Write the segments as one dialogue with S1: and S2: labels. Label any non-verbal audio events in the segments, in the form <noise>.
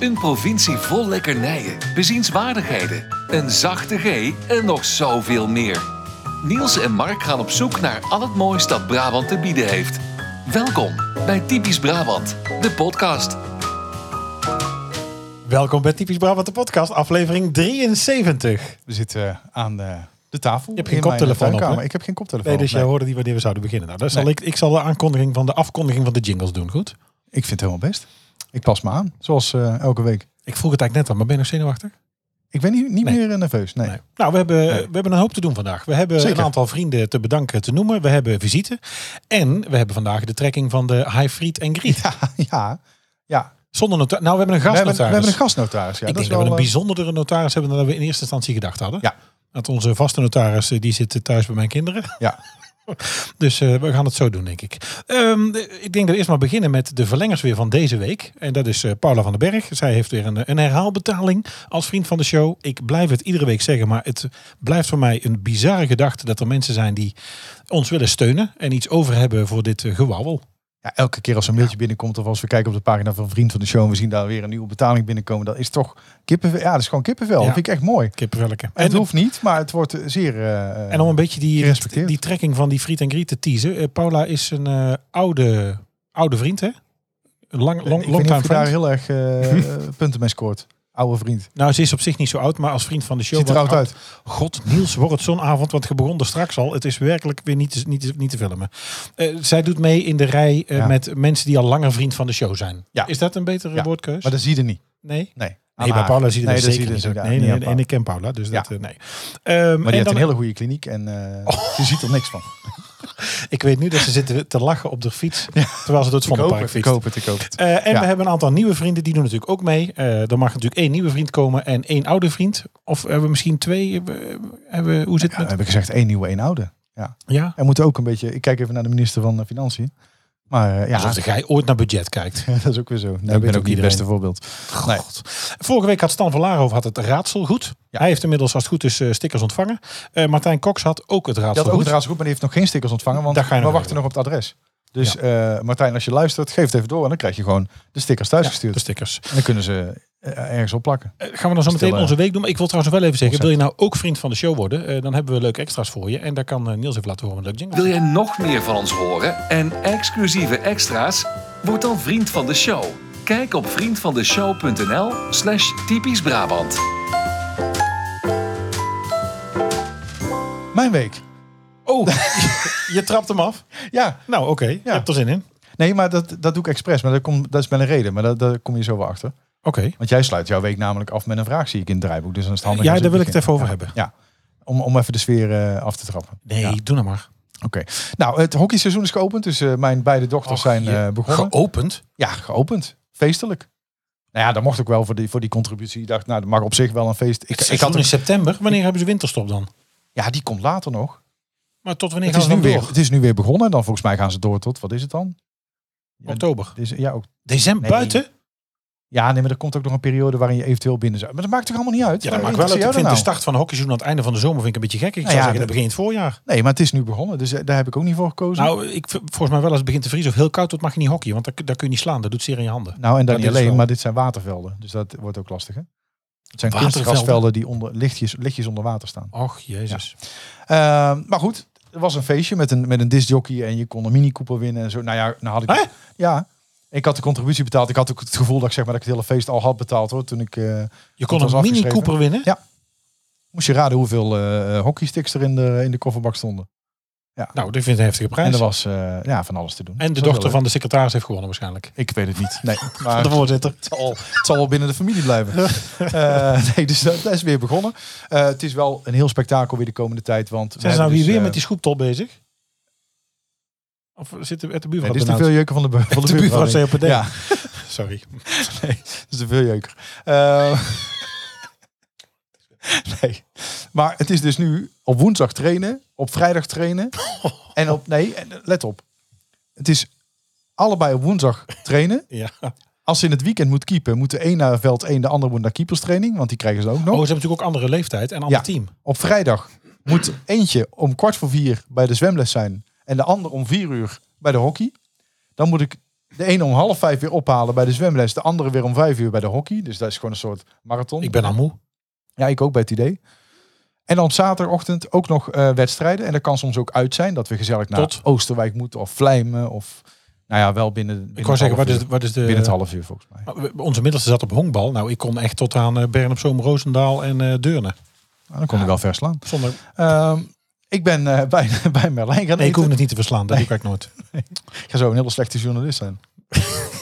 S1: Een provincie vol lekkernijen, bezienswaardigheden, een zachte G en nog zoveel meer. Niels en Mark gaan op zoek naar al het moois dat Brabant te bieden heeft. Welkom bij Typisch Brabant, de podcast.
S2: Welkom bij Typisch Brabant de podcast, aflevering 73.
S3: We zitten aan de, de tafel. Je
S2: hebt geen koptelefoon op, hè?
S3: ik heb geen koptelefoon
S2: Nee, dus
S3: op, nee.
S2: jij hoorde niet wanneer we zouden beginnen. Nou, dan zal
S3: Nee.
S2: ik, ik zal de aankondiging van de afkondiging van de jingles doen, goed?
S3: Ik vind het helemaal best. Ik pas me aan, zoals eh, elke week.
S2: Ik vroeg het eigenlijk net al, maar ben je nog zenuwachtig?
S3: Ik ben niet, niet
S2: Nee.
S3: meer eh, nerveus. Nee.
S2: Nou, we hebben, we hebben een hoop te doen vandaag. We hebben
S3: Zeker.
S2: een aantal vrienden te bedanken, te noemen. We hebben visite. En we hebben vandaag de trekking van de High Fried en Griet.
S3: Ja, <laughs> ja. ja.
S2: Zonder notaris. Nou, we hebben een
S3: We, hebben,
S2: gastnotaris.
S3: we hebben een gastnotaris. Ja,
S2: Ik
S3: dat
S2: denk
S3: is
S2: dat we
S3: wel,
S2: een
S3: eh,
S2: bijzonderdere notaris hebben dan we in eerste instantie gedacht hadden.
S3: Ja.
S2: Want onze vaste notaris, eh, die zit thuis bij mijn kinderen.
S3: Ja.
S2: Dus eh, we gaan het zo doen, denk ik. Ehm, de- ik denk dat we eerst maar beginnen met de verlengers weer van deze week. En dat is eh, Paula van den Berg. Zij heeft weer een, een herhaalbetaling als vriend van de show. Ik blijf het iedere week zeggen, maar het blijft voor mij een bizarre gedachte dat er mensen zijn die ons willen steunen en iets over hebben voor dit eh, gewauwel.
S3: ja, elke keer als een mailtje binnenkomt of als we kijken op de pagina van Vriend van de Show en we zien daar weer een nieuwe betaling binnenkomen, dat is toch kippenvel. Ja, dat is gewoon kippenvel.
S2: Ja.
S3: Dat vind ik echt mooi.
S2: Kippenvelken.
S3: En het hoeft niet, maar het wordt eh, zeer... eh,
S2: En om een beetje die,
S3: gerespecteerd.
S2: die trekking van die friet en griet te teasen. eh, Paula is een eh, oude, oude vriend, hè? Een lang, long,
S3: ik weet niet
S2: longtime
S3: of je daar
S2: friend.
S3: heel
S2: <laughs>
S3: erg eh, eh, punten mee scoort. Oude vriend.
S2: Nou, ze is op zich niet zo oud, maar als vriend van de show...
S3: Ziet er
S2: wat
S3: oud uit.
S2: God, Niels, wordt het zo'n avond, want je begon er straks al. Het is werkelijk weer niet te, niet te, niet te filmen. Eh, zij doet mee in de rij eh,
S3: Ja.
S2: met mensen die al langer vriend van de show zijn.
S3: Ja.
S2: Is dat een betere
S3: Ja.
S2: woordkeus?
S3: Maar dat zie je er niet.
S2: nee?
S3: Nee. Aan
S2: Nee, bij
S3: haar.
S2: Paula zie je
S3: Nee,
S2: dat
S3: dat
S2: zeker
S3: zie je
S2: niet. Nee,
S3: dus inderdaad
S2: nee,
S3: niet
S2: nee,
S3: aan
S2: en,
S3: Paula.
S2: ik ken Paula, dus dat...
S3: Ja.
S2: eh, nee. Ehm,
S3: Maar
S2: en
S3: die heeft
S2: dan- Oh.
S3: een hele goede kliniek en eh, je ziet er niks van.
S2: Ik weet nu dat ze zitten te lachen op de
S3: <laughs>
S2: fiets, terwijl ze door het Vondelpark
S3: ik
S2: fietst.
S3: hoop het, ik hoop het.
S2: Eh, en
S3: Ja.
S2: we hebben een aantal nieuwe vrienden, die doen natuurlijk ook mee. Eh er mag natuurlijk één nieuwe vriend komen en één oude vriend. Of hebben we misschien twee? eh, hebben, we- hoe zit het
S3: Ja,
S2: met...
S3: dan Eh, heb ik gezegd één nieuwe, één oude. Ja.
S2: Ja,
S3: En moet ook een beetje, ik kijk even naar de minister van eh, Financiën. Maar eh, ja,
S2: alsof de gij ooit naar budget kijkt.
S3: <laughs> dat is ook weer zo. Nee,
S2: weet ook
S3: ik ben ook niet het
S2: iedereen.
S3: beste voorbeeld. Nee.
S2: God. Vorige week had Stan van Laarhoofd had het raadsel goed.
S3: Ja.
S2: Hij heeft inmiddels als het goed is eh, stickers ontvangen. Eh, Martijn Cox had ook het
S3: Die
S2: raadsel
S3: had ook
S2: goed.
S3: het raad goed, maar die heeft nog geen stickers ontvangen, want
S2: Daar ga je
S3: we
S2: nog
S3: wachten nog op het adres. Dus eh, Martijn, als je luistert, geef het even door en dan krijg je gewoon de stickers thuis
S2: Ja,
S3: gestuurd.
S2: de stickers.
S3: En dan kunnen ze eh, ergens op plakken.
S2: Eh, gaan we dan zo meteen
S3: Stille-
S2: onze week doen. Maar ik wil trouwens nog wel even zeggen, wil je
S3: Concept.
S2: nou ook vriend van de show worden? eh, dan hebben we leuke extra's voor je. En daar kan eh, Niels even laten horen met een leuk jingle.
S1: Wil jij nog meer van ons horen en exclusieve extra's? Word dan vriend van de show. Kijk op vriendvandeshow.nl slash typisch Brabant.
S3: Mijn week.
S2: <laughs> Oh, je trapt hem af.
S3: Ja,
S2: Nou, oké. Je hebt er zin in.
S3: nee, maar dat, dat doe ik expres. Maar dat, komt dat is met een reden, maar dat, daar kom je zo wel achter.
S2: Oké.
S3: Want jij sluit jouw week namelijk af met een vraag, zie ik in het draaiboek. Dus dan is het handig.
S2: Ja,
S3: als
S2: daar
S3: ik
S2: wil ik het
S3: begin.
S2: even over
S3: Ja.
S2: hebben.
S3: Ja, om, om even de sfeer eh, af te trappen.
S2: Nee,
S3: Ja.
S2: doe nou maar.
S3: Oké. Nou, het hockeyseizoen is geopend. Dus eh, mijn beide dochters
S2: Och,
S3: zijn
S2: je-
S3: eh, begonnen.
S2: Geopend?
S3: ja, geopend. Feestelijk. Nou ja, dat mocht ook wel voor die, voor die contributie. Ik dacht, nou, dat mag op zich wel een feest. Ik, ik had
S2: in
S3: hem,
S2: september. Wanneer hebben ze winterstop dan?
S3: ja, die komt later nog.
S2: Maar tot wanneer
S3: Het
S2: gaan ze
S3: is, nu
S2: dan
S3: weer,
S2: door?
S3: het is nu weer begonnen. Dan volgens mij gaan ze door tot, wat is het dan? Ja,
S2: Oktober.
S3: het is- ja, ook,
S2: December?
S3: Nee.
S2: Buiten?
S3: ja, nee, maar er komt ook nog een periode waarin je eventueel binnen zou. Maar dat maakt toch allemaal niet uit?
S2: Ja, dat
S3: Waarom
S2: maakt wel uit. Ik vind
S3: interesseer jou
S2: de
S3: dat nou?
S2: start van de hockeyseizoen aan het einde van de zomer vind ik een beetje gek. Ik zou
S3: Nou ja,
S2: zeggen, dat
S3: dat-
S2: begint het voorjaar.
S3: nou? Nee, maar het is nu begonnen. Dus eh, daar heb ik ook niet voor gekozen.
S2: Nou, ik, v- volgens mij wel als het begint te vriezen of heel koud wordt, mag je niet hockeyen. Want daar, kun- daar kun je niet slaan. Dat doet zeer in je handen.
S3: Nou, en
S2: Maar
S3: dan niet
S2: dit is
S3: alleen,
S2: wel-
S3: maar dit zijn watervelden. Dus dat wordt ook lastig, hè? Het zijn
S2: Watervelden?
S3: kunstgrasvelden die onder, lichtjes, lichtjes onder water staan.
S2: Och, jezus.
S3: Ehm, maar goed, er was een feestje met een, met een discjockey en je kon een mini-koepel winnen en zo. Nou ja, nou had ik...
S2: Hè?
S3: Ja, ik had de contributie betaald. Ik had ook het gevoel dat ik, zeg maar, dat ik het hele feest al had betaald, hoor. Toen ik... eh,
S2: Je kon
S3: was
S2: een Mini
S3: afgeschreven.
S2: Cooper winnen.
S3: moest je raden hoeveel eh hockeysticks er in de, in de kofferbak stonden.
S2: Nou, dat vind ik een heftige prijs.
S3: En
S2: En,
S3: er was eh, ja, van alles te doen.
S2: de
S3: Dat was
S2: dochter
S3: wel
S2: van de secretaris heeft gewonnen waarschijnlijk.
S3: leuk. Ik weet het
S2: <laughs>
S3: niet. <laughs> Nee, maar...
S2: De voorzitter.
S3: Het zal, het zal wel binnen de familie blijven.
S2: <laughs>
S3: Eh, nee, dus dat, dat is weer begonnen. Eh, het is wel een heel spektakel weer de komende tijd. Want we
S2: Zijn ze nou
S3: hebben
S2: hier
S3: dus,
S2: weer
S3: eh,
S2: met die schoeptol bezig? Of zitten we uit de buurvrouw?
S3: Nee, dit is de
S2: benauwd?
S3: veeljeuker van de, bu- van de,
S2: <laughs> de buurvrouw
S3: buurvrouw.
S2: zei op het dek.
S3: Ja, <laughs>
S2: Sorry.
S3: dat is de veeljeuker. Eh, <laughs> nee. Maar het is dus nu op woensdag trainen, op vrijdag trainen.
S2: <laughs>
S3: En op, nee, en, eh, let op. Het is allebei op woensdag trainen.
S2: Ja.
S3: Als ze in het weekend moet keepen, moet de een naar veld 1, de ander moet naar keeperstraining. Want die krijgen ze ook nog.
S2: Oh, ze hebben natuurlijk ook andere leeftijd en ander
S3: Ja.
S2: team.
S3: Op vrijdag moet eentje om kwart voor vier bij de zwemles zijn en de ander om vier uur bij de hockey. Dan moet ik De ene om half vijf weer ophalen bij de zwemles. De andere weer om vijf uur bij de hockey. Dus dat is gewoon een soort marathon.
S2: Ik ben al moe.
S3: Ja, ik ook bij het idee. En dan op zaterdagochtend ook nog eh, wedstrijden. En dat kan soms ook uit zijn dat we gezellig naar
S2: Tot?
S3: Oosterwijk moeten of Vlijmen. Of nou ja, wel binnen, binnen,
S2: Ik
S3: het
S2: wou zeggen,
S3: half
S2: wat is, eh,
S3: uur.
S2: wat is de...
S3: binnen het half uur volgens mij.
S2: Maar we- Onze middelste zat op honkbal. Nou, ik kon echt tot aan eh, Bern op Zoom, Roosendaal en eh, Deurne.
S3: Nou, dan kon ik wel verslaan.
S2: Zonder,
S3: Ehm, ik ben eh, <laughs> bij, bij Merlijn gaan
S2: nee, ik
S3: eten.
S2: hoef het niet te verslaan. Dat doe ik eigenlijk nooit.
S3: Ik ga zo een hele slechte journalist
S2: <laughs>
S3: zijn.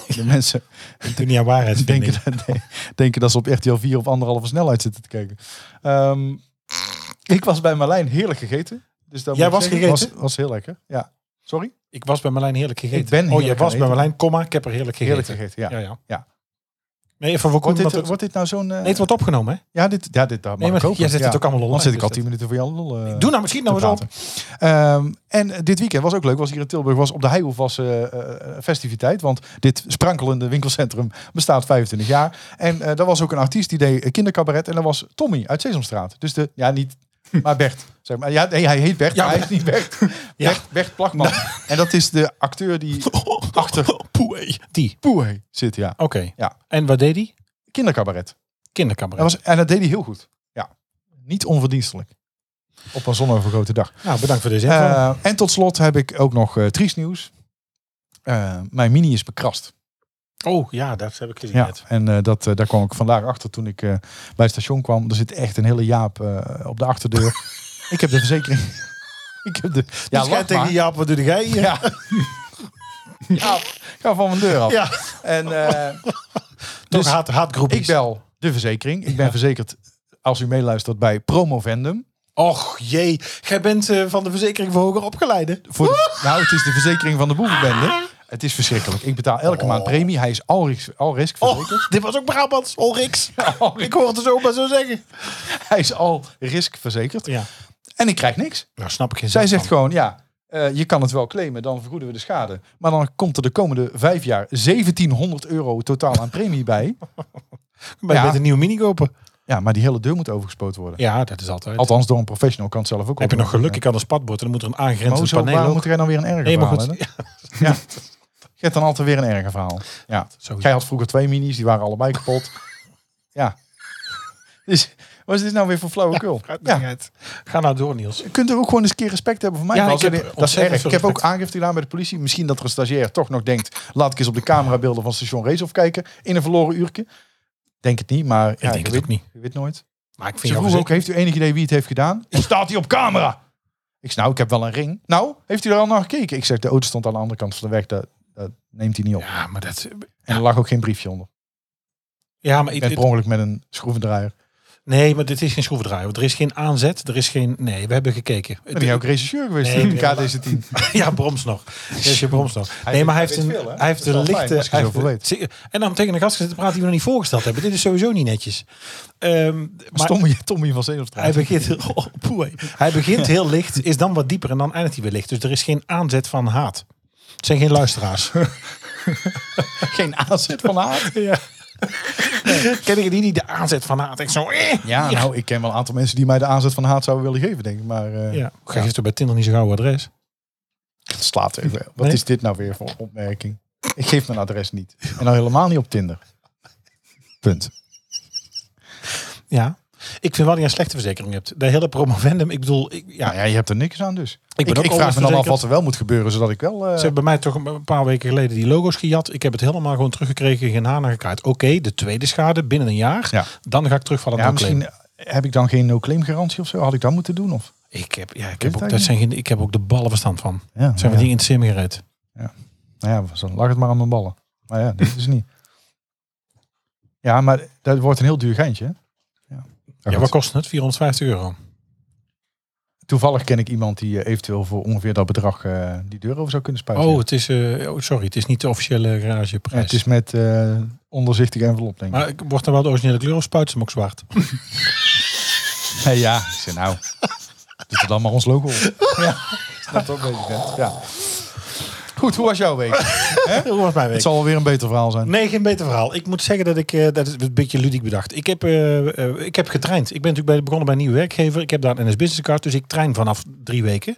S3: De mensen
S2: Ik doe niet aan waarheidsvinding.
S3: denken dat, nee, denken dat ze op RTL 4 op anderhalve snelheid zitten te kijken. Ehm, ik was bij Merlijn heerlijk gegeten. Dus dat
S2: Jij
S3: moet ik
S2: was
S3: zeggen,
S2: gegeten?
S3: Was, was heel lekker, ja. Sorry?
S2: Ik was bij Marlijn heerlijk gegeten.
S3: Ik ben
S2: oh, je
S3: heerlijk
S2: was
S3: aan
S2: bij
S3: eten.
S2: Marlijn, komma, ik heb er heerlijk gegeten.
S3: Heerlijk gegeten, ja.
S2: Ja, ja.
S3: Ja.
S2: Nee, even voor
S3: Wordt
S2: Koen,
S3: dit,
S2: want het-
S3: wordt dit nou zo'n... eh,
S2: nee, het wordt opgenomen, hè?
S3: ja, dit, ja, dit daar mag
S2: Nee, maar
S3: ik ook.
S2: jij zet
S3: ja.
S2: het ook allemaal
S3: Dan
S2: online.
S3: zit ik al
S2: dus
S3: 10 minuten voor jou lol. eh,
S2: dat- Doe nou misschien nou
S3: te
S2: eens op.
S3: Ehm, en dit weekend was ook leuk, was hier in Tilburg, was op de Heihoef was eh, eh, festiviteit. Want dit sprankelende winkelcentrum bestaat 25 jaar. En eh, daar was ook een artiest die deed eh, kindercabaret. En dat was Tommy uit Sesamstraat. Dus de,
S2: <laughs>
S3: ja niet, maar Bert. Zeg maar. Ja, nee, hij heet Bert,
S2: Ja,
S3: maar hij is niet
S2: <laughs>
S3: Bert.
S2: Ja.
S3: Bert, Bert
S2: <laughs>
S3: Plagman. En dat is de acteur die achter <laughs>
S2: Poeh. Die.
S3: Poeh zit, ja.
S2: Oké.
S3: Ja.
S2: En wat deed hij?
S3: Kindercabaret.
S2: Kinderkamer.
S3: Dat was, en dat deed hij heel goed. Ja, niet onverdienstelijk. Op een zonovergrote dag.
S2: Nou, bedankt voor deze info.
S3: Eh, en tot slot heb ik ook nog eh triest nieuws. Eh, mijn mini is bekrast.
S2: oh, ja, dat heb ik gezien
S3: Ja,
S2: net.
S3: en eh, dat, eh, daar kwam ik vandaag achter toen ik eh, bij het station kwam. Er zit echt een hele jaap eh, op de
S2: <laughs>
S3: achterdeur. ik heb de verzekering. <laughs> ik heb de. Ja, lach maar.
S2: Dus Jaap, wat doe jij hier? <laughs>
S3: Ja. Jaap, ga van mijn deur af.
S2: Ja.
S3: En eh,
S2: Toch
S3: Dus
S2: haat, haatgroepjes.
S3: ik bel de verzekering. Ik ben verzekerd als u meeluistert bij Promovendum.
S2: Och jee, jij bent eh, van de verzekering voor hoger opgeleide.
S3: Voor de- nou, het is de verzekering van de
S2: Ah.
S3: boevenbende. Het is verschrikkelijk. Ik betaal elke maand premie. Hij is al risk, al risk verzekerd.
S2: Oh, <laughs> dit was ook Brabants,
S3: <laughs>
S2: Olrix.
S3: Oh,
S2: Ik hoor het er zo maar zo zeggen.
S3: Hij is al risk verzekerd.
S2: Ja,
S3: En ik krijg niks.
S2: nou snap ik geen
S3: Zij
S2: zak
S3: zegt
S2: van.
S3: gewoon, ja, eh, je kan het wel claimen. Dan vergoeden we de schade. Maar dan komt er de komende vijf jaar 1700 euro totaal aan premie bij.
S2: Maar je
S3: ja.
S2: bent een nieuwe mini kopen.
S3: Ja, maar die hele deur moet overgespoten worden.
S2: Ja, dat is altijd.
S3: Althans, door een professional kan het zelf ook
S2: Heb je nog geluk, ik
S3: Ik
S2: kan een spatbord en dan moet er een
S3: maar
S2: aangrenzend
S3: hoezo,
S2: paneel
S3: waarom
S2: ook.
S3: moet jij dan weer een erger
S2: Nee, maar
S3: verhaal
S2: goed.
S3: hebben? Ja. Je hebt dan altijd weer een erger verhaal. Ja.
S2: Sowieso.
S3: Jij had vroeger twee minis, die waren
S2: <laughs>
S3: allebei kapot. ja. <laughs> Dus wat is dit nou weer voor flauwekul? Ja.
S2: Ga nou door, Niels.
S3: Je kunt er ook gewoon eens een keer respect hebben voor mij.
S2: Ja,
S3: Maar
S2: ik
S3: als
S2: heb
S3: er- dat is
S2: ontzettend
S3: erg.
S2: veel
S3: Ik heb ook
S2: respect.
S3: aangifte gedaan bij de politie. Misschien dat er een stagiair toch nog denkt... laat ik eens op de camerabeelden van station Reeshof kijken... in een verloren uurtje. Denk het niet, maar... ja,
S2: ik
S3: je
S2: denk het
S3: weet,
S2: ook niet.
S3: Je weet nooit.
S2: Maar ik vind
S3: Ze
S2: jou
S3: vroeg ook,
S2: verzekerd.
S3: heeft u enig idee wie het heeft
S2: <laughs>
S3: gedaan? Staat hij op camera? Ik zei, nou, ik heb wel een ring. Nou, heeft u er al naar gekeken? Ik zeg, de auto stond aan de andere kant van de weg. Dat, dat neemt hij niet op.
S2: Ja, maar dat...
S3: En er lag ook geen briefje onder.
S2: Ja, maar...
S3: Ik
S2: ik-
S3: ben per ongeluk met een schroevendraaier.
S2: nee, maar dit is geen schroevendraaier. want Er is geen aanzet, er is geen... Nee, we hebben gekeken.
S3: Ben jij ook regisseur geweest
S2: Nee,
S3: in
S2: ik ben-
S3: KDC-10?
S2: <laughs> Ja, Broms nog. Jeetje, Broms nog. Nee,
S3: weet-
S2: maar hij
S3: hij
S2: heeft
S3: weet
S2: een,
S3: veel, hè?
S2: hij heeft
S3: Dat is
S2: een
S3: wel fijn,
S2: lichte...
S3: als je
S2: hij heeft-
S3: zoveel weet.
S2: zie- En dan tegen een gast zitten praten die we nog niet voorgesteld hebben. Dit is sowieso niet netjes. Ehm, maar
S3: Tommy, Tommy van
S2: hij
S3: Zeelstraat.
S2: begint, <laughs> oh, poeh. hij begint heel licht, is dan wat dieper en dan eindigt hij weer licht. Dus er is geen aanzet van haat. Het zijn geen
S3: <laughs>
S2: luisteraars.
S3: Geen aanzet van haar.
S2: Ja. Ken ik die niet de aanzet van haat? Echt zo. eh.
S3: Ja, nou, ik ken wel een aantal mensen die mij de aanzet van haat zouden willen geven, denk ik. Maar eh,
S2: Ja. Geef toch bij Tinder niet zo gauw adres.
S3: het slaat even. Wat
S2: Nee?
S3: is dit nou weer voor opmerking? Ik geef mijn adres niet. En al helemaal niet op Tinder. Punt.
S2: Ja. Ik vind wel dat je een slechte verzekering hebt. De hele promovendum, ik bedoel, ik, ja,
S3: Nou Ja, ja je hebt er niks aan dus. Ik,
S2: ben ook
S3: ik vraag me dan af
S2: onverzekerd.
S3: wat er wel moet gebeuren, zodat ik wel... eh,
S2: Ze hebben bij mij toch een paar weken geleden die logo's gejat. Ik heb het helemaal gewoon teruggekregen, geen haar naar gekaaid. Oké, de tweede schade binnen een jaar.
S3: Ja.
S2: Dan ga ik terugvallen
S3: ja,
S2: naar claim.
S3: misschien heb ik dan geen no-claim garantie of zo. Had ik dat moeten doen? Of?
S2: Ik heb, ja, ik
S3: Weet
S2: heb,
S3: het
S2: ook, dat zijn, geen- ik heb ook de ballen verstand van.
S3: Ja,
S2: Zijn
S3: nou
S2: we
S3: ja.
S2: die in het sim gered?
S3: Nou ja, dan lag het maar aan mijn ballen. Maar ja, dit is niet. Ja, maar dat wordt een heel duur geintje. hè? Ja.
S2: Ja,
S3: goed.
S2: wat kost het? 450 euro.
S3: Toevallig ken ik iemand die eh, eventueel voor ongeveer dat bedrag eh, die deur over zou kunnen spuiten.
S2: Oh, het is, eh, oh, sorry, het is niet de officiële garageprijs.
S3: Ja, het is met eh, onderzichtige envelop, denk ik.
S2: Maar ik- wordt er wel de originele kleur of spuit ze hem ook zwart?
S3: Nee, <laughs> ja, ik zei nou, doet er dan maar ons logo op.
S2: <laughs>
S3: Ja, snap het ook bezig bent. Ja. Goed, hoe was jouw week?
S2: <laughs> Hoe was mijn
S3: Het
S2: week?
S3: zal wel weer een beter verhaal zijn.
S2: Nee, geen beter verhaal. Ik moet zeggen dat ik, eh, dat is een beetje ludiek bedacht. Ik heb, eh, eh, ik heb getraind. Ik ben natuurlijk bij, begonnen bij een nieuwe werkgever. Ik heb daar een NS Business Card, dus ik train vanaf drie weken.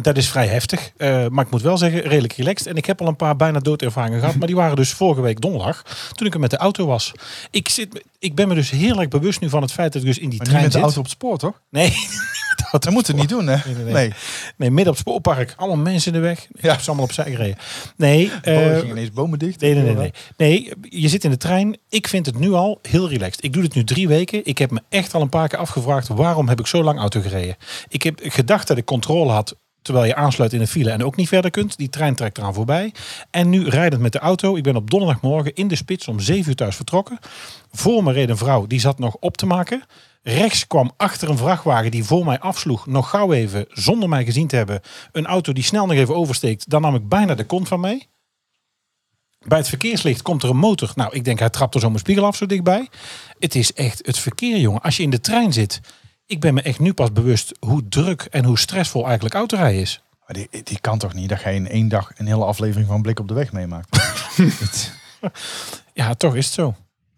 S2: Dat is vrij heftig. Eh, maar ik moet wel zeggen, redelijk relaxed. En ik heb al een paar bijna doodervaringen
S3: <laughs>
S2: gehad. Maar die waren dus vorige week donderdag. Toen ik er met de auto was. Ik, zit, me- ik ben me dus heel erg bewust nu van het feit dat ik dus in die
S3: Maar niet
S2: trein
S3: met de
S2: zit.
S3: auto op het spoor, toch?
S2: Nee, <laughs> dat
S3: Dat moeten we niet doen, hè?
S2: Nee,
S3: Nee,
S2: nee, nee. Nee, midden op het spoorpark. Allemaal mensen in de weg. Ik
S3: Ja.
S2: heb ze allemaal opzij gereden. Nee,
S3: Oh, er
S2: eh,
S3: gingen ineens bomen dicht.
S2: Nee, nee, nee, nee. Nee, je zit in de trein. Ik vind het nu al heel relaxed. Ik doe dit nu drie weken. Ik heb me echt al een paar keer afgevraagd... waarom heb ik zo lang auto gereden? Ik heb gedacht dat ik controle had... terwijl je aansluit in een file en ook niet verder kunt. Die trein trekt eraan voorbij. En nu rijdend met de auto. Ik ben op donderdagmorgen in de spits om zeven uur thuis vertrokken. Voor me reed een vrouw. Die zat nog op te maken. Rechts kwam achter een vrachtwagen die voor mij afsloeg. Nog gauw even, zonder mij gezien te hebben... een auto die snel nog even oversteekt. Daar nam ik bijna de kont van mee. Bij het verkeerslicht komt er een motor. Nou, ik denk hij trapt er zo mijn spiegel af zo dichtbij. Het is echt het verkeer, jongen. Als je in de trein zit. Ik ben me echt nu pas bewust hoe druk en hoe stressvol eigenlijk autorijden is.
S3: Maar die, die kan toch niet dat jij in één dag een hele aflevering van Blik op de Weg meemaakt? <laughs> Het-
S2: Ja, toch is het zo.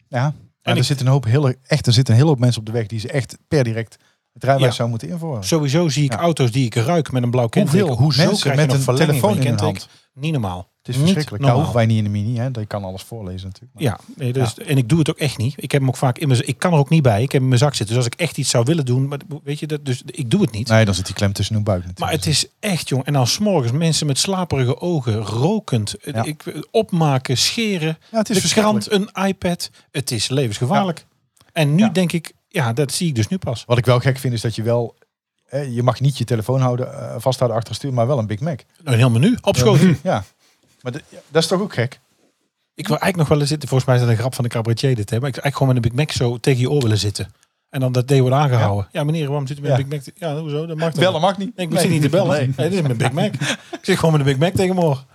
S3: ja. En
S2: En
S3: er
S2: ik-
S3: zitten een hoop hele, echt, er zitten een hele hoop mensen op de weg die ze echt per direct het rijbewijs
S2: Ja.
S3: zou moeten invoeren.
S2: Sowieso zie ik
S3: Ja.
S2: auto's die ik ruik met een blauw kenteken.
S3: Hoeveel mensen
S2: krijg je
S3: met
S2: nog
S3: een
S2: verlenging van
S3: telefoon
S2: je
S3: in hun
S2: kenteken? Niet normaal.
S3: Het is
S2: Niet
S3: verschrikkelijk. Daar
S2: normaal.
S3: hoeven wij niet in de mini, hè? Dat kan alles voorlezen natuurlijk. Maar-
S2: Ja, nee, dus, en ik doe het ook echt niet. Ik heb hem ook vaak in mijn, ik kan er ook niet bij. Ik heb hem in mijn zak zitten. Dus als ik echt iets zou willen doen, maar weet je, dat, dus ik doe het niet.
S3: Nee, dan zit die klem tussen hun buik natuurlijk.
S2: Maar het is echt, jong. En dan s'morgens mensen met slaperige ogen, rokend, eh,
S3: Ja.
S2: ik, opmaken, scheren.
S3: Ja, het is
S2: de
S3: verschrikkelijk.
S2: krant, een iPad. Het is levensgevaarlijk. En nu
S3: Ja.
S2: denk ik, ja, dat zie ik dus nu pas.
S3: Wat ik wel gek vind is dat je wel... Hè, je mag niet je telefoon houden, eh, vasthouden achter het stuur, maar wel een Big Mac.
S2: Een heel menu, op schoot.
S3: Ja. Maar de- ja, dat is toch ook gek?
S2: Ik wil eigenlijk nog wel eens zitten. Volgens mij is dat een grap van de cabaretier dit. Hè? Maar ik zou eigenlijk gewoon met een Big Mac zo tegen je oor willen zitten. En dan dat ding wordt aangehouden. Ja, meneer, waarom zit u met
S3: Ja.
S2: een Big Mac? te- Ja, hoezo? Dat mag toch
S3: Bellen mag niet.
S2: Nee, ik moet zitten niet te bellen.
S3: <laughs>
S2: <laughs> Nee, dit is mijn Big Mac. ik zit gewoon met een Big Mac tegen morgen.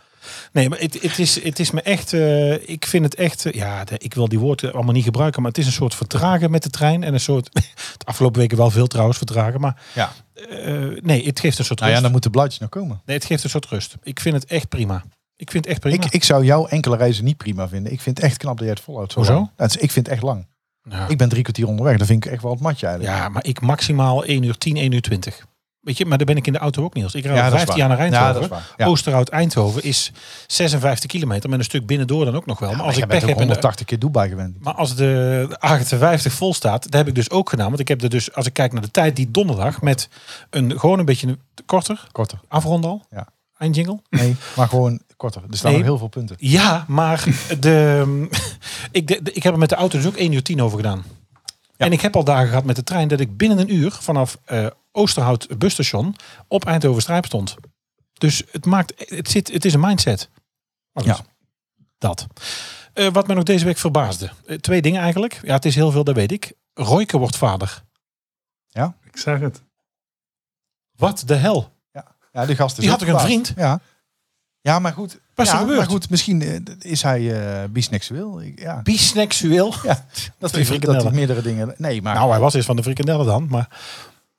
S2: Nee, maar het, het, is, het is me echt... eh, ik vind het echt... eh, ja, de- ik wil die woorden allemaal niet gebruiken. Maar het is een soort vertragen met de trein. En een soort... <laughs> De afgelopen weken wel veel trouwens vertragen. Maar
S3: Ja.
S2: eh, nee, het geeft een soort
S3: Nou ja,
S2: rust.
S3: dan moet de blaadjes nog komen.
S2: Nee, het geeft een soort rust. Ik vind het echt prima. Ik vind het echt prima.
S3: Ik, ik zou jouw enkele reizen niet prima vinden. Ik vind het echt knap dat jij het volhoudt. Zo
S2: Hoezo?
S3: lang. Nou, het is- ik vind het echt lang.
S2: Ja.
S3: Ik ben drie kwartier onderweg. Dat vind ik echt wel het matje eigenlijk.
S2: ja, maar ik maximaal 1 uur 10, 1 uur 20. Weet je, maar daar ben ik in de auto ook niet als. Ik rijd
S3: Ja,
S2: al
S3: dat is
S2: 15 jaar
S3: waar.
S2: naar Eindhoven.
S3: Ja, dat is waar. Ja.
S2: Oosterhout-Eindhoven is 56 kilometer. Met een stuk binnendoor dan ook nog wel. maar als
S3: jij
S2: ik pech
S3: bent
S2: heb
S3: ook
S2: en de
S3: 180 keer Dubai gewend.
S2: Maar als de 58 vol staat, dat heb ik dus ook gedaan. Want ik heb er dus, als ik kijk naar de tijd, die donderdag met een gewoon een beetje een, korter,
S3: Korter.
S2: afronden al,
S3: Ja.
S2: eindjingle.
S3: Nee, maar gewoon korter. Er staan
S2: Nee.
S3: nog heel veel punten.
S2: Ja, maar <laughs> de, ik, de, de- ik heb er met de auto dus ook 1 uur 10 over gedaan. En ik heb al dagen gehad met de trein dat ik binnen een uur vanaf eh, Oosterhout busstation op Eindhoven Strijp stond. Dus het maakt, het, zit, het is een mindset. Maar goed,
S3: Ja.
S2: dat. Eh, wat me nog deze week verbaasde. Eh, twee dingen eigenlijk. Ja, het is heel veel, dat weet ik. Royke wordt vader.
S4: Ik zag het.
S2: Wat de hel?
S3: Ja, die gast is
S2: Die
S3: ook
S2: had toch een
S3: verbaasd. Ja. Ja, maar goed.
S2: Wat is er
S3: ja,
S2: gebeurd?
S3: maar goed, misschien eh, d- is hij eh biseksueel. Ik- Ja,
S2: Biseksueel.
S3: ja, dat,
S2: die
S3: hij, dat hij
S2: frikandellen.
S3: meerdere dingen... Nee, maar,
S2: Nou, eh, hij was eens van de frikandellen dan, maar...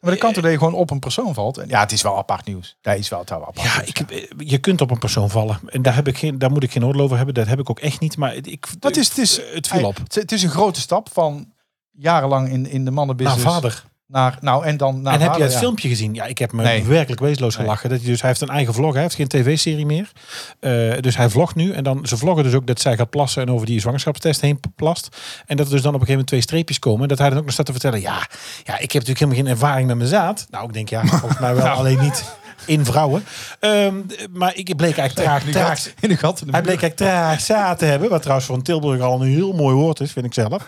S3: maar de kant dat je gewoon op een persoon valt. En, ja, het is wel apart nieuws. Dat is wel het wel apart
S2: Ja,
S3: nieuws,
S2: ik, heb- eh, je kunt op een persoon vallen. En daar, heb ik geen, daar moet ik geen oordeel over hebben. Dat heb ik ook echt niet. Maar ik, eh,
S3: Wat is, het, is,
S2: het viel op.
S3: Het, het is een grote stap van jarenlang in, in de
S2: Naar
S3: mannenbusiness.
S2: vader.
S3: Naar, nou, en dan naar
S2: en heb je
S3: vader,
S2: het
S3: ja.
S2: filmpje gezien? Ja, ik heb me
S3: Nee.
S2: werkelijk wezenloos
S3: Nee.
S2: gelachen. Dat hij, dus, hij heeft een eigen vlog, hij heeft geen tv-serie meer. Eh, dus hij vlogt nu. En dan, ze vloggen dus ook dat zij gaat plassen en over die zwangerschapstest heen plast. En dat er dus dan op een gegeven moment twee streepjes komen. En dat hij dan ook nog staat te vertellen, ja, ja ik heb natuurlijk helemaal geen ervaring met mijn zaad. Nou, ik denk,
S3: <laughs>
S2: ja, volgens mij wel,
S3: Nou.
S2: alleen niet in vrouwen. Ehm, d- maar ik bleek eigenlijk traag,
S3: In de
S2: traag,
S3: gat- in de gat in de
S2: hij
S3: muur.
S2: bleek eigenlijk traag zaad te hebben. Wat trouwens voor een Tilburg al een heel mooi woord is, vind ik zelf.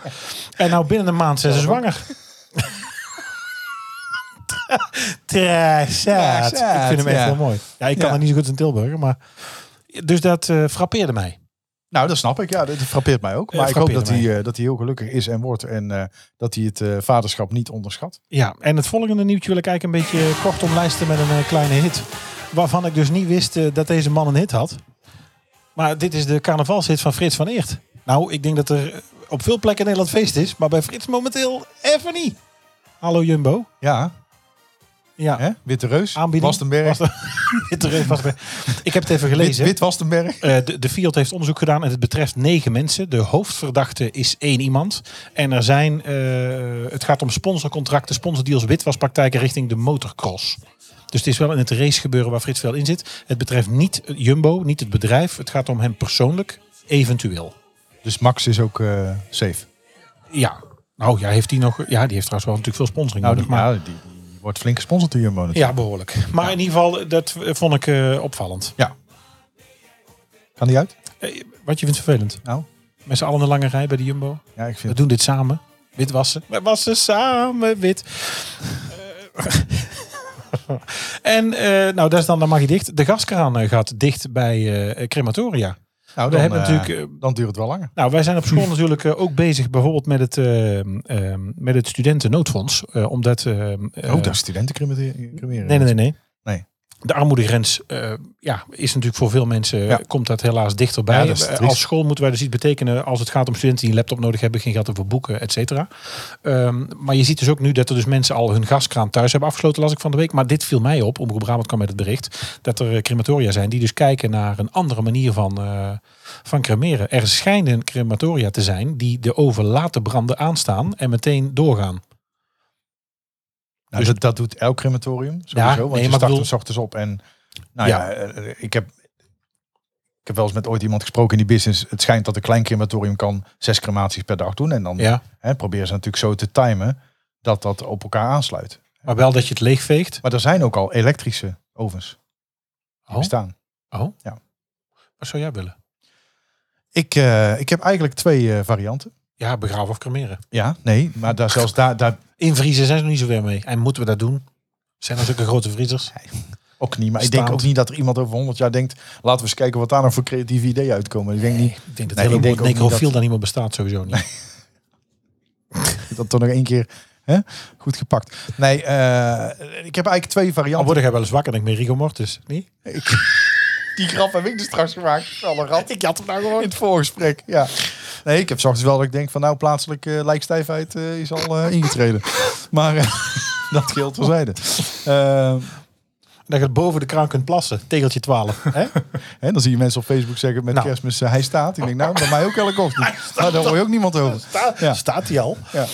S2: En nou binnen een maand zijn ze zwanger. Traag zaad.
S3: zaad,
S2: Ik vind hem echt
S3: ja.
S2: heel mooi. Ja, ik kan
S3: Ja.
S2: er niet zo goed in Tilburg, maar... Dus dat eh, frappeerde mij.
S3: Nou, dat snap ik. Ja, dat dat frappeert mij ook.
S2: Eh,
S3: Maar ik hoop
S2: frappeerde
S3: dat hij, eh, dat hij heel gelukkig is en wordt. En eh, dat hij het eh, vaderschap niet onderschat.
S2: Ja, en het volgende nieuwtje wil ik eigenlijk een beetje kort omlijsten met een eh, kleine hit. Waarvan ik dus niet wist eh, dat deze man een hit had. Maar dit is de carnavalshit van Frits van Eert. Nou, ik denk dat er op veel plekken in Nederland feest is. Maar bij Frits momenteel even niet. Hallo Jumbo.
S3: Ja,
S2: Ja,
S3: hè? Witte Reus,
S2: Aanbieding.
S3: Wastenberg.
S2: <laughs> Dit er even was bij- ik heb het even
S3: Wit,
S2: gelezen.
S3: Wit Wastenberg.
S2: Eh, de, de Fiat heeft onderzoek gedaan en het betreft negen mensen. De hoofdverdachte is één iemand. En er zijn, eh, het gaat om sponsorcontracten, sponsordeals, witwaspraktijken richting de motocross. Dus het is wel in het race gebeuren waar Frits Veld in zit. Het betreft niet Jumbo, niet het bedrijf. Het gaat om hem persoonlijk, eventueel.
S3: Dus Max is ook eh, safe.
S2: Ja. Nou ja, heeft die nog. Ja, die heeft trouwens wel natuurlijk veel sponsoring
S3: Nou, die,
S2: nodig. Maar
S3: ja, die, die wordt flink gesponsord door Jumbo natuurlijk.
S2: Ja, behoorlijk. Maar in ieder geval, dat eh, vond ik eh, opvallend.
S3: Kan die uit?
S2: Eh, wat je vindt vervelend?
S3: Nou?
S2: Met z'n allen in een lange rij bij de Jumbo.
S3: Ja, ik
S2: We
S3: vind
S2: doen dit samen. Wit wassen. We wassen samen wit. Eh, <laughs> en eh, nou, dat is dan, dan mag je dicht. De gaskraan eh, gaat dicht bij eh, crematoria.
S3: Nou,
S2: We
S3: dan,
S2: hebben
S3: eh,
S2: natuurlijk... eh,
S3: dan duurt het wel langer.
S2: nou, wij zijn op school natuurlijk eh, ook bezig bijvoorbeeld met het, eh, eh, met het studentennoodfonds. eh, omdat... eh, eh,
S3: oh, daar studenten cremeren.
S2: Nee, nee, nee. nee.
S3: Nee.
S2: De armoedegrens eh, ja, is natuurlijk voor veel mensen, eh,
S3: Ja.
S2: komt dat helaas dichterbij.
S3: Ja, dat is
S2: Eh,
S3: triest.
S2: als school moeten wij dus iets betekenen als het gaat om studenten die een laptop nodig hebben, geen geld over boeken, et cetera. Ehm, maar je ziet dus ook nu dat er dus mensen al hun gaskraan thuis hebben afgesloten, las ik van de week. Maar dit viel mij op, Omroep Brabant kwam met het bericht, dat er eh, crematoria zijn die dus kijken naar een andere manier van, eh, van cremeren. Er schijnen crematoria te zijn die de oven laten branden aanstaan en meteen doorgaan.
S3: Nou,
S2: Dus-
S3: dat, dat doet elk crematorium sowieso.
S2: Ja,
S3: want
S2: nee,
S3: je
S2: maar ik
S3: start
S2: bedoel-
S3: er 's ochtends op en... Nou ja, eh, ik heb... Ik heb wel eens met ooit iemand gesproken in die business. Het schijnt dat een klein crematorium kan zes crematies per dag doen. En dan
S2: Ja,
S3: hè, proberen ze natuurlijk zo te timen dat dat op elkaar aansluit.
S2: maar wel dat je het leegveegt.
S3: Maar er zijn ook al elektrische ovens die
S2: Oh,
S3: bestaan.
S2: wat Oh, zou jij willen?
S3: Ik, eh, ik heb eigenlijk twee eh, varianten.
S2: Ja, begraven of cremeren.
S3: Ja, nee, maar daar zelfs daar, daar
S2: Invriezen zijn ze nog niet zover mee. En moeten we dat doen? Zijn er zulke grote vriezers?
S3: ook niet. Maar ik
S2: Staand.
S3: denk ook niet dat er iemand over 100 jaar denkt: laten we eens kijken wat daar nou voor creatieve ideeën uitkomen. Ik denk niet
S2: Ik denk dat
S3: Nee,
S2: het hele
S3: ik denk
S2: woord
S3: ook niet
S2: necrofiel
S3: dat-
S2: dan niet meer bestaat sowieso niet.
S3: dat toch nog één keer hè, goed gepakt. Nee, eh, ik heb eigenlijk twee
S2: Dan
S3: varianten.
S2: worden jij wel eens wakker, denk ik, met rigor mortis. Niet?
S3: Die grap heb ik dus straks gemaakt. Wel een rat.
S2: Ik had hem nou
S3: In
S2: gewoon.
S3: het voorgesprek, ja. Nee, ik heb zachtens wel dat ik denk van nou, plaatselijke lijkstijfheid eh, is al eh, ingetreden. Maar eh, <laughs> dat geldt terzijde. Ehm
S2: Dat je boven de kraan kunt plassen. Tegeltje
S3: <laughs>
S2: Eh, 12. Hè?
S3: Hè, dan zie je mensen op Facebook zeggen met
S2: Nou.
S3: kerstmis, eh, hij staat. Ik denk, nou, bij mij ook elke
S2: <laughs>
S3: ochtend. Nou, daar hoor je ook niemand over. Ja.
S2: Staat hij al?
S3: Ja.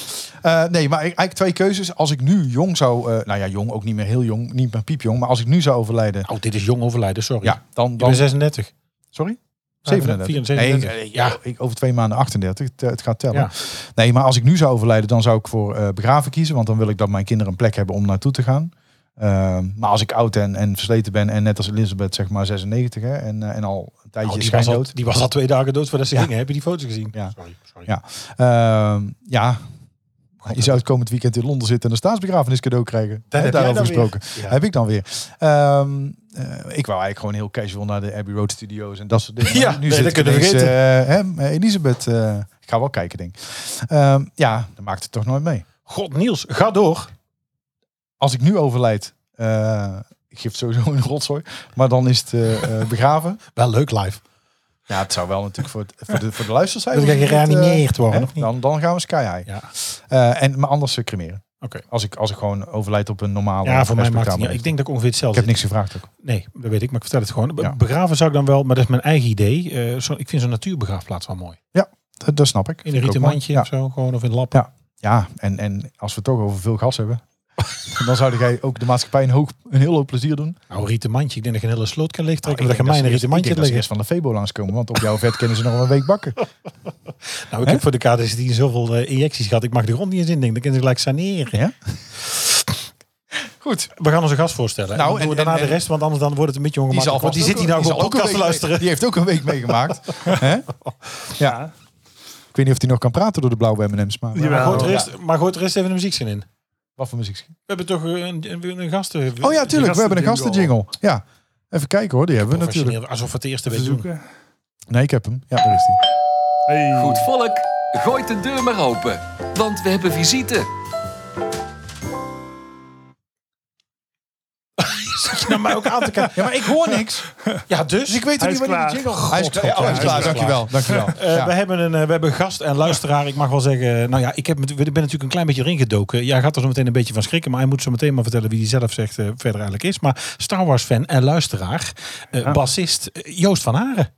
S3: Eh, nee, maar eigenlijk twee keuzes. Als ik nu jong zou, eh, nou ja, jong, ook niet meer heel jong, niet meer piepjong. Maar als ik nu zou overlijden,
S2: Oh, dit is jong overlijden, sorry.
S3: ja, dan...
S2: Ik ben
S3: dan
S2: 36.
S3: sorry? 37.
S2: 34.
S3: Nee, ik-
S2: eh, Ja.
S3: ik, over twee maanden 38. Het, eh, het gaat tellen.
S2: Ja.
S3: Nee, maar als ik nu zou overlijden, dan zou ik voor eh, begraven kiezen. Want dan wil ik dat mijn kinderen een plek hebben om naartoe te gaan. Ehm, maar als ik oud en, en versleten ben en net als Elisabeth zeg maar 96 hè, en, eh, en al een tijdje
S2: Oh, die, was al,
S3: schijndood.
S2: die was al twee dagen dood voordat ze
S3: Ja.
S2: gingen. Heb je die foto's gezien?
S3: Ja.
S2: Sorry, sorry.
S3: Ja. Ehm, ja. Je zou het komend weekend in Londen zitten en een staatsbegrafenis cadeau krijgen.
S2: Dat
S3: Hè,
S2: heb jij
S3: daarover
S2: dan weer.
S3: gesproken.
S2: Ja.
S3: Heb ik dan weer. Ehm, eh, ik wou eigenlijk gewoon heel casual naar de Abbey Road Studios en dat
S2: <laughs>
S3: soort dingen.
S2: Ja,
S3: Maar
S2: nee, dat
S3: ik
S2: kunnen we
S3: ineens, eh, hè, Elisabeth, eh, ik ga wel kijken, denk ik. Ehm, ja, dat maakt het toch nooit mee.
S2: God, Niels, ga door.
S3: Als ik nu overlijd, eh, ik geef sowieso een rotzooi, maar dan is het eh, eh,
S2: <laughs>
S3: begraven.
S2: Wel leuk live.
S3: Ja, het zou wel natuurlijk voor, het, voor, de, voor de luistercijfers...
S2: Dat jij
S3: natuurlijk, eh,
S2: gereanimeerd worden,
S3: hè,
S2: of niet?
S3: Dan, dan gaan we sky high.
S2: Ja.
S3: Eh, en, maar anders eh, cremeren.
S2: Oké.
S3: Als ik, als ik gewoon overlijd op een normale.
S2: Ja, voor mij maakt het
S3: respectabele
S2: niet. uit. Ik denk dat ik ongeveer
S3: Nou, Ik
S2: hetzelfde
S3: heb niks gevraagd ook.
S2: Nee, dat weet ik, maar ik vertel het gewoon. Be-
S3: Ja.
S2: Begraven zou ik dan wel, maar dat is mijn eigen idee. Eh, zo, ik vind zo'n natuurbegraafplaats wel mooi.
S3: Dat, dat snap ik.
S2: In
S3: Vind
S2: een
S3: ik ook
S2: rieten
S3: mooi.
S2: mandje of
S3: Ja,
S2: zo, gewoon of in lappen.
S3: ja en, en als we het toch over veel gas hebben. <laughs> dan zou jij ook de maatschappij een, hoog, een heel hoop plezier doen.
S2: Nou, een rieten mandje. Ik denk dat je een hele sloot kan
S3: Nou,
S2: leegtrekken.
S3: ik
S2: maar Ah, dat
S3: denk
S2: je mij in
S3: ze
S2: een rieten
S3: eerst- ik
S2: mandje
S3: denk dat ze
S2: leggen.
S3: eerst van de Febo langskomen. Want op jouw vet kennen ze nog wel een week
S2: <laughs>
S3: bakken.
S2: Nou, ik
S3: Hè?
S2: heb voor de KDC zoveel eh, injecties gehad. Ik mag de grond niet eens in. denk. Dan kunnen ze gelijk saneren.
S3: Ja? Goed.
S2: We gaan onze gast voorstellen.
S3: Nou,
S2: Nou, en, dan doen we
S3: en-
S2: daarna
S3: en-
S2: de rest, want anders dan wordt het een beetje ongemakkelijk. Want die zit hier nou gewoon podcast te luisteren.
S3: Die heeft ook een week meegemaakt.
S2: <laughs>
S3: Hè? ja. Ik weet niet of hij nog kan praten door de blauwe M&M's. Maar,
S4: Jawel.
S2: Maar gooit, er
S4: Ja.
S2: eerst, maar gooit er eerst even de muziekscène in.
S3: Wat voor muziek?
S2: We hebben toch een, een, een gast.
S3: Oh ja, tuurlijk. We hebben een gastenjingle. Ja. Even kijken hoor. Die hebben we natuurlijk.
S2: Natuurlijk. Alsof we het de eerste week doen.
S4: Verzoeken.
S3: Nee, ik heb hem. Ja, daar is hij.
S4: Hey.
S1: Goed volk, gooit de deur maar open, want we hebben visite.
S2: Zit je nou mij ook aan te kijken?
S3: Ja, maar ik hoor niks.
S2: Ja, dus?
S3: Dus ik weet ook
S4: Hij
S3: niet
S4: is
S3: wanneer die
S4: klaar.
S3: jingle... Hij is klaar. Ja,
S2: God,
S3: hij is
S2: ja,
S3: klaar.
S2: hij is
S3: Dankjewel. Dankjewel.
S2: Eh,
S3: Ja.
S2: We, hebben een, eh, we hebben een gast en luisteraar. Ik mag wel zeggen, nou ja, ik heb, met- ik ben natuurlijk een klein beetje erin gedoken. Jij gaat er zo meteen een beetje van schrikken, maar hij moet zo meteen maar vertellen wie hij zelf zegt eh, verder eigenlijk is. Maar Star Wars fan en luisteraar, eh, bassist eh, Joost van Haren.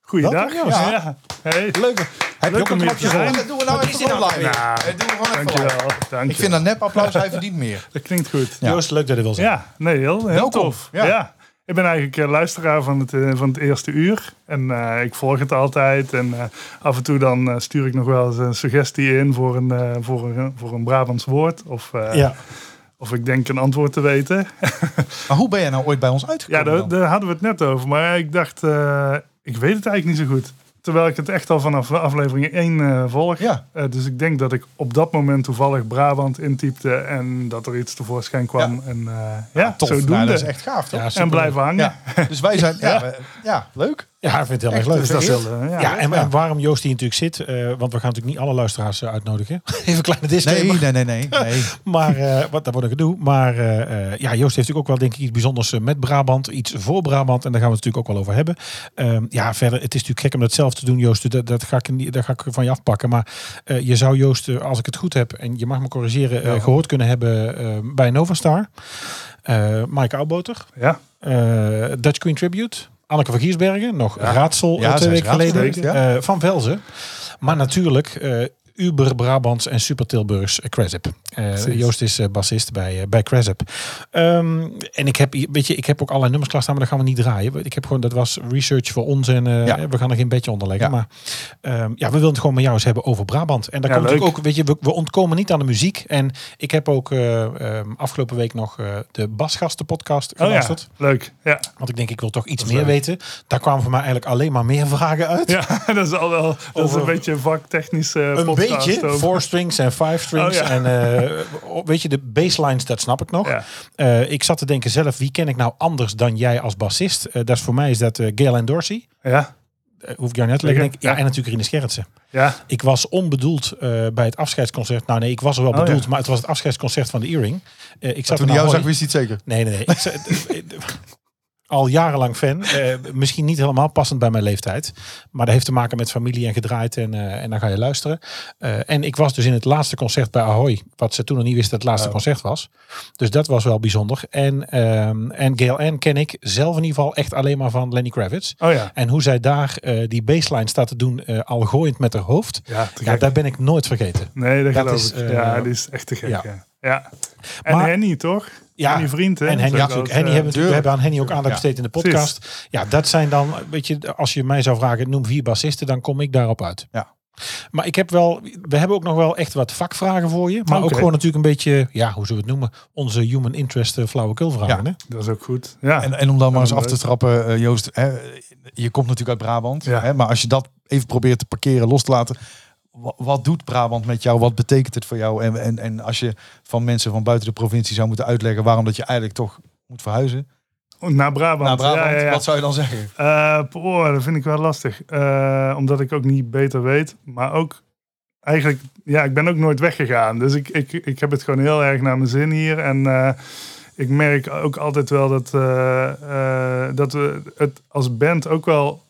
S4: Goeiedag.
S3: Welkom, jongens.
S4: Ja. Hey.
S3: Leuk. Heb je
S4: Leuk
S3: ook een
S4: om hier
S3: knopje
S4: te
S3: voor?
S4: zijn.
S3: Dat doen we nou
S2: Wat
S3: even
S2: is dit nou
S3: voor online.
S4: Nou,
S3: Dat doen we gewoon even voor
S4: Dankjewel.
S3: online.
S4: Dankjewel.
S3: Ik vind dat nep applaus, hij verdient meer.
S4: dat klinkt goed.
S3: Ja.
S2: Joost, leuk dat je wil zijn.
S4: Ja, nee, heel, heel
S3: Welkom.
S4: tof.
S3: Ja.
S4: Ja. Ik ben eigenlijk eh, luisteraar van het, eh, van het eerste uur. En eh, ik volg het altijd. En eh, af en toe dan eh, stuur ik nog wel eens een suggestie in voor een, eh, voor een, voor een Brabants woord. Of, eh,
S2: Ja.
S4: of ik denk een antwoord te weten.
S3: Maar hoe ben jij nou ooit bij ons
S4: Ja,
S3: uitgekomen?
S4: daar,
S3: dan?
S4: daar hadden we het net over. Maar ik dacht, eh, ik weet het eigenlijk niet zo goed. Terwijl ik het echt al vanaf aflevering 1 volg.
S3: Ja.
S4: Eh, dus ik denk dat ik op dat moment toevallig Brabant intypte. En dat er iets tevoorschijn kwam. En eh, ja,
S3: Tof.
S4: zodoende.
S3: Nou, dat is echt gaaf, toch?
S2: Ja,
S3: Ja,
S2: super.
S4: en blijven hangen.
S3: Dus wij zijn... Ja, we- ja leuk.
S2: Ja, ik vind het heel erg
S3: Echt,
S2: leuk.
S3: dus
S4: Dus dat is
S3: Vereerd.
S4: wel, eh, ja.
S2: Ja, en,
S3: Ja.
S2: en waarom Joost hier natuurlijk zit, eh, want we gaan natuurlijk niet alle luisteraars eh, uitnodigen. <laughs> Even een kleine disclaimer.
S3: Nee, nee, nee, nee. nee.
S2: <laughs>
S3: <laughs>
S2: Maar eh, wat daar wordt een gedoe. Maar eh, eh, ja, Joost heeft natuurlijk ook wel denk ik iets bijzonders eh, met Brabant, iets voor Brabant. En daar gaan we het natuurlijk ook wel over hebben. Ehm, ja, verder, het is natuurlijk gek om dat zelf te doen, Joost. Dus Dat, dat, ga, ik, niet- dat ga ik van je afpakken. Maar eh, je zou Joost, eh, als ik het goed heb, en je mag me corrigeren, eh, gehoord kunnen hebben eh, bij Novastar. Eh Mike Oudboter,
S4: Ja, Oh,
S2: eh, Dutch Queen Tribute. Anneke van Giersbergen, nog raadsel
S3: Ja,
S2: eh,
S3: zij
S2: twee
S3: is
S2: weken
S3: raadsel,
S2: geleden.
S3: zeker, ja.
S2: Eh, van Velzen. Maar natuurlijk eh, Uber Brabants en Super Tilburgs eh, Cresap. Eh, Joost is eh, bassist bij, eh, bij Cresap. Ehm, en ik heb, hier- weet je, ik heb ook allerlei nummers klaarstaan, maar dat gaan we niet draaien. Ik heb gewoon, dat was research voor ons en eh,
S3: Ja.
S2: we gaan er geen bedje onder leggen.
S3: Ja.
S2: Maar ehm, ja, we willen het gewoon met jou eens hebben over Brabant. En daar
S4: Ja,
S2: komt natuurlijk
S4: leuk.
S2: ook, weet je, we, we ontkomen niet aan de muziek. En ik heb ook eh, ehm, afgelopen week nog eh, de Basgasten podcast
S4: oh, ja.
S2: geluisterd.
S4: leuk. Ja.
S2: Want ik denk, ik wil toch iets meer weten. Daar kwamen voor mij eigenlijk alleen maar meer vragen uit.
S4: ja, dat is al wel dat is
S2: Over-
S4: een beetje een vaktechnisch eh,
S2: Een
S4: podcast
S2: beetje.
S4: over-
S2: Four strings en five strings.
S4: Oh, ja.
S2: En eh, weet je, de baselines, dat snap ik nog.
S4: Ja.
S2: Eh, ik zat te denken zelf, wie ken ik nou anders dan jij als bassist? Eh, dat is voor mij is dat eh Gail en Dorsey.
S4: Ja,
S2: Eh, hoef ik jou net te leggen.
S4: Zeker,
S2: Denk ik, ja,
S4: ja.
S2: en natuurlijk Rinus Gerritsen.
S4: ja.
S2: Ik was onbedoeld eh, bij het afscheidsconcert. Nou nee, ik was er wel
S4: Oh,
S2: bedoeld.
S4: ja.
S2: Maar het was het afscheidsconcert van de Earring. Eh, ik zat
S3: Toen
S2: in
S3: hij jou
S2: Ahoy.
S3: zag, wist hij het zeker.
S2: Nee, nee, nee. Ik zei- <laughs> al jarenlang fan. Eh, misschien niet helemaal passend bij mijn leeftijd. Maar dat heeft te maken met familie en gedraaid. En, eh, en dan ga je luisteren. Eh, en ik was dus in het laatste concert bij Ahoy. Wat ze toen nog niet wisten dat het
S4: Oh.
S2: laatste concert was. Dus dat was wel bijzonder. En, ehm en Gail Ann ken ik zelf in ieder geval echt alleen maar van Lenny Kravitz.
S4: Oh ja.
S2: En hoe zij daar eh, die baseline staat te doen. eh, al gooiend met haar hoofd.
S4: Ja, te
S2: ja,
S4: gek.
S2: daar ben ik nooit vergeten.
S4: Nee, dat,
S2: Dat
S4: geloof
S2: is,
S4: ik.
S2: eh,
S4: ja, die is echt te gek.
S2: ja.
S4: Ja. Ja. En
S2: Maar-
S4: Henny, toch?
S2: Ja.
S4: Henny vriend, hè?
S2: En Henny,
S4: Zo
S2: natuurlijk.
S4: als,
S2: Henny
S4: eh,
S2: hebben, we hebben aan Henny ook aandacht
S3: Ja.
S2: besteed in de podcast. Ja, dat zijn dan, weet je, als je mij zou vragen, noem vier bassisten, dan kom ik daarop uit.
S3: Ja.
S2: Maar ik heb wel, we hebben ook nog wel echt wat vakvragen voor je. Maar ook
S4: Oké.
S2: gewoon natuurlijk een beetje, ja, hoe zullen we het noemen? Onze human interest eh, flauwekulvragen.
S3: Ja.
S2: Hè?
S4: Dat is ook goed. Ja.
S2: eh,
S3: En, en om dan maar eens
S4: Ja,
S3: af te
S4: leuk.
S3: trappen, eh, Joost. Hè, je komt natuurlijk uit Brabant.
S4: Ja.
S3: Hè, maar als je dat even probeert te parkeren, los te laten. wa- Wat doet Brabant met jou? Wat betekent het voor jou? En, en, en als je van mensen van buiten de provincie zou moeten uitleggen waarom dat je eigenlijk toch moet verhuizen
S4: Oh, naar Brabant.
S3: naar Brabant,
S4: Ja, ja, ja.
S3: wat zou je dan zeggen?
S4: Eh, poeh, dat vind ik wel lastig. Eh, omdat ik ook niet beter weet. Maar ook eigenlijk, ja, ik ben ook nooit weggegaan. Dus ik, ik, ik heb het gewoon heel erg naar mijn zin hier. En eh, ik merk ook altijd wel dat, eh, eh, dat we het als band ook wel,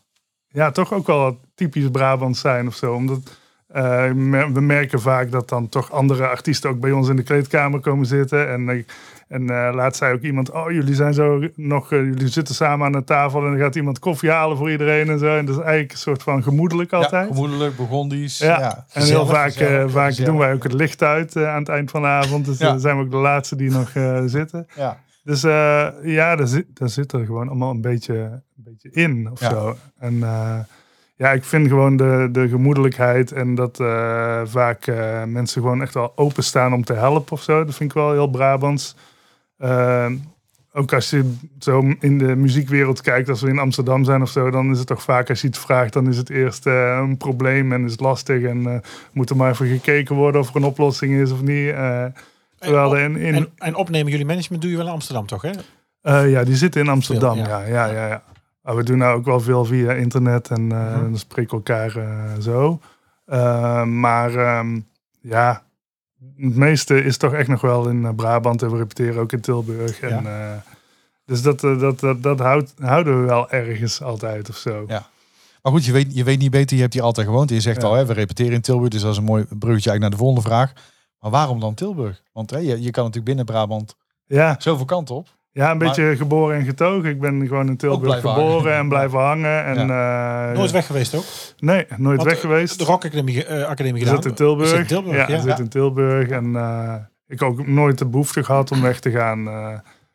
S4: ja, toch ook wel typisch Brabant zijn of zo. Omdat eh, me- we merken vaak dat dan toch andere artiesten ook bij ons in de kleedkamer komen zitten. En, ik- en eh, laatst zei ook iemand, oh jullie zijn zo nog, eh, jullie zitten samen aan de tafel en dan gaat iemand koffie halen voor iedereen en zo. En dat is eigenlijk een soort van gemoedelijk
S3: Ja,
S4: altijd.
S3: gemoedelijk, Burgondisch.
S4: Ja, en heel
S3: gezellig,
S4: vaak, eh,
S3: gezellig,
S4: vaak
S3: gezellig.
S4: doen wij ook het licht uit eh, aan het eind van de avond. Dus
S3: Ja.
S4: dan zijn we ook de laatste die nog eh, zitten.
S3: Ja.
S4: Dus eh, ja, daar zit, daar zit er gewoon allemaal een beetje, een beetje in of
S3: Ja.
S4: zo. En eh, ja, ik vind gewoon de, de gemoedelijkheid en dat eh, vaak eh, mensen gewoon echt wel openstaan om te helpen of zo. Dat vind ik wel heel Brabants. Eh, ook als je zo in de muziekwereld kijkt, als we in Amsterdam zijn of zo, dan is het toch vaak als je iets vraagt, dan is het eerst eh, een probleem en is het lastig en eh, moet er maar even gekeken worden of er een oplossing is of niet. eh terwijl er in, in,
S2: En, en opnemen jullie management doe je wel in Amsterdam, toch? Hè?
S4: eh, ja, die zitten in Amsterdam.
S2: Veel, ja.
S4: ja. Ja, ja, ja, Maar we doen nou ook wel veel via internet en
S2: Mhm.
S4: eh we spreken elkaar eh, zo. Eh, maar ehm, ja, het meeste is toch echt nog wel in eh, Brabant en we repeteren ook in Tilburg. En, eh, dus dat, eh, dat, dat, dat houdt, houden we wel ergens altijd of zo.
S3: Ja. Maar goed, je weet, je weet niet beter, je hebt hier altijd gewoond. Je zegt
S4: Ja.
S3: al, hè, we repeteren in Tilburg, dus dat is een mooi bruggetje eigenlijk naar de volgende vraag. Maar waarom dan Tilburg? Want hè, je, je kan natuurlijk binnen Brabant
S4: Ja,
S3: zoveel kant op.
S4: Ja, een
S3: Maar-
S4: beetje geboren en getogen. Ik ben gewoon in Tilburg
S3: blijven hangen.
S4: geboren en blijven hangen. En, eh,
S2: Nooit weg geweest ook?
S4: Nee, nooit
S2: Want,
S4: weg
S2: eh,
S4: geweest.
S2: De Rock Academie, eh, Academie
S4: Ik
S2: gedaan.
S4: zit in Tilburg.
S2: Is in Tilburg, ja.
S4: ik zit in Tilburg. En eh, ik ook nooit de behoefte gehad om weg te gaan. Eh,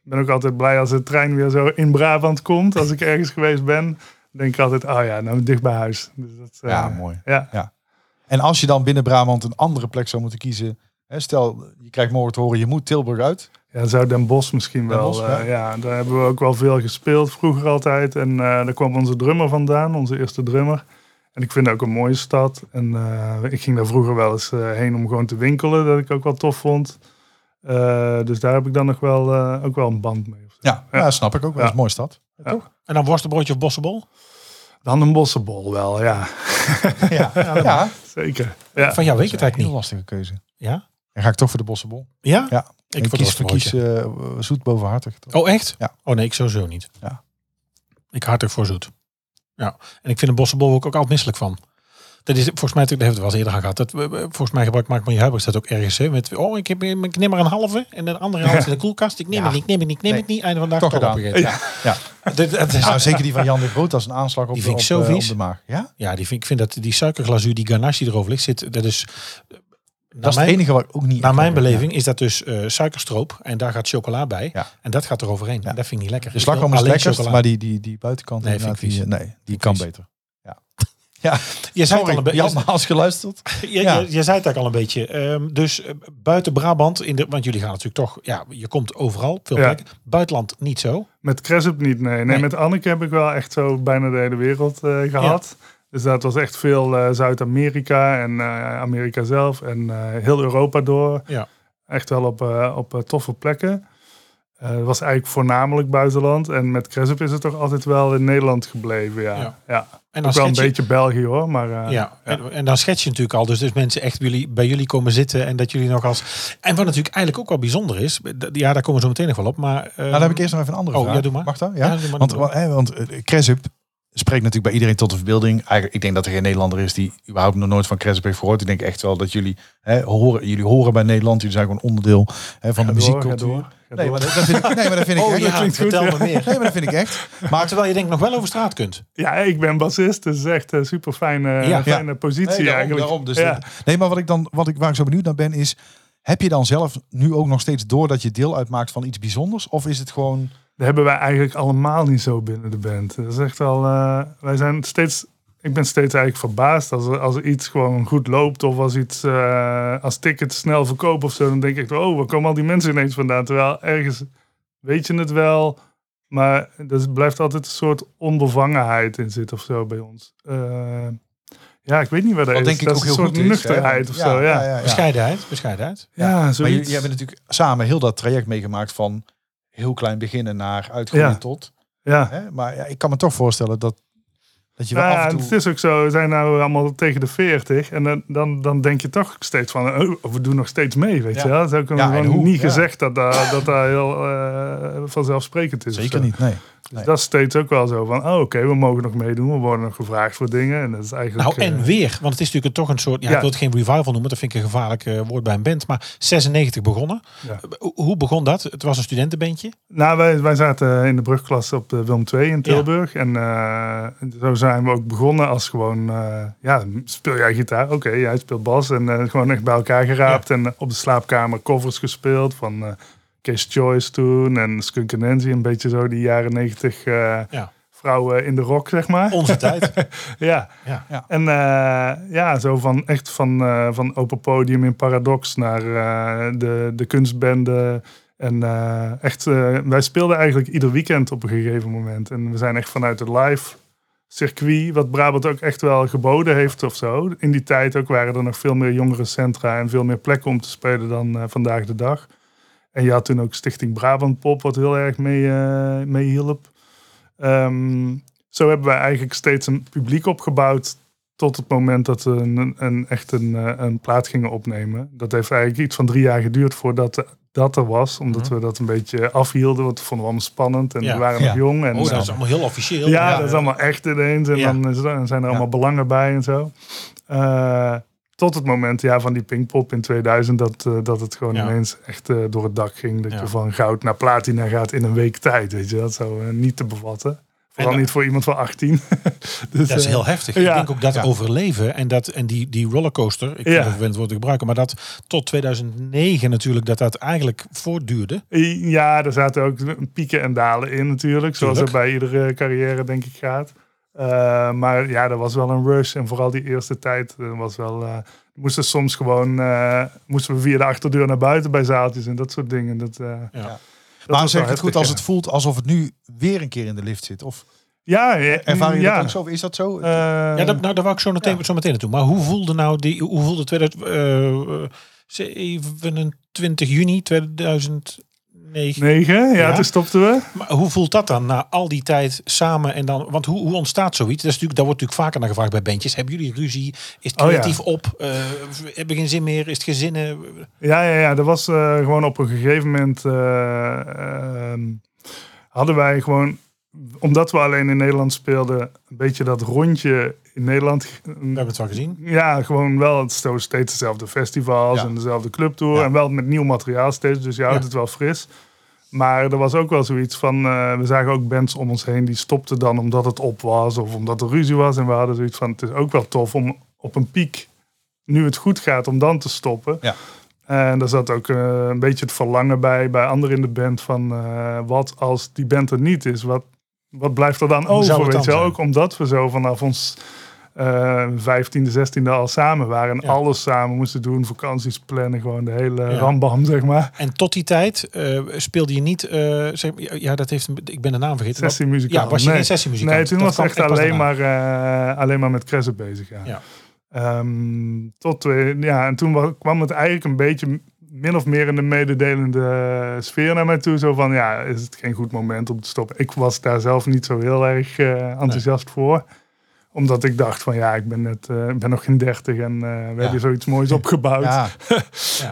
S4: Ik ben ook altijd blij als de trein weer zo in Brabant komt. Als ik ergens geweest ben, denk ik altijd, oh ja, nou dicht bij huis. Dus dat, eh,
S3: Ja, mooi.
S4: Ja,
S3: En als je dan binnen Brabant een andere plek zou moeten kiezen. Hè, stel, je krijgt morgen te horen, je moet Tilburg uit.
S4: ja, zou Den Bosch misschien
S3: Den
S4: wel.
S3: Bosch, ja.
S4: eh, ja, daar hebben we ook wel veel gespeeld vroeger altijd. En eh, daar kwam onze drummer vandaan, onze eerste drummer. En ik vind het ook een mooie stad. En eh, ik ging daar vroeger wel eens eh, heen om gewoon te winkelen, dat ik ook wel tof vond. Eh, dus daar heb ik dan nog wel, eh, ook wel een band mee. of zo.
S3: Ja, ja. snap ik ook. wel. Nou, Dat is een mooie
S2: <laughs>
S3: stad.
S2: En dan worstenbroodje of bossenbol?
S4: Dan een bossenbol wel, ja.
S3: Ja,
S2: nou,
S3: ja,
S4: Zeker. Ja.
S2: Van jou weet ik het
S3: heel
S2: eigenlijk niet.
S3: lastige keuze.
S2: Ja?
S3: Dan ga ik toch voor de Bossenbol.
S2: Ja?
S3: Ja.
S2: Ik
S3: Ik
S2: voor
S3: kies,
S2: het
S3: verkies
S2: worstenbroodje.
S3: eh, zoet boven hartig. toch?
S2: Oh, echt?
S3: Ja.
S2: Oh nee, ik sowieso niet.
S3: Ja.
S2: Ik hartig voor zoet. Ja. En ik vind een bossenbol ook, ook altijd misselijk van. Dat is volgens mij, daar hebben we het wel eens eerder aan gehad. Dat, we- we- volgens mij gebruikt Mark Marie Huibers dat ook ergens. Hè, met, oh, ik, heb, ik neem maar een halve en een andere
S3: <laughs>
S2: halve in de koelkast. Ik neem
S3: Ja.
S2: het niet, ik neem het niet, ik neem het niet. Einde van de dag toch
S3: Toch gedaan.
S2: opgegeten.
S3: Ja. Ja.
S2: Dit- <laughs> dat is-
S3: Nou, zeker die van Jan de
S2: <laughs>
S3: Groot als een aanslag op,
S2: Die
S3: de, op,
S2: vind ik zo
S3: eh, op
S2: vies.
S3: de maag. Ja?
S2: Ja, die vind, ik vind dat die suikerglazuur, die ganache die erover ligt, zit, dat is... eh,
S3: Dat
S2: naar
S3: is
S2: mijn-
S3: het enige wat ik ook niet...
S2: Naar
S3: echt
S2: mijn
S3: lekker vind.
S2: beleving is dat dus eh, suikerstroop en daar gaat chocola bij.
S3: Ja.
S2: En dat gaat eroverheen.
S3: Ja.
S2: En dat vind ik niet lekker.
S3: De
S2: Ik
S3: slagroom is
S2: wil dus alleen
S3: lekkerst,
S2: chocola.
S3: maar die, die, die buitenkant
S2: Nee,
S3: inderdaad,
S2: vind ik
S3: die, eh, nee, die
S2: ik
S3: kan
S2: vies.
S3: beter.
S2: Je zei het al een
S3: Sorry,
S2: beetje.
S3: Jan, als geluisterd.
S2: Je, je,
S3: <laughs> Ja.
S2: je zei het eigenlijk al een beetje. Ehm, dus eh, buiten Brabant, in de, want jullie gaan natuurlijk toch, ja, je komt overal, veel
S4: Ja.
S2: plekken. Buitenland niet zo.
S4: Met Cresup niet, nee. nee.
S2: Nee.
S4: Met Anneke heb ik wel echt zo bijna de hele wereld eh, gehad. Dus dat was echt veel eh, Zuid-Amerika en eh, Amerika zelf en eh, heel Europa door.
S2: Ja.
S4: Echt wel op, eh, op eh, toffe plekken. Eh, Het was eigenlijk voornamelijk buitenland. En met Cresup is het toch altijd wel in Nederland gebleven, ja.
S2: Ja.
S4: ja.
S2: En
S4: Ook wel een
S2: schets je-
S4: beetje België hoor, maar... eh,
S2: Ja, en, en dan schets je natuurlijk al. Dus, dus mensen echt jullie, bij jullie komen zitten en dat jullie nog als... En wat natuurlijk eigenlijk ook wel bijzonder is. d- Ja, daar komen we zo meteen nog wel op. Maar, ehm,
S3: Nou, dan heb ik eerst nog even een andere
S2: oh,
S3: vraag.
S2: ja, doe maar.
S3: Mag dat? Ja?
S2: Ja, doe maar,
S3: want
S2: doe maar.
S3: wa- hè, want eh, Cresup spreekt natuurlijk bij iedereen tot de verbeelding. Eigenlijk, ik denk dat er geen Nederlander is die überhaupt nog nooit van Cresup heeft gehoord. Ik denk echt wel dat jullie hè, horen, jullie horen bij Nederland. Jullie zijn gewoon onderdeel hè, van de
S4: ga door, ga
S3: muziekcultuur.
S4: door, ga
S3: Nee,
S4: door.
S3: maar dat dat vind ik, nee, maar dat vind ik
S2: Oh
S3: echt.
S2: ja, vertel me meer.
S3: Nee, maar dat vind ik
S2: <laughs>
S3: echt.
S2: Maar terwijl je denk ik nog wel over straat kunt.
S4: Ja, ik ben bassist, dus echt een super fijne,
S2: Ja.
S4: fijne positie
S3: Nee, daarom,
S4: eigenlijk.
S3: daarom. dus
S4: ja.
S3: dat- nee, maar wat ik dan, wat ik, waar ik zo benieuwd naar ben, is: heb je dan zelf nu ook nog steeds door dat je deel uitmaakt van iets bijzonders? Of is het gewoon.
S4: Dat hebben wij eigenlijk allemaal niet zo binnen de band. Dat is echt wel. eh, wij zijn steeds. Ik ben steeds eigenlijk verbaasd als, er- als er iets gewoon goed loopt. Of als iets. eh, als tickets snel verkopen of zo. Dan denk ik. Oh, waar komen al die mensen ineens vandaan? Terwijl ergens weet je het wel. Maar er blijft altijd een soort onbevangenheid in zitten of zo bij ons. Eh, ja, ik weet niet waar dat,
S3: Wat
S4: is.
S3: denk ik
S4: dat
S3: ook
S4: is
S3: heel
S4: een
S3: goed
S4: soort
S3: is. hè?
S4: nuchterheid of zo. Ja, ja,
S2: Bescheidenheid, bescheidenheid.
S3: Maar jullie
S4: zoiets.
S3: hebben natuurlijk samen heel dat traject meegemaakt van heel klein beginnen naar uitgroeien
S4: Ja.
S3: tot.
S4: ja.
S3: Hè? Maar ja, ik kan me toch voorstellen dat, dat je wel
S4: Nou ja,
S3: af en
S4: en
S3: toe...
S4: het is ook zo, we zijn nou allemaal tegen de 40. En dan, dan, dan denk je toch steeds van, oh, we doen nog steeds mee, weet
S3: Ja.
S4: je wel. Het is ook
S3: Ja, en
S4: gewoon
S3: hoe?
S4: niet
S3: Ja.
S4: gezegd dat daar- dat daar heel eh, vanzelfsprekend is. of
S3: Zeker
S4: zo.
S3: niet, nee.
S4: Dus dat is steeds ook wel zo van, oh oké, we mogen nog meedoen. We worden nog gevraagd voor dingen. En dat is eigenlijk...
S2: Nou, en
S4: eh,
S2: weer. Want het is natuurlijk toch een soort... Ja,
S4: Ja.
S2: Ik wil het geen revival noemen. Dat vind ik een gevaarlijk eh, woord bij een band. Maar 96 begonnen.
S4: Ja.
S2: Hoe- Hoe begon dat? Het was een studentenbandje.
S4: Nou, wij, wij zaten in de brugklas op de Wilm 2 in Tilburg. En eh, zo zijn we ook begonnen als gewoon... eh, ja, speel jij gitaar? Oké, jij speelt bas. En eh, gewoon echt bij elkaar geraapt. En eh, op de slaapkamer covers gespeeld van eh Case Choice toen. En Skunk en Nancy, een beetje zo die jaren negentig... eh,
S2: Ja.
S4: Vrouwen in de rock, zeg maar.
S2: Onze tijd.
S4: Ja.
S2: Ja.
S3: Ja.
S4: En eh, ja, zo van echt van, eh, van open podium in Paradox naar eh, de, de kunstbende. En eh, echt, eh, wij speelden eigenlijk ieder weekend op een gegeven moment. En we zijn echt vanuit het live circuit, wat Brabant ook echt wel geboden heeft of zo. In die tijd ook waren er nog veel meer jongere centra en veel meer plekken om te spelen dan eh, vandaag de dag. En je had toen ook Stichting Brabant Pop, wat heel erg mee, eh mee hielp. Ehm, zo hebben wij eigenlijk steeds een publiek opgebouwd tot het moment dat we een, een, echt een, eh, een plaat gingen opnemen. Dat heeft eigenlijk iets van drie jaar geduurd voordat dat er was, omdat we dat een beetje afhielden, want we vonden we allemaal spannend en
S2: Mhm. Ja.
S4: we waren
S3: Ja.
S4: nog jong. En,
S2: Oh,
S4: eh,
S2: dat is allemaal heel officieel.
S4: ja, dat is allemaal echt ineens. En
S2: Ja.
S4: dan is er- dan zijn er allemaal belangen bij en zo. Eh, tot het moment ja, van die Pinkpop in 2000 dat, eh, dat het gewoon
S2: Ja.
S4: ineens echt eh, door het dak ging. Dat
S2: Ja.
S4: je van goud naar platina gaat in een week tijd. Weet je? Dat zou eh, niet te bevatten. Vooral
S2: dan-
S4: niet voor iemand van 18. <laughs> dus,
S2: Dat is
S4: eh,
S2: heel heftig. Ik
S4: ja.
S2: denk ook dat
S3: Ja.
S2: overleven en, dat, en die, die rollercoaster, ik vind
S4: Ja.
S2: het vervelend woord te gebruiken, maar dat tot 2009 natuurlijk, dat dat eigenlijk voortduurde.
S4: Ja, er zaten ook pieken en dalen in natuurlijk. Zoals het bij iedere carrière denk ik gaat. Eh, maar ja, er was wel een rush. En vooral die eerste tijd eh, was wel... eh, moesten soms gewoon... eh, moesten we via de achterdeur naar buiten bij zaaltjes en dat soort dingen. Dat, eh, dat
S2: Ja.
S4: was
S3: Maar zeg
S4: wel
S3: ik het goed
S4: heftig,
S3: als
S4: ja.
S3: het voelt alsof het nu weer een keer in de lift zit? Of
S4: Ja, ja,
S3: ervaar je
S4: ja.
S3: dat ook zo? Of Is dat zo?
S4: Eh,
S2: Ja, dat, nou, daar wou ik zo meteen, zo meteen naartoe. Maar hoe voelde nou die, hoe voelde 2000, eh, eh, 27 juni 2009?
S4: Negen, ja,
S2: Ja.
S4: toen stopten we.
S2: Maar hoe voelt dat dan na al die tijd samen en dan? Want hoe, hoe ontstaat zoiets? Dat is natuurlijk, daar wordt natuurlijk vaker naar gevraagd bij bandjes. Hebben jullie ruzie? Is het
S4: Oh, ja.
S2: creatief op? Eh, heb je geen zin meer? Is het gezinnen?
S4: Ja, ja, ja. Dat was eh, gewoon op een gegeven moment. eh, ehm, hadden wij gewoon. Omdat we alleen in Nederland speelden. Een beetje dat rondje in Nederland.
S2: We hebben het wel gezien.
S4: Ja, gewoon wel het- zo steeds dezelfde festivals
S3: Ja.
S4: en dezelfde clubtour.
S2: Ja.
S4: En wel met nieuw materiaal steeds. Dus je houdt
S2: Ja.
S4: het wel fris. Maar er was ook wel zoiets van. eh, we zagen ook bands om ons heen die stopten dan omdat het op was of omdat er ruzie was. En we hadden zoiets van: het is ook wel tof om op een piek, nu het goed gaat, om dan te stoppen.
S3: Ja.
S4: En daar zat ook eh, een beetje het verlangen bij, bij anderen in de band, van eh, wat als die band er niet is, wat, wat blijft er dan
S2: Hoe zou
S4: over?
S2: het
S4: Weet je
S2: dan
S4: wel?
S2: zijn?
S4: Ook omdat we zo vanaf ons eh 15e, 16e al samen waren en
S2: Ja.
S4: alles samen moesten doen, vakanties plannen, gewoon de hele
S2: Ja.
S4: rambam, zeg maar.
S2: En tot die tijd eh, speelde je niet. eh, zeg, ja, dat heeft. een- Ik ben de naam vergeten. maar-
S4: Sessiemuzikaal.
S2: Ja, was je
S4: nee.
S2: geen sessiemuzikant?
S4: Nee, toen
S2: Dat
S4: was
S2: kwam
S4: het echt
S2: pas
S4: alleen
S2: daarna.
S4: maar, eh, alleen maar met Cresset bezig. Ja.
S2: Ja.
S4: Ehm, tot, we- ja, en toen wa- kwam het eigenlijk een beetje min of meer in de mededelende sfeer naar mij toe. Zo van, ja, is het geen goed moment om te stoppen? Ik was daar zelf niet zo heel erg eh, enthousiast voor. Omdat ik dacht van, ja, ik ben, net, eh, ik ben nog geen dertig en eh, we hebben zoiets moois opgebouwd.
S3: ja,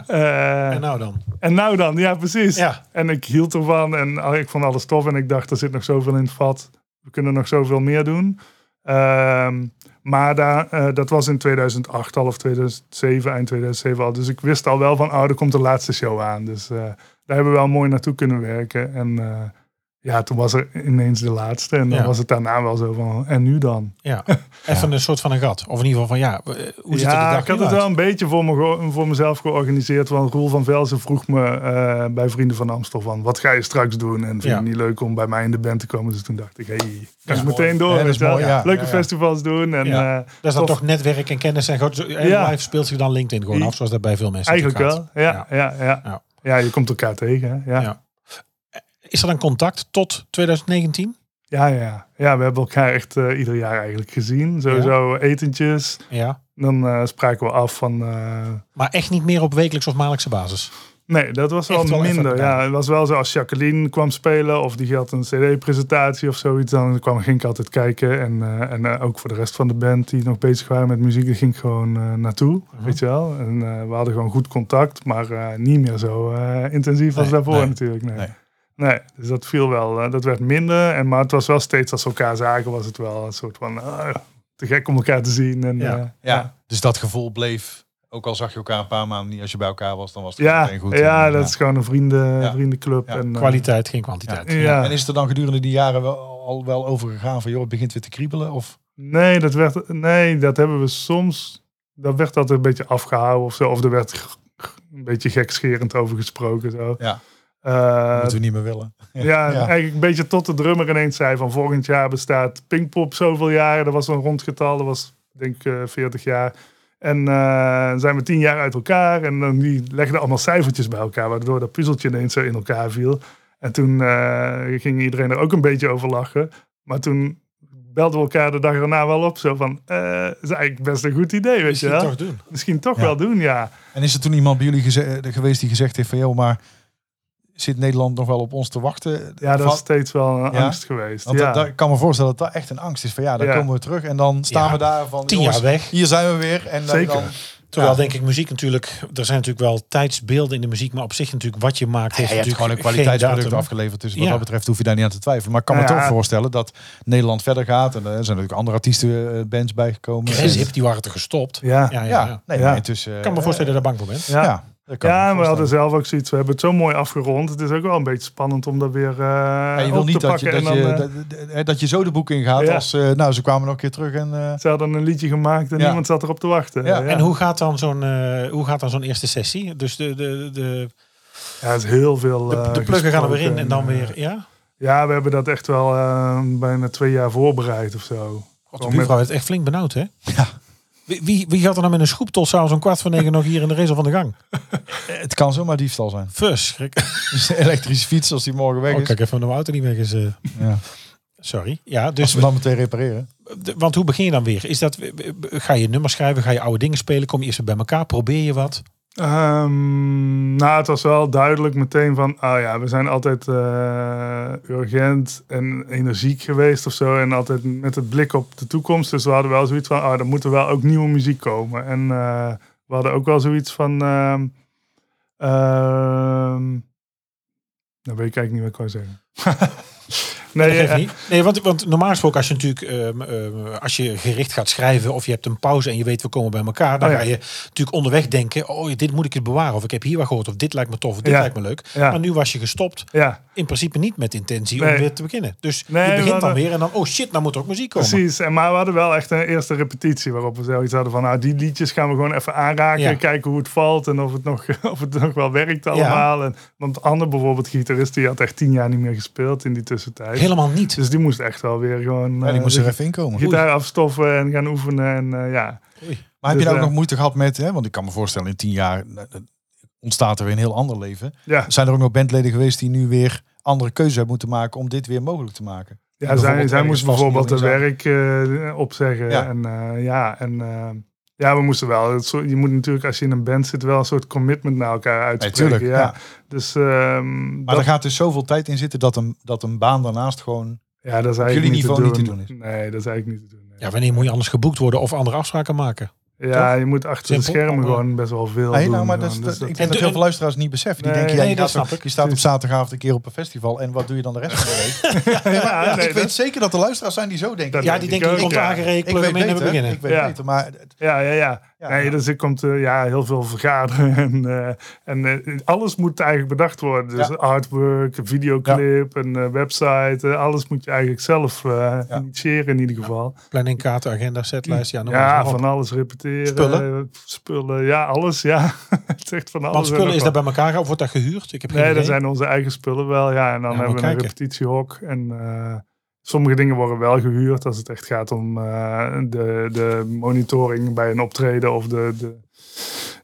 S4: Eh,
S2: En nou dan.
S4: en nou dan, ja, precies.
S2: Ja.
S4: En ik hield ervan en al- ik vond alles tof. En ik dacht, er zit nog zoveel in het vat. We kunnen nog zoveel meer doen. Ehm, maar daar, eh, dat was in 2008 al of 2007, eind 2007 al. Dus ik wist al wel van, oh, er komt de laatste show aan. Dus eh, daar hebben we wel mooi naartoe kunnen werken. En eh, ja, toen was er ineens de laatste. En dan
S2: Ja.
S4: was het daarna wel zo van, en nu dan?
S2: Ja.
S4: <laughs>
S2: Even een soort van een gat. Of in ieder geval van ja. eh, Hoe zit het er de
S4: ja,
S2: dag
S4: ik had
S2: nu
S4: het
S2: uit?
S4: wel een beetje voor, me, ge- voor mezelf georganiseerd. Want Roel van Velzen vroeg me eh, bij Vrienden van Amstel van... wat ga je straks doen? En vind je
S2: Ja.
S4: het niet leuk om bij mij in de band te komen? Dus toen dacht ik, hey, kan
S2: is
S4: ik meteen door.
S3: Ja, dat
S4: weet
S3: is
S4: je wel?
S3: mooi, ja.
S4: Leuke
S3: Ja, ja.
S4: festivals doen. En,
S2: Ja.
S4: eh,
S2: Dat is dan
S4: tof.
S2: toch netwerk en kennis en, groot, en
S4: Ja.
S2: live speelt zich dan LinkedIn gewoon af, zoals dat bij veel mensen
S4: eigenlijk wel.
S2: natuurlijk gaat.
S4: Ja, ja. Ja, ja.
S2: Ja.
S4: je komt elkaar tegen. hè? Ja.
S2: Ja. Is er dan contact tot 2019?
S4: Ja, ja, ja. Ja, we hebben elkaar echt eh, ieder jaar eigenlijk gezien. Sowieso etentjes.
S2: Ja.
S4: Dan eh, spraken we af van... eh,
S2: Maar echt niet meer op wekelijks of maandelijkse basis.
S4: Nee, dat was wel
S2: Echt wel even
S4: minder.
S2: gedaan.
S4: Ja, het was wel zo als Jacqueline kwam spelen of die had een CD-presentatie of zoiets, dan kwam, ging ik altijd kijken. En, eh, en eh, ook voor de rest van de band die nog bezig waren met muziek, daar ging ik gewoon eh, naartoe. Weet je wel? En eh, we hadden gewoon goed contact, maar eh, niet meer zo eh, intensief als
S2: Nee,
S4: daarvoor
S2: nee,
S4: natuurlijk. Nee.
S3: nee.
S4: Nee. dus dat viel wel. eh, dat werd minder, en, maar het was wel steeds als we elkaar zagen, was het wel een soort van ah, te gek om elkaar te zien. En,
S2: Ja.
S4: eh,
S3: ja. Dus dat gevoel bleef, ook al zag je elkaar een paar maanden niet als je bij elkaar was, dan was het
S4: ja,
S3: meteen goed.
S4: ja,
S3: En,
S4: dat is gewoon een vrienden,
S3: Ja.
S4: vriendenclub.
S3: Ja.
S4: En, eh,
S2: Kwaliteit, geen kwantiteit.
S4: ja.
S3: En is er dan gedurende die jaren wel, al wel over gegaan van, joh, het begint weer te kriebelen? Of
S4: Nee, dat werd, nee, dat hebben we soms. Dat werd altijd een beetje afgehouden of zo. Of er werd g- g- een beetje gekscherend over gesproken. Zo.
S3: Ja.
S4: Eh,
S3: moeten we niet meer willen?
S4: ja,
S3: <laughs> Ja.
S4: eigenlijk een beetje tot de drummer ineens zei van volgend jaar bestaat Pinkpop zoveel jaar. Dat was een rond getal, dat was denk ik eh, 40 jaar. En eh, zijn we tien jaar uit elkaar en dan die legden allemaal cijfertjes bij elkaar, waardoor dat puzzeltje ineens zo in elkaar viel. En toen eh, ging iedereen er ook een beetje over lachen. Maar toen belden we elkaar de dag erna wel op, zo van, eh is eigenlijk best een goed idee, weet
S2: Misschien
S4: je wel.
S2: toch doen.
S4: Misschien toch
S3: Ja.
S4: wel doen, ja.
S3: En is er toen iemand bij jullie geze- eh, geweest die gezegd heeft van, joh, maar zit Nederland nog wel op ons te wachten?
S4: Ja, dat
S3: Van-
S4: is steeds wel een
S3: Ja?
S4: angst geweest.
S3: Want
S4: ja.
S3: dat, dat- ik kan me voorstellen dat dat echt een angst is van, ja, dan
S4: Ja.
S3: komen we terug en dan staan
S2: Ja.
S3: we daar van,
S2: Tien
S3: jongens,
S2: jaar weg.
S3: hier zijn we weer. En eh, dan-
S4: Zeker.
S3: dan
S2: Terwijl
S3: Ja.
S2: denk ik muziek natuurlijk, er zijn natuurlijk wel tijdsbeelden in de muziek, maar op zich natuurlijk wat je maakt
S3: Ja,
S2: heeft
S3: je hebt gewoon
S2: natuurlijk
S3: een
S2: geen
S3: kwaliteitsproduct
S2: datum.
S3: afgeleverd. Dus wat
S2: Ja.
S3: dat betreft hoef je daar niet aan te twijfelen. Maar ik kan me
S4: Ja.
S3: toch voorstellen dat Nederland verder gaat. En eh, er zijn natuurlijk andere artiesten eh, bands bijgekomen.
S2: Chris Hip, die waren er gestopt.
S4: Ja,
S2: Ja, ja,
S3: Ja,
S2: ja.
S3: nee,
S4: Ja.
S3: maar intussen... eh,
S2: Ik kan me voorstellen dat je daar bang voor bent.
S4: ja.
S3: Ja, dat kan ik me
S4: ja, en we hadden
S3: voorstellen.
S4: zelf ook zoiets. We hebben het zo mooi afgerond. Het is ook wel een beetje spannend om dat weer eh
S3: Ja, je wil
S4: op
S3: niet
S4: te
S3: dat je,
S4: pakken.
S3: dat,
S4: en dan,
S3: je,
S4: eh,
S3: dat- dat, dat je zo de boek ingaat
S4: Ja.
S3: als... eh, nou, ze kwamen nog een keer terug en... eh,
S4: Ze hadden een liedje gemaakt en
S3: Ja.
S4: niemand zat erop te wachten.
S3: Ja,
S4: Ja,
S2: En hoe gaat dan zo'n eh, hoe gaat dan zo'n eerste sessie? Dus de, de, de,
S4: Ja, het is heel veel.
S2: de,
S4: eh,
S2: de pluggen gaan er weer in en dan
S4: gesproken. eh,
S3: eh,
S2: weer. Ja?
S4: Ja, we hebben dat echt wel eh, bijna twee jaar voorbereid of zo.
S2: God, de
S4: Gewoon
S2: buurvrouw heeft echt flink benauwd, hè?
S3: Ja.
S2: Wie, wie, wie gaat er nou met een schoep tot s'avonds om kwart voor negen nog hier in de race van de gang?
S3: het kan zomaar diefstal zijn. <laughs>
S2: Verschrik.
S3: Dus een elektrische fiets als die morgen weg
S2: Oh,
S3: is.
S2: kijk even, de auto niet weg is. eh,
S3: Ja.
S2: sorry. Ja,
S3: Dus
S2: dus,
S3: we dan meteen repareren.
S2: de- want hoe begin je dan weer? Is dat, ga je nummers schrijven? Ga je oude dingen spelen? Kom je eerst weer bij elkaar? Probeer je wat?
S4: Ehm, nou, het was wel duidelijk meteen van, oh ja, we zijn altijd eh, urgent en energiek geweest of zo. En altijd met het blik op de toekomst. Dus we hadden wel zoiets van, oh, er moet er wel ook nieuwe muziek komen. En eh, we hadden ook wel zoiets van, ehm ehm, nou weet ik eigenlijk niet wat ik wou zeggen. <laughs> nee,
S2: Dat geeft
S4: eh,
S2: niet. Nee, want, want normaal gesproken als je natuurlijk ehm, ehm, als je gericht gaat schrijven of je hebt een pauze en je weet we komen bij elkaar, dan
S4: Oh ja.
S2: ga je natuurlijk onderweg denken, oh dit moet ik eens bewaren of ik heb hier wat gehoord of dit lijkt me tof of dit
S4: Ja.
S2: lijkt me leuk.
S4: Ja.
S2: Maar nu was je gestopt,
S4: ja.
S2: in principe niet met intentie om
S4: Nee.
S2: weer te beginnen. Dus
S4: Nee,
S2: je
S4: we
S2: begint dan
S4: hadden-
S2: weer en dan, oh shit, nou moet er ook muziek komen.
S4: Precies, en maar we hadden wel echt een eerste repetitie waarop we zoiets hadden van nou, die liedjes gaan we gewoon even aanraken,
S2: Ja.
S4: kijken hoe het valt en of het nog, <laughs> of het nog wel werkt allemaal. En, want Anne bijvoorbeeld, gitarist, die had echt tien jaar niet meer gespeeld in die tussentijd.
S2: Helemaal niet.
S4: Dus die moest echt wel weer gewoon
S3: En
S4: eh,
S3: ik moest
S4: de
S3: er even inkomen.
S4: gitaar afstoffen en gaan oefenen. En eh, ja,
S3: Maar heb
S4: Dus,
S3: je nou ook
S4: eh,
S3: nog moeite gehad met, hè, want ik kan me voorstellen in tien jaar eh, eh, ontstaat er weer een heel ander leven.
S4: ja.
S3: Zijn er ook nog bandleden geweest die nu weer andere keuzes hebben moeten maken om dit weer mogelijk te maken?
S4: Ja,
S3: bijvoorbeeld
S4: zij, zij
S3: ergens
S4: moest
S3: vast
S4: bijvoorbeeld haar
S3: niet in
S4: werk eh, opzeggen.
S3: Ja.
S4: En eh, ja, en eh, ja, we moesten wel. het soort- je moet natuurlijk als je in een band zit wel een soort commitment naar elkaar uitspreken.
S3: tuurlijk,
S4: ja.
S3: ja.
S4: Dus ehm,
S3: Maar
S4: dat-
S3: er gaat dus zoveel tijd in zitten dat een, dat een baan daarnaast gewoon...
S4: Ja, dat is eigenlijk
S3: jullie
S4: niet, te
S3: niveau
S4: doen.
S3: niet te doen
S4: Nee, dat is eigenlijk niet te doen. nee.
S2: Ja, wanneer moet je anders geboekt worden of andere afspraken maken?
S4: Ja, je moet achter de
S2: Simpel.
S4: schermen
S2: Oh, ja.
S4: gewoon best wel veel
S3: Nee,
S4: doen.
S3: nou, maar dat, is-
S4: gewoon.
S3: dat, ik
S4: Dus dat-
S3: denk dat
S2: en-
S3: heel veel luisteraars niet beseffen. Die
S4: Nee,
S3: denken, ja,
S2: nee,
S3: je,
S2: dat
S3: gaat op-
S2: snap ik.
S3: je
S4: Dus-
S3: staat op zaterdagavond een keer op een festival en wat doe je dan de rest van de week?
S4: ja, <laughs> nee,
S3: ik weet
S4: dat-
S3: zeker dat er luisteraars zijn die zo denken.
S4: Dat
S2: Ja,
S4: denk
S2: die
S4: ik
S2: denken, je
S4: ook,
S2: komt
S3: ik
S4: ja.
S2: aangereden, plug
S3: weet
S2: hem in en we
S3: beter,
S2: beginnen.
S3: ik weet
S4: Ja.
S3: beter, maar
S4: ja, ja, ja.
S3: Ja,
S4: nee,
S3: ja.
S4: Dus er komt eh, ja, heel veel vergaderen. <laughs> En, eh, en eh, alles moet eigenlijk bedacht worden. Dus
S3: Ja.
S4: artwork, een videoclip, een eh, website. eh, alles moet je eigenlijk zelf eh,
S3: Ja.
S4: initiëren in ieder geval.
S2: Planning, kaarten, agenda, setlijst, ja,
S4: Ja,
S2: noem maar eens op.
S4: van alles repeteren.
S2: Spullen?
S4: eh, spullen, ja, alles. Ja. <laughs> Het is echt van alles.
S2: Want
S4: en
S2: spullen
S4: nog
S2: is
S4: wat.
S2: dat bij elkaar of wordt dat gehuurd? Ik heb geen
S4: Nee,
S2: idee.
S4: dat zijn onze eigen spullen wel. Ja, en dan
S2: Ja,
S4: hebben
S2: maar
S4: we een
S2: kijken.
S4: repetitiehok. En eh, sommige dingen worden wel gehuurd als het echt gaat om eh, de, de monitoring bij een optreden of de, de,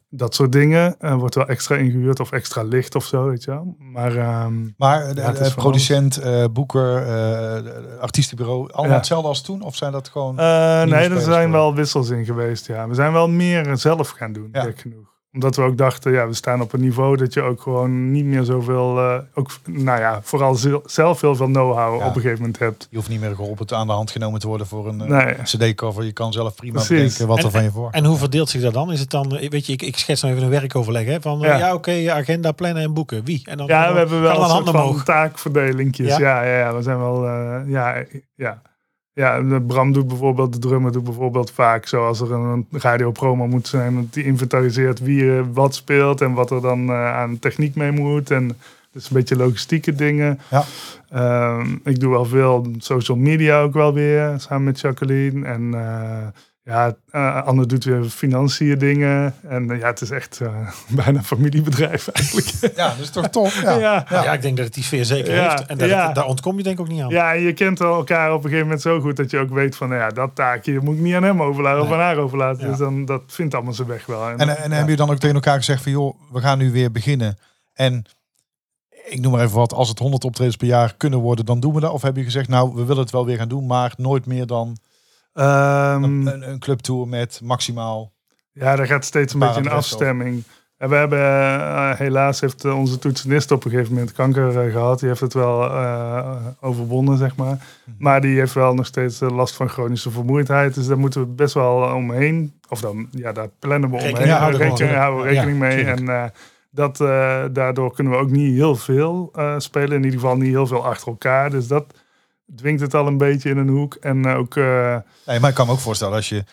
S4: dat soort dingen. Eh, wordt wel extra ingehuurd of extra licht of zo, weet je wel. Maar ehm,
S3: Maar eh, de,
S4: Ja, het is
S3: eh,
S4: van
S3: producent, eh, boeker, eh, de- de artiestenbureau, allemaal
S4: Ja.
S3: hetzelfde als toen? Of zijn dat gewoon...
S4: eh, nee, er
S3: spelers
S4: zijn
S3: voor.
S4: wel wissels in geweest. Ja. We zijn wel meer zelf gaan doen,
S3: Ja.
S4: gek genoeg omdat we ook dachten, ja, we staan op een niveau dat je ook gewoon niet meer zoveel, eh, ook, nou ja, vooral zel- zelf heel veel know-how
S3: Ja.
S4: op een gegeven moment hebt.
S3: je hoeft niet meer geholpen aan de hand genomen te worden voor een eh,
S4: Nee.
S3: cd-cover. Je kan zelf prima
S4: Precies.
S3: bedenken wat
S2: En-
S3: er van je voor.
S2: En hoe verdeelt zich dat dan? Is het dan, eh, weet je, ik, ik schets nou even een werkoverleg, hè? Van eh, ja,
S4: Ja.
S2: oké, agenda, plannen en boeken. Wie? En dan,
S4: Ja,
S2: dan
S4: we hebben
S2: gaan
S4: wel
S2: dan
S4: een soort
S2: handen
S4: van
S2: omhoog.
S4: taakverdelingjes.
S2: Ja?
S4: Ja, ja, ja, we zijn wel... eh, ja, ja. ja, de Bram doet bijvoorbeeld, de drummer doet bijvoorbeeld vaak zo... als er een radiopromo moet zijn... want die inventariseert wie eh, wat speelt... en wat er dan eh, aan techniek mee moet... en dus een beetje logistieke dingen.
S3: Ja.
S4: Ehm, ik doe wel veel social media ook wel weer... samen met Jacqueline en... eh, ja, eh, Anne doet weer financiën dingen. En eh, ja, het is echt eh, <laughs> bijna een familiebedrijf eigenlijk.
S3: Ja, dat is toch tof? Ja.
S4: ja.
S2: Ja. ik denk dat het die sfeer zeker
S4: Ja,
S2: heeft. En dat,
S4: ja.
S2: daar ontkom je denk ik ook niet aan.
S4: Ja, en je kent elkaar op een gegeven moment zo goed dat je ook weet van, nou ja, dat taakje moet ik niet aan hem overlaten of
S2: Nee.
S4: aan haar overlaten.
S2: Ja.
S4: Dus dan dat vindt allemaal zijn weg wel. En,
S3: En, en hebben jullie dan ook tegen elkaar gezegd van joh, we gaan nu weer beginnen. En ik noem maar even wat, als het 100 optredens per jaar kunnen worden, dan doen we dat. Of heb je gezegd, nou, we willen het wel weer gaan doen, maar nooit meer dan Ehm,
S4: Ehm,
S3: een, een clubtour met maximaal.
S4: ja, daar gaat steeds een
S3: Een
S4: beetje een
S3: paar adressen
S4: afstemming. En we hebben, eh, helaas heeft eh, onze toetsenist op een gegeven moment kanker eh, gehad. Die heeft het wel eh, overwonnen, zeg maar.
S2: Mhm.
S4: Maar die heeft wel nog steeds eh, last van chronische vermoeidheid. Dus daar moeten we best wel omheen. Of dan, ja, daar plannen we
S2: Rekening
S4: omheen.
S2: houden we
S4: Rekening-
S2: gewoon.
S4: houden we rekening
S2: Ja,
S4: mee. En eh, dat, eh, daardoor kunnen we ook niet heel veel eh, spelen. In ieder geval niet heel veel achter elkaar. Dus dat dwingt het al een beetje in een hoek. En eh, ook... eh,
S3: Nee, maar ik kan me ook voorstellen als je...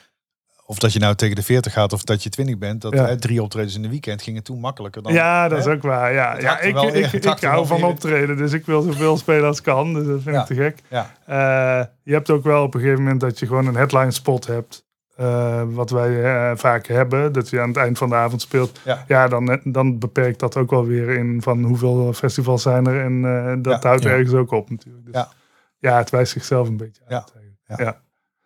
S3: Of dat je nou tegen de 40 gaat of dat je 20 bent. Dat
S4: Ja.
S3: hè, drie optredens in de weekend gingen toen makkelijker dan...
S4: ja, dat
S3: hè?
S4: is ook waar. Ja,
S3: Het
S4: ja
S3: hakt er
S4: ik,
S3: wel-
S4: ik,
S3: het
S4: ik,
S3: hakt er wel
S4: hou van
S3: in.
S4: optreden, dus ik wil zoveel spelen als kan. Dus dat vind
S3: Ja.
S4: ik te gek.
S3: Ja.
S4: Eh, je hebt ook wel op een gegeven moment dat je gewoon een headline spot hebt. eh, wat wij eh, vaak hebben, dat je aan het eind van de avond speelt.
S3: Ja.
S4: dan, eh, dan beperkt dat ook wel weer in van hoeveel festivals zijn er. En eh, dat
S3: Ja,
S4: houdt
S2: ja.
S4: ergens ook op natuurlijk. Dus,
S3: Ja.
S4: ja. het wijst zichzelf een beetje
S3: Ja,
S4: uit.
S3: ja.
S4: Ja.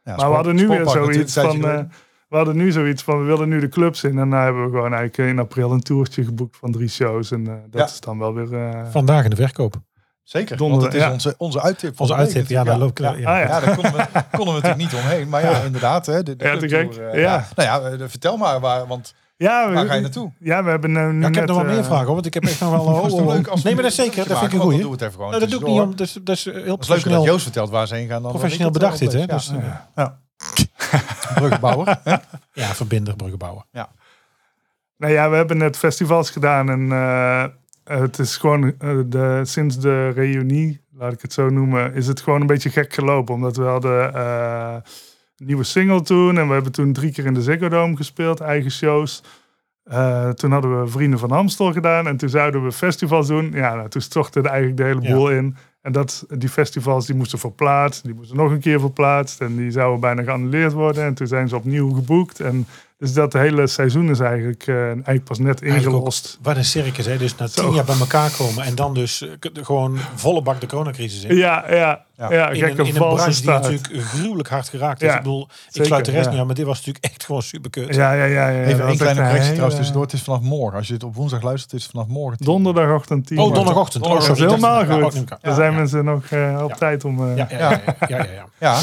S3: Ja,
S4: Maar we hadden nu weer
S3: Sportpark natuurlijk,
S4: zoiets
S3: een tijdje
S4: van...
S3: geleden.
S4: eh, we hadden nu zoiets van, we willen nu de clubs in. En daar hebben we gewoon eigenlijk eh, in april een toertje geboekt van drie shows. En eh, dat
S3: Ja.
S4: is dan wel weer... eh,
S2: Vandaag in de verkoop.
S3: Zeker, want
S4: Donderdag,
S3: het is
S4: ja.
S3: onze, onze uittip. van
S2: Onze
S3: de week
S2: uittip, ja, daar
S3: natuurlijk,
S2: loopt ja.
S4: Ah,
S3: Ja,
S4: ja.
S3: daar konden we,
S4: <laughs>
S3: konden we natuurlijk niet omheen. Maar ja, inderdaad. Hè, de, de
S4: Ja, te
S3: clubtour,
S4: gek.
S3: eh,
S4: Ja.
S3: Nou ja, eh, vertel maar, waar, want
S4: Ja, we,
S3: waar ga je
S2: Oh,
S3: naartoe?
S4: Ja, we hebben eh, nu
S2: Ja, ik heb
S4: net,
S2: nog wel
S4: eh,
S2: meer vragen, hoor, want ik heb echt nog
S4: <laughs>
S2: wel... oh,
S3: Het was toch leuk als
S2: nee, maar dat is
S3: we een
S2: zeker.
S3: filmpje
S2: Dat vind ik een
S3: maken, want dan
S2: goeie.
S3: doen we het even gewoon
S2: Nou, dat doe ik niet
S3: tussendoor.
S2: om... Dat is, dat is heel
S3: Het is leuk dat
S2: professioneel,
S3: Joost vertelt waar ze heen gaan. Dan
S2: professioneel
S3: weet ik
S2: bedacht
S3: het wel
S2: dit, hè?
S3: een
S2: Dus,
S3: beetje.
S2: eh,
S4: <laughs>
S3: Ja, Bruggenbouwer.
S2: ja, verbinder, bruggen bouwen.
S4: Nou ja, we hebben net festivals gedaan en eh, het is gewoon eh, de, sinds de reunie, laat ik het zo noemen, is het gewoon een beetje gek gelopen. Omdat we hadden eh, een nieuwe single toen en we hebben toen drie keer in de Ziggo Dome gespeeld, eigen shows. Eh, toen hadden we Vrienden van Amstel gedaan en toen zouden we festivals doen. Ja, nou, toen stortte het eigenlijk de hele
S2: Ja.
S4: boel in. En dat, die festivals die moesten verplaatst, die moesten nog een keer verplaatst en die zouden bijna geannuleerd worden. En toen zijn ze opnieuw geboekt en dus dat hele seizoen is eigenlijk, eh, eigenlijk pas net
S2: Eigenlijk ook-
S4: ingelost.
S2: Wat een circus, hè? Dus na tien
S4: Zo.
S2: jaar bij elkaar komen en dan dus eh, k- gewoon volle bak de coronacrisis in.
S4: Ja, ja,
S3: Ja.
S2: in
S4: ja.
S2: een,
S4: gekke
S2: in een branche
S4: valse
S2: die
S4: staat.
S2: natuurlijk gruwelijk hard geraakt is.
S4: Ja,
S2: ik bedoel, ik
S4: zeker,
S2: sluit de rest
S4: ja.
S2: niet aan, maar dit was natuurlijk echt gewoon Oh, superkut.
S4: Ja, ja, ja. ja, ja.
S3: Even
S4: Dat is
S3: een kleine
S4: echt
S3: correctie
S4: hele-
S3: trouwens tussendoor. Het is vanaf morgen. Als je het op woensdag luistert, het is vanaf morgen. tien uur.
S4: Donderdagochtend 10
S2: Oh, donderdagochtend. Oh,
S4: Dat is
S2: sorry.
S4: helemaal
S2: Ja,
S4: goed.
S2: ook niet.
S4: Dan zijn mensen nog eh, op
S2: Ja.
S4: tijd om... eh,
S2: Ja, ja, ja. ja, ja, ja, ja.
S3: Ja,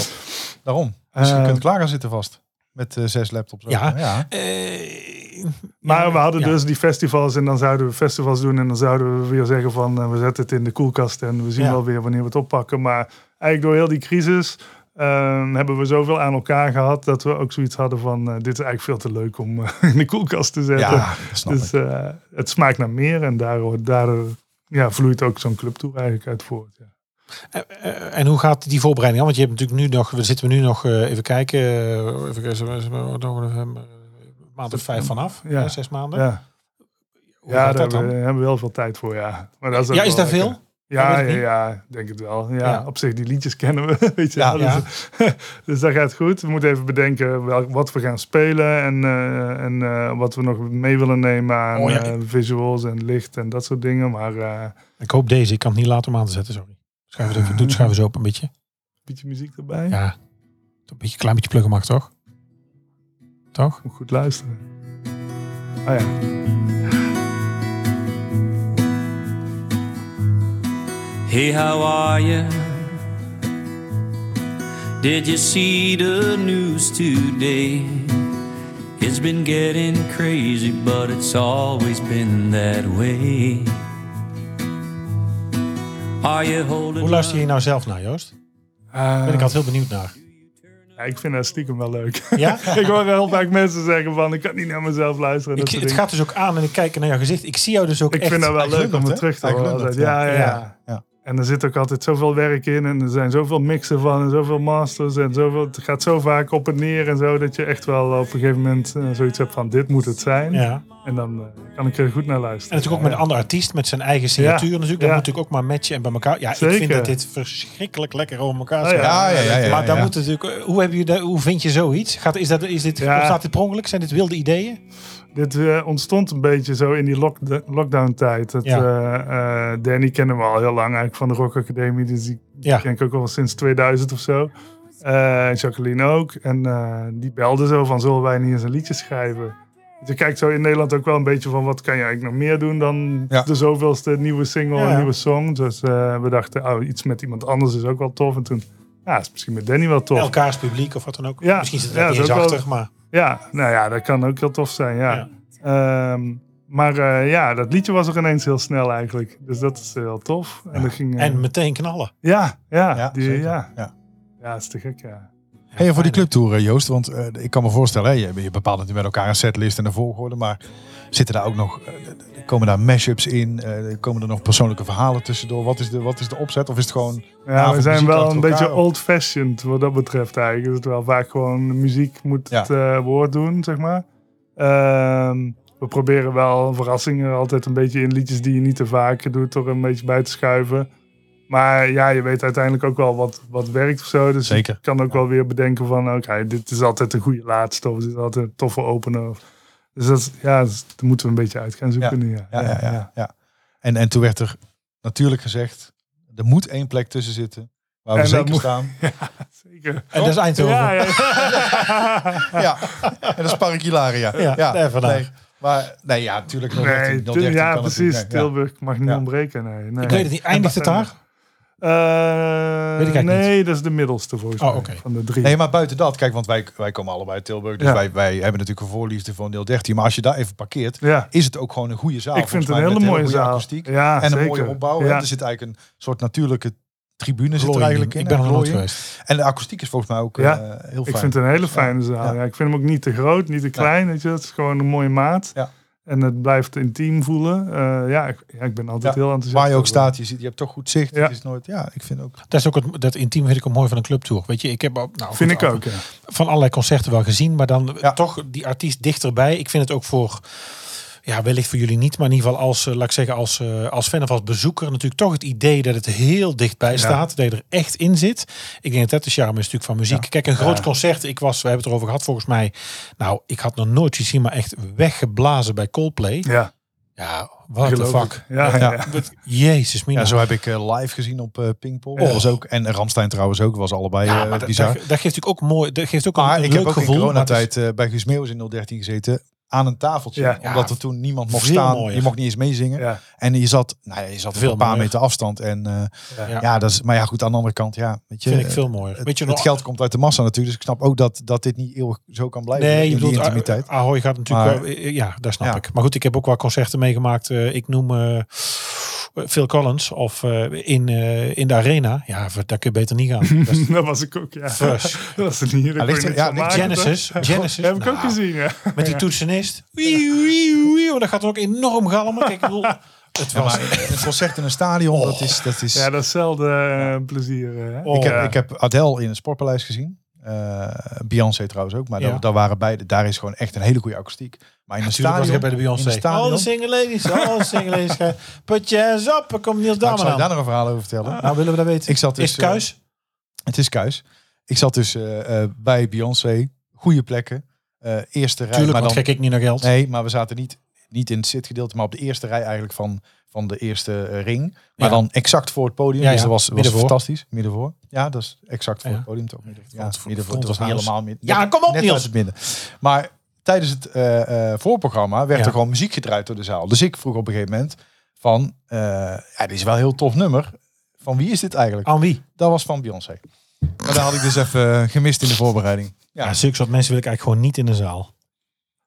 S3: daarom. Dus je
S4: Eh,
S3: kunt klaar gaan zitten vast. Met eh, zes laptops. open.
S2: Ja.
S3: ja.
S2: Eh,
S4: Maar we hadden
S2: ja.
S4: dus die festivals en dan zouden we festivals doen. En dan zouden we weer zeggen van eh, we zetten het in de koelkast en we zien
S2: Ja.
S4: wel weer wanneer we het oppakken. Maar eigenlijk door heel die crisis ehm, hebben we zoveel aan elkaar gehad dat we ook zoiets hadden van eh, dit is eigenlijk veel te leuk om eh, in de koelkast te zetten.
S3: Ja, dat snap ik.
S4: dus eh, het smaakt naar meer en daardoor, daardoor ja, vloeit ook zo'n clubtour eigenlijk uit voort. Ja.
S2: Eh, eh, En hoe gaat die voorbereiding aan? Want je hebt natuurlijk nu nog, we zitten nu nog, eh, even kijken, eh, even kijken, maand of vijf vanaf,
S4: Ja.
S2: hè, zes maanden.
S4: Ja,
S2: Hoe
S4: ja
S2: gaat
S4: daar
S2: dat
S4: hebben we,
S2: dan?
S4: hebben we heel veel tijd voor, ja. Maar dat ook
S2: Ja, is
S4: wel
S2: daar
S4: lekker.
S2: veel? Dat
S4: Ja,
S2: weet ik
S4: ja,
S2: niet.
S4: ja, denk het wel. Ja,
S2: Ja.
S4: op zich, die liedjes kennen we. <laughs> Weet je
S3: Ja,
S4: wel. Dus, <laughs> dus dat gaat goed. We moeten even bedenken wel, wat we gaan spelen en, eh, en eh, wat we nog mee willen nemen aan
S2: Oh, ja.
S4: eh, visuals en licht en dat soort dingen. Maar eh, een
S2: Ik hoop deze, ik kan het niet laten om aan te zetten, sorry. Schuif het even, doe het schuif eens open een beetje.
S4: beetje muziek erbij.
S2: Ja, een beetje, klein beetje pluggen mag toch? Toch?
S4: Moet goed luisteren. Ah ja.
S5: Hey, how are you? Did you see the news today? It's been getting crazy, but it's always been that way. Are you holding
S2: Hoe luister
S5: up?
S2: je nou zelf naar, Joost?
S4: Eh,
S2: Ben ik altijd heel benieuwd naar.
S4: ja, ik vind dat stiekem wel leuk.
S2: Ja?
S4: <laughs> ik hoor heel vaak mensen zeggen van, ik kan niet naar mezelf luisteren.
S2: Ik,
S4: dat soort
S2: het
S4: dingen.
S2: gaat dus ook aan en ik kijk naar jouw gezicht. Ik zie jou dus ook
S4: Ik
S2: echt.
S4: vind dat wel
S3: Hij
S4: leuk om
S3: glundert,
S4: het
S3: hè?
S4: terug te
S3: Hij
S4: horen.
S3: glundert,
S4: altijd. Ja, ja,
S2: Ja.
S4: ja.
S3: Ja.
S4: En er zit ook altijd zoveel werk in en er zijn zoveel mixen van en zoveel masters en zoveel. Het gaat zo vaak op en neer en zo dat je echt wel op een gegeven moment eh, zoiets hebt van dit moet het zijn.
S2: Ja.
S4: En dan eh, kan ik er goed naar
S2: En
S4: luisteren.
S2: natuurlijk ook met een andere artiest, met zijn eigen signatuur natuurlijk. Dat
S4: Ja.
S2: moet natuurlijk ook maar matchen en bij elkaar. Ja, ik
S4: Zeker.
S2: vind dat dit verschrikkelijk lekker over elkaar
S4: Ah,
S2: staat.
S3: Ja, ja, ja. ja,
S2: maar dan
S3: ja.
S2: moet het natuurlijk, hoe, heb je dat, hoe vind je zoiets? Gaat, is dat, is dit,
S4: Ja.
S2: Ontstaat dit per ongeluk? Zijn dit wilde ideeën?
S4: Dit eh, ontstond een beetje zo in die lockda- lockdown-tijd. Dat,
S2: Ja.
S4: eh, eh, Danny kennen we al heel lang eigenlijk van de Rock Academie. Dus die
S2: Ja.
S4: ken ik ook al sinds 2000 of zo. Eh, Jacqueline ook. En eh, die belde zo van, zullen wij niet eens een liedje schrijven? Dus je kijkt zo in Nederland ook wel een beetje van, wat kan je eigenlijk nog meer doen dan
S3: Ja.
S4: de zoveelste nieuwe single
S2: Ja, ja.
S4: en nieuwe song? Dus eh, we dachten, oh, iets met iemand anders is ook wel tof. En toen, ja, is misschien met Danny wel tof.
S2: Elkaars publiek of wat dan ook.
S4: Ja.
S2: Misschien zit het
S4: Ja,
S2: niet
S4: dat
S2: eens
S4: is ook wel-
S2: achter, maar
S4: Ja, nou ja, dat kan ook heel tof zijn, ja.
S2: Ja.
S4: Ehm, Maar eh, ja, dat liedje was er ineens heel snel eigenlijk. Dus dat is heel tof. En, dat ging, eh,
S2: En meteen knallen.
S4: ja, ja,
S3: Ja,
S4: die,
S3: zeker.
S4: ja.
S3: Ja.
S4: ja, is te gek, ja.
S3: Hey, en voor die clubtour, eh, Joost, want eh, ik kan me voorstellen, hè, je, je bepaalt natuurlijk met elkaar een setlist en een volgorde, maar zitten daar ook nog, eh, komen daar mashups in, Eh, komen er nog persoonlijke verhalen tussendoor? Wat is de, wat is de opzet? Of is het gewoon,
S4: Ja, we
S3: avondmuziek
S4: zijn wel
S3: achter
S4: een
S3: elkaar,
S4: beetje
S3: of-
S4: old-fashioned wat dat betreft eigenlijk. Dat wel vaak gewoon de muziek moet
S3: Ja.
S4: het eh, woord doen, zeg maar. Ehm, we proberen wel verrassingen altijd een beetje in liedjes die je niet te vaak doet, er een beetje bij te schuiven. Maar ja, je weet uiteindelijk ook wel wat, wat werkt of zo. Dus
S3: Zeker.
S4: je kan ook wel weer bedenken van, oké, dit is altijd een goede laatste of dit is altijd een toffe opener. Of- Dus dat, is- ja, dus dat moeten we een beetje uit gaan zoeken nu.
S3: ja, ja, ja. ja, En, en toen werd er natuurlijk gezegd, er moet één plek tussen zitten waar we
S4: En dat
S3: zeker
S4: moet-
S3: staan.
S4: Zeker.
S2: En dat is Eindhoven.
S4: Ja, <laughs> ja.
S3: ja, en dat is Park Hilaria.
S2: Ja, daar vandaag.
S3: nee. Maar nee, ja, natuurlijk. 013,
S4: Nee,
S3: 013
S4: ja,
S3: kan
S4: precies.
S3: natuurlijk, nee, ja.
S4: Tilburg mag niet
S3: Ja.
S4: ontbreken. Nee, nee.
S2: Ik weet het niet. Eindigt het daar?
S4: Eh,
S2: Weet ik eigenlijk
S4: nee, dat is de middelste volgens
S2: Oh,
S4: mij
S2: oké.
S4: van de drie.
S3: Nee, maar buiten dat, kijk, want wij, wij komen allebei uit Tilburg. Dus
S4: Ja.
S3: wij, wij hebben natuurlijk een voorliefde van 013. Maar als je daar even parkeert,
S4: ja,
S3: is het ook gewoon een goede zaal.
S4: ik vind
S3: volgens
S4: het een
S3: mij,
S4: hele
S3: met
S4: mooie
S3: goede
S4: zaal.
S3: akoestiek
S4: ja,
S3: en een
S4: zeker.
S3: mooie opbouw. hè.
S4: Ja.
S3: Er zit eigenlijk een soort natuurlijke tribune zit er
S2: Vlooien.
S3: eigenlijk in.
S2: Ik ben
S3: hè,
S2: er nog nooit
S3: vlooien.
S2: geweest.
S3: En de akoestiek is volgens mij ook
S4: Ja.
S3: eh, heel fijn.
S4: ik vind het een hele fijne zaal. Ja.
S3: Ja.
S4: ik vind hem ook niet te groot, niet te klein. Weet je, dat is gewoon een mooie maat.
S3: Ja.
S4: En het blijft intiem voelen. Eh, ja, ik, ja, ik ben altijd
S3: Ja,
S4: heel enthousiast.
S3: Waar je ook
S4: over.
S3: staat, je, ziet, je hebt toch goed zicht.
S4: Ja.
S3: Het is nooit, ja, ik vind ook...
S2: Dat, is ook het, dat intiem vind ik ook mooi van een clubtour. Weet je, ik heb ook, nou,
S4: Vind
S2: goed,
S4: ik ook. Ja.
S2: van allerlei concerten wel gezien, maar dan
S3: Ja.
S2: toch die artiest dichterbij. Ik vind het ook voor, ja, wellicht voor jullie niet, maar in ieder geval als, eh, laat ik zeggen, als, eh, als fan of als bezoeker natuurlijk toch het idee dat het heel dichtbij staat, dat je er echt in zit. Ik denk dat dat de charme is natuurlijk van muziek. Kijk, een groot concert, ik was, we hebben het erover gehad volgens mij, nou, ik had nog nooit iets zien, maar echt weggeblazen bij Coldplay.
S4: Ja,
S2: Ja, what the
S4: geloof ik.
S2: fuck.
S4: Ja, ja. <laughs> ja.
S2: Jezus, mina.
S3: Ja, zo heb ik eh, live gezien op eh Pinkpop.
S2: Oh.
S3: was ook, en Ramstein trouwens ook, was allebei
S2: Ja,
S3: eh,
S2: maar dat,
S3: bizar.
S2: dat, dat geeft natuurlijk ook mooi, dat geeft ook een,
S3: Maar
S2: een
S3: ik
S2: leuk
S3: heb ook
S2: gevoel.
S3: in
S2: maar het is-
S3: coronatijd eh, bij Guus Meeuwis in 013 gezeten. Aan een tafeltje.
S4: Ja.
S3: omdat
S2: Ja,
S3: er toen niemand mocht
S2: veel
S3: staan.
S2: mooier.
S3: Je mocht niet eens meezingen.
S4: Ja.
S3: En je zat, nou ja, je zat
S2: Veel
S3: op een paar
S2: mooier.
S3: meter afstand. En, eh,
S2: Ja.
S3: ja. dat is, maar ja, goed, aan de andere kant, ja, weet je.
S2: vind ik
S3: eh,
S2: veel mooier.
S3: Het,
S2: Weet je
S3: het
S2: nog,
S3: geld komt uit de massa natuurlijk. Dus ik snap ook dat, dat dit niet eeuwig zo kan blijven.
S2: Nee,
S3: in
S2: je
S3: die
S2: bedoelt
S3: intimiteit.
S2: Ah- Ahoy gaat natuurlijk
S3: Maar-
S2: wel- eh, eh, ja, daar snap
S3: Ja.
S2: ik. Maar goed, ik heb ook wel concerten meegemaakt. Eh, ik noem eh, Phil Collins of eh, in, eh, in de arena. Ja, ver- daar kun je beter niet
S3: <laughs>
S2: gaan. Dat is
S4: Dat was ik ook, ja.
S2: Fresh.
S4: <laughs> Dat was er niet. daar kon je
S3: ligt er-
S4: niks
S3: ja,
S4: van
S3: ligt
S4: maken,
S2: Genesis, Genesis.
S4: toch? Heb ik ook
S2: Nou,
S4: gezien, Ah, ja.
S2: Met die toetsenist. Wieu, wieu, wieu. Maar Dat gaat ook enorm galmen. Kijk, ik bedoel, het
S3: Ja,
S2: was...
S3: maar een concert in een stadion, dat is... Dat is
S4: Ja, dat is zelden eh, plezier. Hè?
S2: Oh,
S3: ik, heb,
S4: ja.
S3: ik heb Adele in het Sportpaleis gezien. Eh, Beyoncé trouwens ook. Maar
S2: Ja.
S3: daar, daar waren beide, daar is gewoon echt een hele goede akoestiek. Maar in een
S2: Natuurlijk was
S3: stadion...
S2: ik bij de
S3: in
S2: Beyoncé. Oh,
S3: een stadion-
S2: All the single ladies, all the single ladies. Ga- <laughs> Put your hands up, er komt Niels
S3: Nou, ik zal
S2: Damen
S3: je daar
S2: aan.
S3: nog een verhaal over vertellen.
S2: Nou, willen we dat weten?
S3: Ik zat dus,
S2: Is Kuis?
S3: Het is Kuis. Ik zat dus eh, eh, bij Beyoncé. Goede plekken. Eh, eerste rij.
S2: Tuurlijk,
S3: maar
S2: want kijk ik niet naar geld.
S3: nee, maar we zaten niet, niet in het zitgedeelte, maar op de eerste rij eigenlijk van, van de eerste eh, ring.
S2: Ja.
S3: Maar dan exact voor het podium.
S2: Ja,
S3: Dus
S2: ja.
S3: dat was, was
S2: Middenvoor.
S3: fantastisch. Midden voor. Ja, dat is exact voor
S2: Ja.
S3: het podium. Toch? Midden, ja,
S2: Front-
S3: midden voor.
S2: front
S3: Het
S2: of
S3: was niet
S2: house.
S3: helemaal midden.
S2: Ja, kom op,
S3: net
S2: Niels.
S3: uit het midden. Maar tijdens het eh, eh, voorprogramma werd
S2: Ja.
S3: er gewoon muziek gedraaid door de zaal. Dus ik vroeg op een gegeven moment van, eh, ja, dit is wel een heel tof nummer. Van wie is dit eigenlijk?
S2: Aan wie?
S3: Dat was van Beyoncé. Maar daar had ik dus even eh, gemist in de voorbereiding. Ja.
S2: Ja, zulke soort mensen wil ik eigenlijk gewoon niet in de zaal.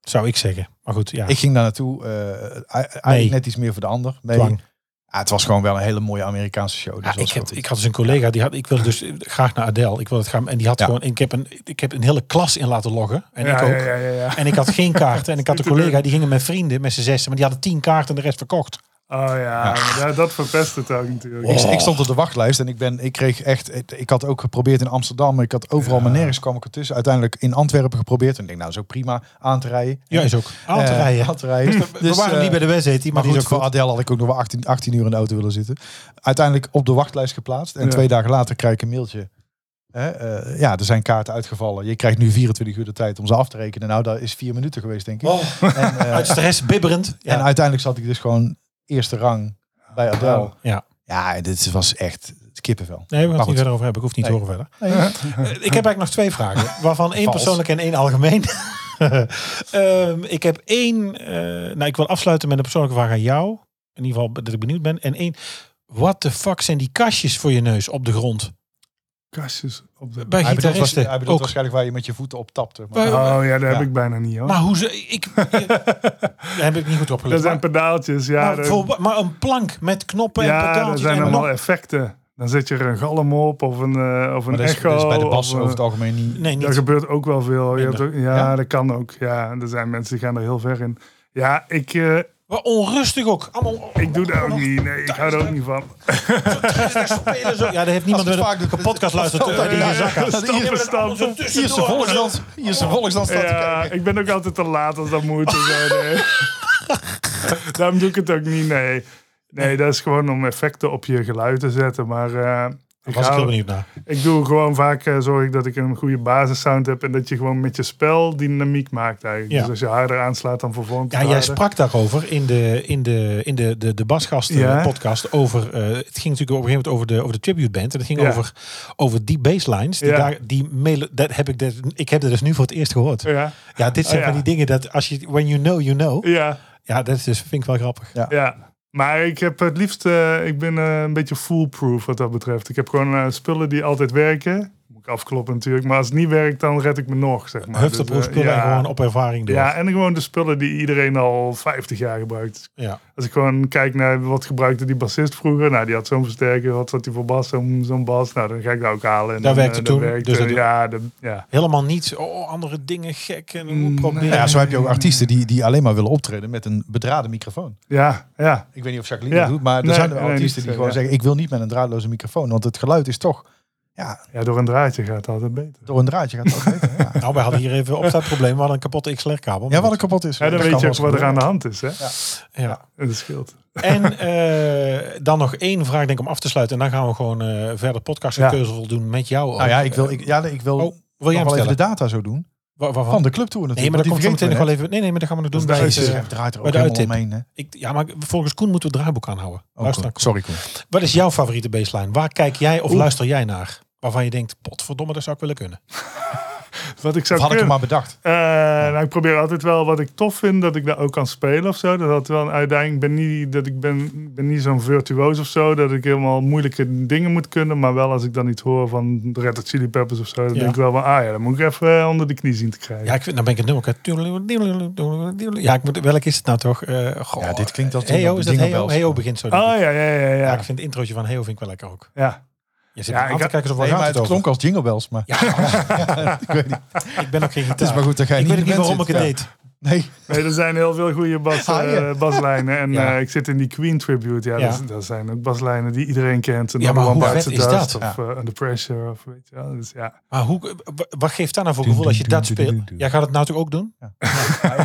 S2: Zou ik zeggen. Maar goed, ja.
S3: Ik ging daar naartoe. eh, e- eigenlijk net iets meer voor de ander. Nee.
S2: Dwang.
S3: Ah, het was gewoon wel een hele mooie Amerikaanse show. Dus
S2: Ja,
S3: dat was
S2: ik, had,
S3: wel
S2: ik had dus een collega die had, ik wilde dus graag naar Adele. Ik wilde het gaan en die had
S3: Ja.
S2: gewoon, ik heb, een, ik heb een hele klas in laten loggen. En ik
S4: ja,
S2: ook.
S4: ja, ja, ja, ja.
S2: En ik had geen kaart. En ik had een collega die gingen met vrienden, met z'n zessen, maar die hadden tien kaarten en de rest verkocht.
S4: Oh ja, maar dat, dat verpest het ook natuurlijk.
S3: goed. Ik, ik stond op de wachtlijst en ik, ben, ik kreeg echt... Ik had ook geprobeerd in Amsterdam. maar Ik had overal, maar nergens kwam ik ertussen. Uiteindelijk in Antwerpen geprobeerd. En ik denk, nou, zo prima aan te rijden.
S2: Ja, is ook. Aan te
S3: Eh,
S2: rijden.
S3: aan te rijden. Dus,
S2: We waren
S3: eh,
S2: niet bij de wedstrijd, maar,
S3: Maar
S2: die
S3: goed,
S2: is ook
S3: voor
S2: goed.
S3: Adele had ik ook nog wel 18, 18 uur in de auto willen zitten. Uiteindelijk op de wachtlijst geplaatst. En
S4: Ja.
S3: twee dagen later krijg ik een mailtje. Hè, eh, ja, er zijn kaarten uitgevallen. Je krijgt nu 24 uur de tijd om ze af te rekenen. Nou, dat is vier minuten geweest, denk ik. En, eh,
S2: Uit stress, bibberend. Oh. Ja. Oh,
S3: en uiteindelijk zat ik dus gewoon eerste rang bij Adele.
S2: Ja.
S3: Ja, dit was echt kippenvel.
S2: Nee, we gaan
S3: Maar
S2: het niet
S3: goed.
S2: verder over hebben. Ik hoef niet
S3: Nee.
S2: te horen verder. Eh, ik heb eigenlijk nog twee
S3: <laughs>
S2: vragen. Waarvan één
S3: Vals.
S2: persoonlijk en één algemeen. <laughs> Ehm, ik heb één... eh, nou, ik wil afsluiten met een persoonlijke vraag aan jou. In ieder geval dat ik benieuwd ben. En één... Wat de fuck zijn die kastjes voor je neus op de grond?
S4: kastjes op
S2: Bij
S3: Hij
S4: de...
S3: bedoelt, waarsch-
S2: gitaristen
S3: hij bedoelt
S2: ook.
S3: waarschijnlijk waar je met je voeten op tapte. Maar,
S2: Wij-
S4: Oh ja, dat heb
S3: Ja.
S4: ik bijna niet hoor.
S2: Maar hoe ze...
S3: <laughs>
S2: Ik, daar heb ik niet goed opgelet.
S4: dat zijn
S2: Maar,
S4: pedaaltjes, ja.
S2: maar,
S4: dat-
S2: voor- maar een plank met knoppen en
S4: ja, dat
S2: pedaaltjes.
S4: zijn
S2: en
S4: allemaal
S2: nog-
S4: effecten. Dan zet je er een galm op of een, eh, of een
S3: maar dat, is,
S4: echo.
S3: dat is bij de bas
S4: of, eh,
S3: over het algemeen niet.
S2: Nee,
S4: Daar
S2: niet.
S4: gebeurt ook wel veel. Je hebt
S2: Minder.
S4: ook- ja,
S3: Ja?
S4: dat kan ook. Ja, er zijn mensen die gaan er heel ver in. Ja, ik, eh,
S2: Maar onrustig ook. Allemaal,
S4: ik doe dat ook niet. Nee, ik hou er ook niet van.
S2: spelen zo. Ja, daar
S3: <laughs>
S2: heeft niemand
S3: Als
S2: met
S3: het vaak
S2: een
S3: doet,
S2: een podcast luistert
S3: dat-
S2: eh, die in
S3: ja,
S4: <laughs>
S2: je zak houdt.
S3: dat-
S4: Stappen,
S3: hier-
S4: stappen.
S2: Zo
S3: Hier is de
S2: tussendoor.
S3: volksdans. Hier is de volksdans. staat te
S4: Ja,
S3: kijken.
S4: ik ben ook altijd te laat als dat moet. en zo, <laughs> nee. Daarom doe ik het ook niet, nee. Nee, dat is gewoon om effecten op je geluid te zetten. Maar eh, ik,
S2: Was ik heel
S4: hou-
S2: benieuwd naar.
S4: ik doe gewoon vaak, eh, zorg ik dat ik een goede basissound heb. En dat je gewoon met je spel dynamiek maakt eigenlijk.
S2: Ja.
S4: Dus als je harder aanslaat, dan vervormt
S2: Ja,
S4: het
S2: jij
S4: harder.
S2: sprak daarover in de, in de, in de, de, de Basgasten
S4: Ja.
S2: podcast. Over, eh, het ging natuurlijk op een gegeven moment over de, over de tribute band. En het ging
S4: Ja.
S2: over, over die basslines. Die
S4: Ja.
S2: daar, die melo- dat heb ik, dat, ik heb dat dus nu voor het eerst gehoord.
S4: Ja,
S2: Ja, dit zijn
S4: Ja.
S2: van die dingen dat als je, when you know, you know.
S4: ja.
S2: Ja, dat is dus, vind ik wel grappig.
S4: Ja, maar ik heb het liefst, eh, ik ben eh, een beetje foolproof wat dat betreft. Ik heb gewoon eh, spullen die altijd werken. Moet ik afkloppen natuurlijk, maar als het niet werkt, dan red ik me nog, zeg maar.
S2: Huft op
S4: Dus, eh,
S2: hoefspullen en
S4: ja.
S2: gewoon op ervaring door.
S4: Ja,
S2: Ja.
S4: en gewoon de spullen die iedereen al 50 jaar gebruikt. Als ik gewoon kijk naar wat gebruikte die bassist vroeger. Nou, die had zo'n versterker. Wat zat die voor bas? Zo'n zo'n bas. Nou, dan ga ik dat ook halen. En
S2: Dat
S4: dan,
S2: werkte
S4: eh, dat
S2: toen,
S4: werkte.
S2: dus dat-
S4: ja, dat- ja.
S2: Helemaal niets. Oh, andere dingen gek. En
S4: Mm,
S2: hoe proberen.
S3: Ja, zo heb je ook artiesten die, die alleen maar willen optreden met een bedraden microfoon.
S4: ja, ja.
S3: Ik weet niet of Jacqueline
S4: Ja.
S3: dat doet, maar er
S4: Nee,
S3: zijn er
S4: nee,
S3: artiesten
S4: niet
S3: die
S4: zo,
S3: gewoon
S4: ja.
S3: zeggen: ik wil niet met een draadloze microfoon, want het geluid is toch ja,
S4: Ja, door een draadje gaat het altijd beter.
S3: door een draadje gaat
S4: <laughs>
S3: het ook beter. Ja.
S2: Nou, wij hadden hier even op dat probleem. We hadden een kapotte XLR-kabel.
S3: ja, wat er kapot is.
S4: Ja, dan
S3: dat
S4: weet
S3: kan
S4: je
S3: wel
S4: ook
S3: eens
S4: wat er aan
S3: gebeuren.
S4: de hand is, hè?
S2: Ja.
S4: En dat scheelt.
S2: En eh, dan nog één vraag denk ik om af te sluiten. En dan gaan we gewoon eh, verder podcastgekeuzel doen met jou.
S3: Nou
S2: ook.
S3: ja, ik wil, ik, ja, nee, ik wil,
S2: Oh, wil jij
S3: nog
S2: hem
S3: wel even de
S2: stellen?
S3: data zo doen
S2: Wa- waarvan?
S3: van de clubtour natuurlijk.
S2: nee, maar dat komt
S3: want
S2: zo meteen
S3: die
S2: nog
S3: vergeten
S2: wel even... Nee, nee, maar dat gaan we nog doen.
S4: is de
S2: bij
S4: uitzending.
S2: deze-
S3: we net. Hij draait er
S2: bij
S3: ook
S2: de
S3: helemaal
S2: uittip.
S3: omheen. Hè.
S2: ik, ja, maar volgens Koen moeten we het draaiboek aanhouden.
S3: Oh,
S2: Luister
S3: Koen.
S2: naar Koen.
S3: Sorry, Koen.
S2: Wat is jouw favoriete baseline? Waar kijk jij of luister jij naar? Waarvan je denkt, potverdomme, dat zou ik willen kunnen.
S4: Wat ik
S3: Of
S4: zou
S3: had ik hem
S4: kunnen-
S3: maar bedacht.
S4: Eh, nou, ik probeer altijd wel wat ik tof vind, dat ik daar ook kan spelen of zo. Dat had wel een uitdaging. Ik ben niet, dat ik ben, ik ben niet zo'n virtuoos of zo, dat ik helemaal moeilijke dingen moet kunnen. Maar wel als ik dan iets hoor van de Red Hot Chili Peppers of zo, dan
S2: Ja.
S4: denk ik wel van, ah ja, dan moet ik even eh, onder de knie zien te krijgen.
S2: Ja, ik vind, dan ben ik het nummer. kwijt. Ja, ik moet, welk is het nou toch? Eh, goh,
S3: Ja, dit klinkt als die
S2: Heo, is dat Heo?
S3: dingelbels.
S2: Heo begint zo. denk ik.
S4: Ah ja, ja, ja, ja.
S2: Ja,
S4: ja,
S2: ik vind het introotje van Heo vind ik wel lekker ook.
S4: ja.
S2: Je zit
S4: Ja,
S2: ja, aan
S4: ik
S2: te
S4: had-
S2: kijken of waar
S3: Nee,
S2: gaat
S3: maar
S2: het
S3: het
S2: over?
S3: klonk als jingle bells, maar <laughs> ik weet niet.
S2: Ik ben ook geen gitaar.
S3: Het is maar goed dat jij
S2: Ik
S3: niet
S2: weet ook
S3: in
S2: niet
S3: de
S2: waarom ik
S3: band
S2: het
S3: zit.
S2: deed.
S3: Nee,
S4: Nee, er zijn heel veel goede bas,
S3: Ah, ja.
S4: eh, baslijnen. En
S2: <laughs> Ja.
S4: eh, ik zit in die Queen Tribute. Ja,
S2: Ja.
S4: Dat, dat zijn ook baslijnen die iedereen kent. En
S2: Ja, maar
S4: Number
S2: hoe
S4: One Bites
S2: vet
S4: the
S2: is
S4: Dust
S2: dat?
S4: Of eh, Under Pressure. Of, weet je wel. Dus ja.
S2: Maar hoe, wa- wat geeft daar nou voor gevoel als je dat speelt? Jij gaat het nou toch ook doen?
S3: <laughs>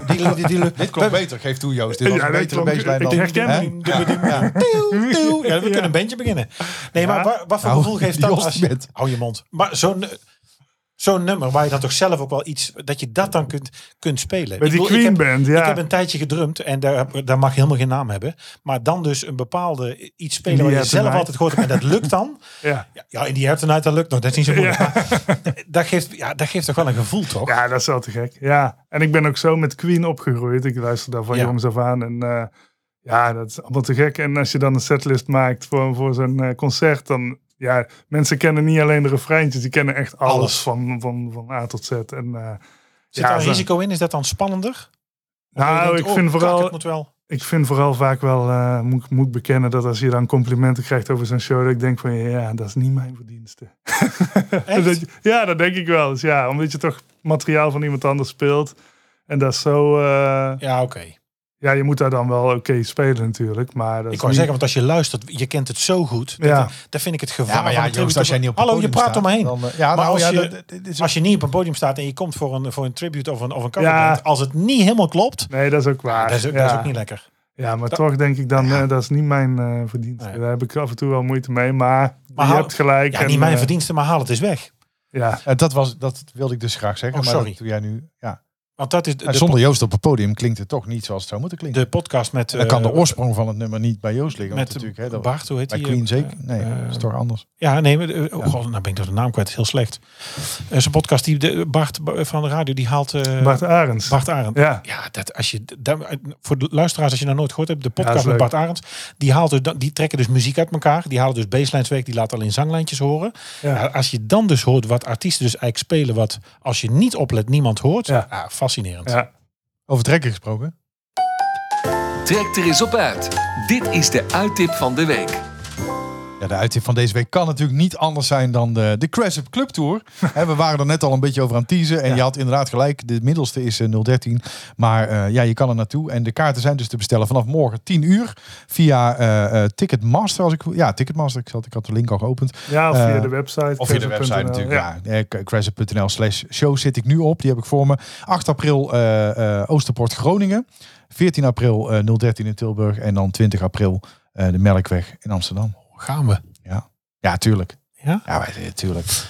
S3: die, die, die, dit klonk beter, geef toe Joost. Dit was
S4: Ja,
S3: een
S4: dit
S3: betere
S4: klonk-
S3: baseline dan...
S4: ik herken
S3: hè?
S4: hem.
S2: <laughs>
S3: Ja.
S2: Tuw, tuw. Ja, we
S4: Ja.
S2: kunnen een bandje beginnen. Nee, maar wa- wat voor
S3: Nou,
S2: gevoel geeft
S3: die
S2: dat
S3: Joost
S2: als je...
S3: bent.
S2: Hou je mond. Maar zo'n zo'n nummer waar je dan toch zelf ook wel iets... Dat je dat dan kunt, kunt spelen.
S4: Met die
S2: bedoel,
S4: Queen
S2: heb-
S4: Band, ja.
S2: Ik heb een tijdje gedrumd en daar, daar mag je helemaal geen naam hebben. Maar dan dus een bepaalde iets spelen
S4: Die
S2: waar je
S4: hebt
S2: zelf
S4: een-
S2: altijd gehoord hebt. En dat lukt
S4: <laughs>
S2: dan.
S4: ja.
S2: Ja, Ja, in die Hertenheid, dat lukt nog. Dat is niet zo moeilijk. Maar dat, geeft, ja, dat geeft toch wel een gevoel, toch?
S4: Ja, dat is wel te gek. Ja, en ik ben ook zo met Queen opgegroeid. Ik luister daar van
S2: Ja.
S4: jongens af aan. En eh, ja, dat is allemaal te gek. En als je dan een setlist maakt voor, voor zo'n eh, concert, dan... Ja, mensen kennen niet alleen de refreintjes. Die kennen echt alles,
S2: Alles.
S4: Van, van, van A tot Z. En, eh,
S2: Zit daar
S4: zo-
S2: een risico in? Is dat dan spannender? Of
S4: Nou,
S2: je
S4: ik vind
S2: kak,
S4: vooral-
S2: het moet wel...
S4: ik vind vooral vaak wel, eh, moet, ik- moet ik bekennen, dat als je dan complimenten krijgt over zo'n show, dat ik denk van ja, dat is niet mijn verdienste. <laughs> Dat je- ja, dat denk ik wel eens. Ja, omdat je toch materiaal van iemand anders speelt. En dat is zo. eh,
S2: Ja, oké.
S4: ja, je moet daar dan wel oké spelen natuurlijk. Maar dat is
S2: Ik wou
S4: niet-
S2: zeggen, want als je luistert, je kent het zo goed. Dat,
S4: Ja.
S2: dat vind ik het gevaar.
S3: Ja, maar
S2: van
S3: ja,
S2: een
S3: Joost,
S2: tribute.
S3: als jij niet op het
S2: Hallo, je
S3: podium
S2: praat
S3: staat,
S2: om me heen.
S3: dan, eh, ja,
S2: Maar
S3: nou,
S2: als
S3: ja,
S2: je-
S3: dat- dat- dit is
S2: als je niet op een podium staat en je komt voor een, voor een tribute of een, of een cover
S4: Ja.
S2: band, als het niet helemaal klopt,
S4: Nee, dat is ook waar.
S2: dat, is ook,
S4: ja.
S2: dat is ook niet lekker.
S4: Ja, maar toch denk ik dan, eh, dat is niet mijn eh, verdienste.
S2: Nee.
S4: Daar heb ik af en toe wel moeite mee. Maar, je
S2: hou-
S4: hebt gelijk.
S2: Ja,
S4: en,
S2: niet mijn
S4: eh,
S2: verdienste, maar haal het eens weg.
S4: Ja,
S3: Eh, dat, was, dat wilde ik dus graag zeggen.
S2: Oh,
S3: maar
S2: sorry.
S3: dat doe jij nu. Ja.
S2: Want dat is de,
S3: En
S2: de
S3: zonder Joost op het podium klinkt het toch niet zoals het zou moeten
S2: po-
S3: klinken.
S2: de podcast met...
S3: en dan kan de
S2: eh,
S3: oorsprong van het nummer niet bij Joost liggen. want
S2: Met
S3: natuurlijk, hè, dat,
S2: Bart, hoe heet
S3: bij
S2: die?
S3: Queen
S2: Eh,
S3: zeker? Nee,
S2: eh,
S3: dat is toch anders.
S2: Ja, nee, maar, eh, oh god, nou ben ik toch de naam kwijt. Heel slecht. Eh zijn podcast, die, de, Bart ba- van de radio, die haalt eh,
S4: Bart Arends.
S2: Bart Arend.
S4: Ja.
S2: Ja, dat, als je, daar- eh, voor de luisteraars, als je nou nooit gehoord hebt, de
S4: Ja,
S2: podcast
S4: is
S2: met
S4: leuk.
S2: Bart Arends, die, haalt dus, dan- die trekken dus muziek uit elkaar. Die halen dus baselines weg, die laten alleen zanglijntjes horen.
S4: Ja.
S2: Ja, als je dan dus hoort wat artiesten dus eigenlijk spelen, wat als je niet oplet niemand hoort. Ja.
S4: Ja.
S2: fascinerend.
S4: ja.
S3: Over trekken gesproken.
S1: Trek er eens op uit. Dit is de uittip van de week.
S3: Ja, de uittip van deze week kan natuurlijk niet anders zijn dan de, de Crash Up Club <laughs> Tour. Hè, we waren er net al een beetje over aan het teasen. En je had inderdaad gelijk, de middelste is eh, 013. Maar eh, ja, je kan er naartoe. En de kaarten zijn dus te bestellen vanaf morgen 10 uur. Via eh, eh, Ticketmaster. Als ik, ja, Ticketmaster. Ik, zat, ik had de link al geopend.
S4: ja, of via
S3: Eh,
S4: de website.
S3: Of via de
S4: keizer.nl.
S3: website natuurlijk.
S4: Ja.
S3: Ja. Eh, Crazzle.nl slash show zit ik nu op. Die heb ik voor me. 8 april eh, eh, Oosterport Groningen. 14 april eh, 013 in Tilburg. En dan 20 april eh, de Melkweg in Amsterdam.
S2: Gaan we.
S3: Ja, tuurlijk.
S2: Ja?
S3: Ja, maar, eh, tuurlijk.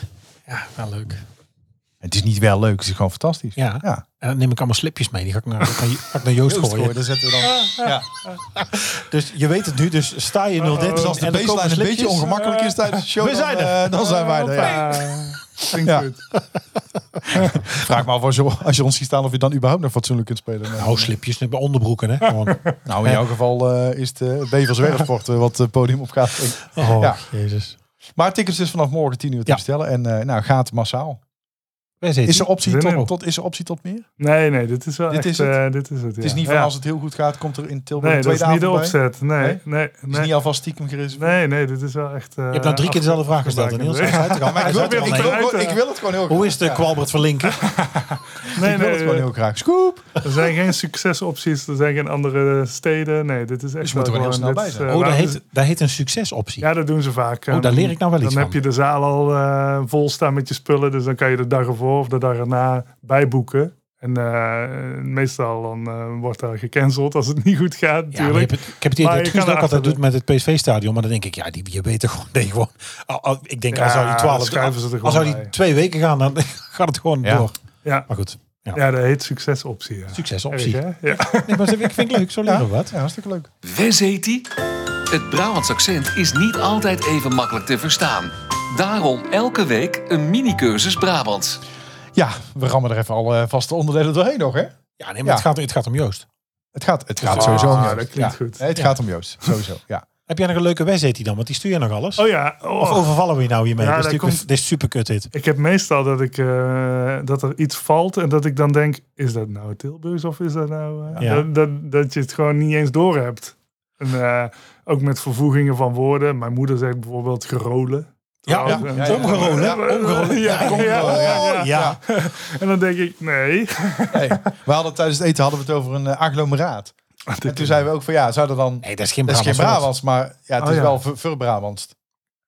S2: Ja, wel leuk.
S3: Het is niet wel leuk. Het is gewoon fantastisch.
S2: Ja.
S3: Ja.
S2: En dan neem ik allemaal slipjes mee. Die ga ik naar, ga ik naar Joost,
S3: Joost
S2: gooien.
S3: gooien, daar zetten we dan. Ja. <laughs>
S2: Dus je weet het nu. Dus sta je 013
S3: Dus als de
S2: en dan komen
S3: baseline een beetje
S2: slipjes.
S3: ongemakkelijk is tijdens de show,
S2: we zijn
S3: dan,
S2: er.
S3: eh, dan zijn wij er. Ja.
S4: Hoppa. Klinkt
S3: Ja.
S4: goed.
S3: Vraag me af als je, als je ons ziet staan of je dan überhaupt nog fatsoenlijk kunt spelen. Nee.
S2: Nou, slipjes bij onderbroeken, hè? Gewoon.
S3: Nou, in jouw geval eh, is het uh, Bevers Werfsport eh, wat het podium op gaat.
S2: <laughs> Oh,
S3: Ja.
S2: jezus.
S3: Maar tickets is vanaf morgen 10 uur te
S2: Ja.
S3: bestellen. En eh, nou, gaat massaal. Is er optie,
S4: Zin in.
S3: tot, tot, is er optie tot meer?
S4: Nee, nee, dit is wel
S3: Dit
S4: echt...
S3: is het?
S4: eh, dit is het,
S3: Het is
S4: ja.
S3: niet van
S4: Ja.
S3: als het heel goed gaat, komt er in Tilburg
S4: Nee, dat
S3: twee
S4: is niet
S3: dagen
S4: de opzet. Nee,
S3: Nee?
S4: nee,
S3: is niet
S4: nee.
S3: alvast stiekem gereserveerd.
S4: Nee, nee, dit is wel echt... eh,
S2: Je hebt nou drie keer dezelfde vraag gesteld, hè, Niels. Hij is uit te gaan, maar hij
S3: Maar ik
S2: is
S3: wil,
S2: uit
S3: het,
S2: te
S3: ik,
S2: gaan.
S3: wil,
S2: Nee.
S3: het gewoon- ik wil het gewoon heel graag.
S2: Hoe is de Kwalbert van Linken?
S4: Nee,
S3: Ik wil het gewoon
S4: nee,
S3: heel graag. Scoop!
S4: Er zijn geen succesopties, er zijn geen andere steden. Nee, dit is echt.
S3: Dus je moet er
S4: wel
S3: wel heel
S4: gewoon-
S3: snel
S4: dit
S3: bij
S4: is,
S2: Oh,
S4: eh,
S2: daar
S4: laten
S2: heet,
S4: ze-
S2: daar heet een succesoptie.
S4: Ja, dat doen ze vaak. eh.
S2: Oh, daar leer ik nou wel iets
S4: Dan
S2: van.
S4: heb je de zaal al eh, vol staan met je spullen. Dus dan kan je de dag ervoor of de dag erna bijboeken. En eh, meestal dan eh, wordt daar gecanceld als het niet goed gaat
S2: Ja, maar je
S4: natuurlijk.
S2: hebt het- ik heb het idee
S4: Maar
S2: dat
S4: je
S2: Guus
S4: kan
S2: dat ook altijd
S4: erachter
S2: doet met het PSV-stadion. Maar dan denk ik, ja, die, je weet er gewoon. Nee, gewoon al- al- ik denk, als
S4: Ja,
S2: zou die twaalf,
S4: schuiven ze er
S2: als
S4: gewoon
S2: zou die
S4: bij.
S2: twee weken gaan, dan <laughs> gaat het gewoon
S3: Ja.
S2: door.
S4: Ja.
S2: Maar goed,
S4: ja, dat heet succesoptie. Ja.
S2: succesoptie.
S4: Erg, hè? Ja.
S2: <laughs> Nee, maar ik vind het leuk, zo leren we wat.
S3: Ja, hartstikke leuk.
S1: Wes heet die? Het Brabants accent is niet altijd even makkelijk te verstaan. Daarom elke week een mini-cursus Brabants.
S3: Ja, we rammen er even alle vaste onderdelen doorheen nog, hè?
S2: Ja, nee, maar Het,
S3: Ja.
S2: gaat, het gaat om Joost.
S3: Het gaat, het gaat
S4: Ah,
S3: sowieso om
S4: dat
S3: Joost.
S4: klinkt
S3: Ja.
S4: goed.
S3: Nee, het
S2: Ja.
S3: gaat om Joost, sowieso. Ja.
S2: Heb jij nog een leuke wedstrijd die dan? Want die stuur je nog alles.
S4: Oh ja, oh.
S2: Of overvallen we je nou hiermee?
S4: Ja,
S2: dit, is
S4: daar
S2: natuurlijk-
S4: komt-
S2: dit is super kut dit.
S4: Ik heb meestal dat, ik, eh, dat er iets valt en dat ik dan denk, is dat nou Tilburgs of is dat nou... eh,
S2: Ja.
S4: dat, dat, dat je het gewoon niet eens door hebt. En, eh, ook met vervoegingen van woorden. Mijn moeder zegt bijvoorbeeld gerolen.
S2: Ja,
S4: Terwijl-
S2: ja,
S3: ja,
S4: eh,
S3: ja.
S2: omgerolen.
S4: Ja, <laughs>
S2: omgerolen.
S4: ja,
S2: Ja,
S4: ja,
S3: omgerolen,
S4: ja, ja.
S2: ja.
S4: En dan denk ik, nee. <laughs>
S3: Hey, we hadden tijdens het eten hadden we het over een eh, agglomeraat. En toen zeiden we ook van ja, zou er dan...
S2: Nee, dat is geen
S3: Dat is geen
S2: Brabants. woord.
S3: Brabants, maar ja, het
S4: Oh,
S3: is
S4: ja.
S3: wel ver- verbrabantst.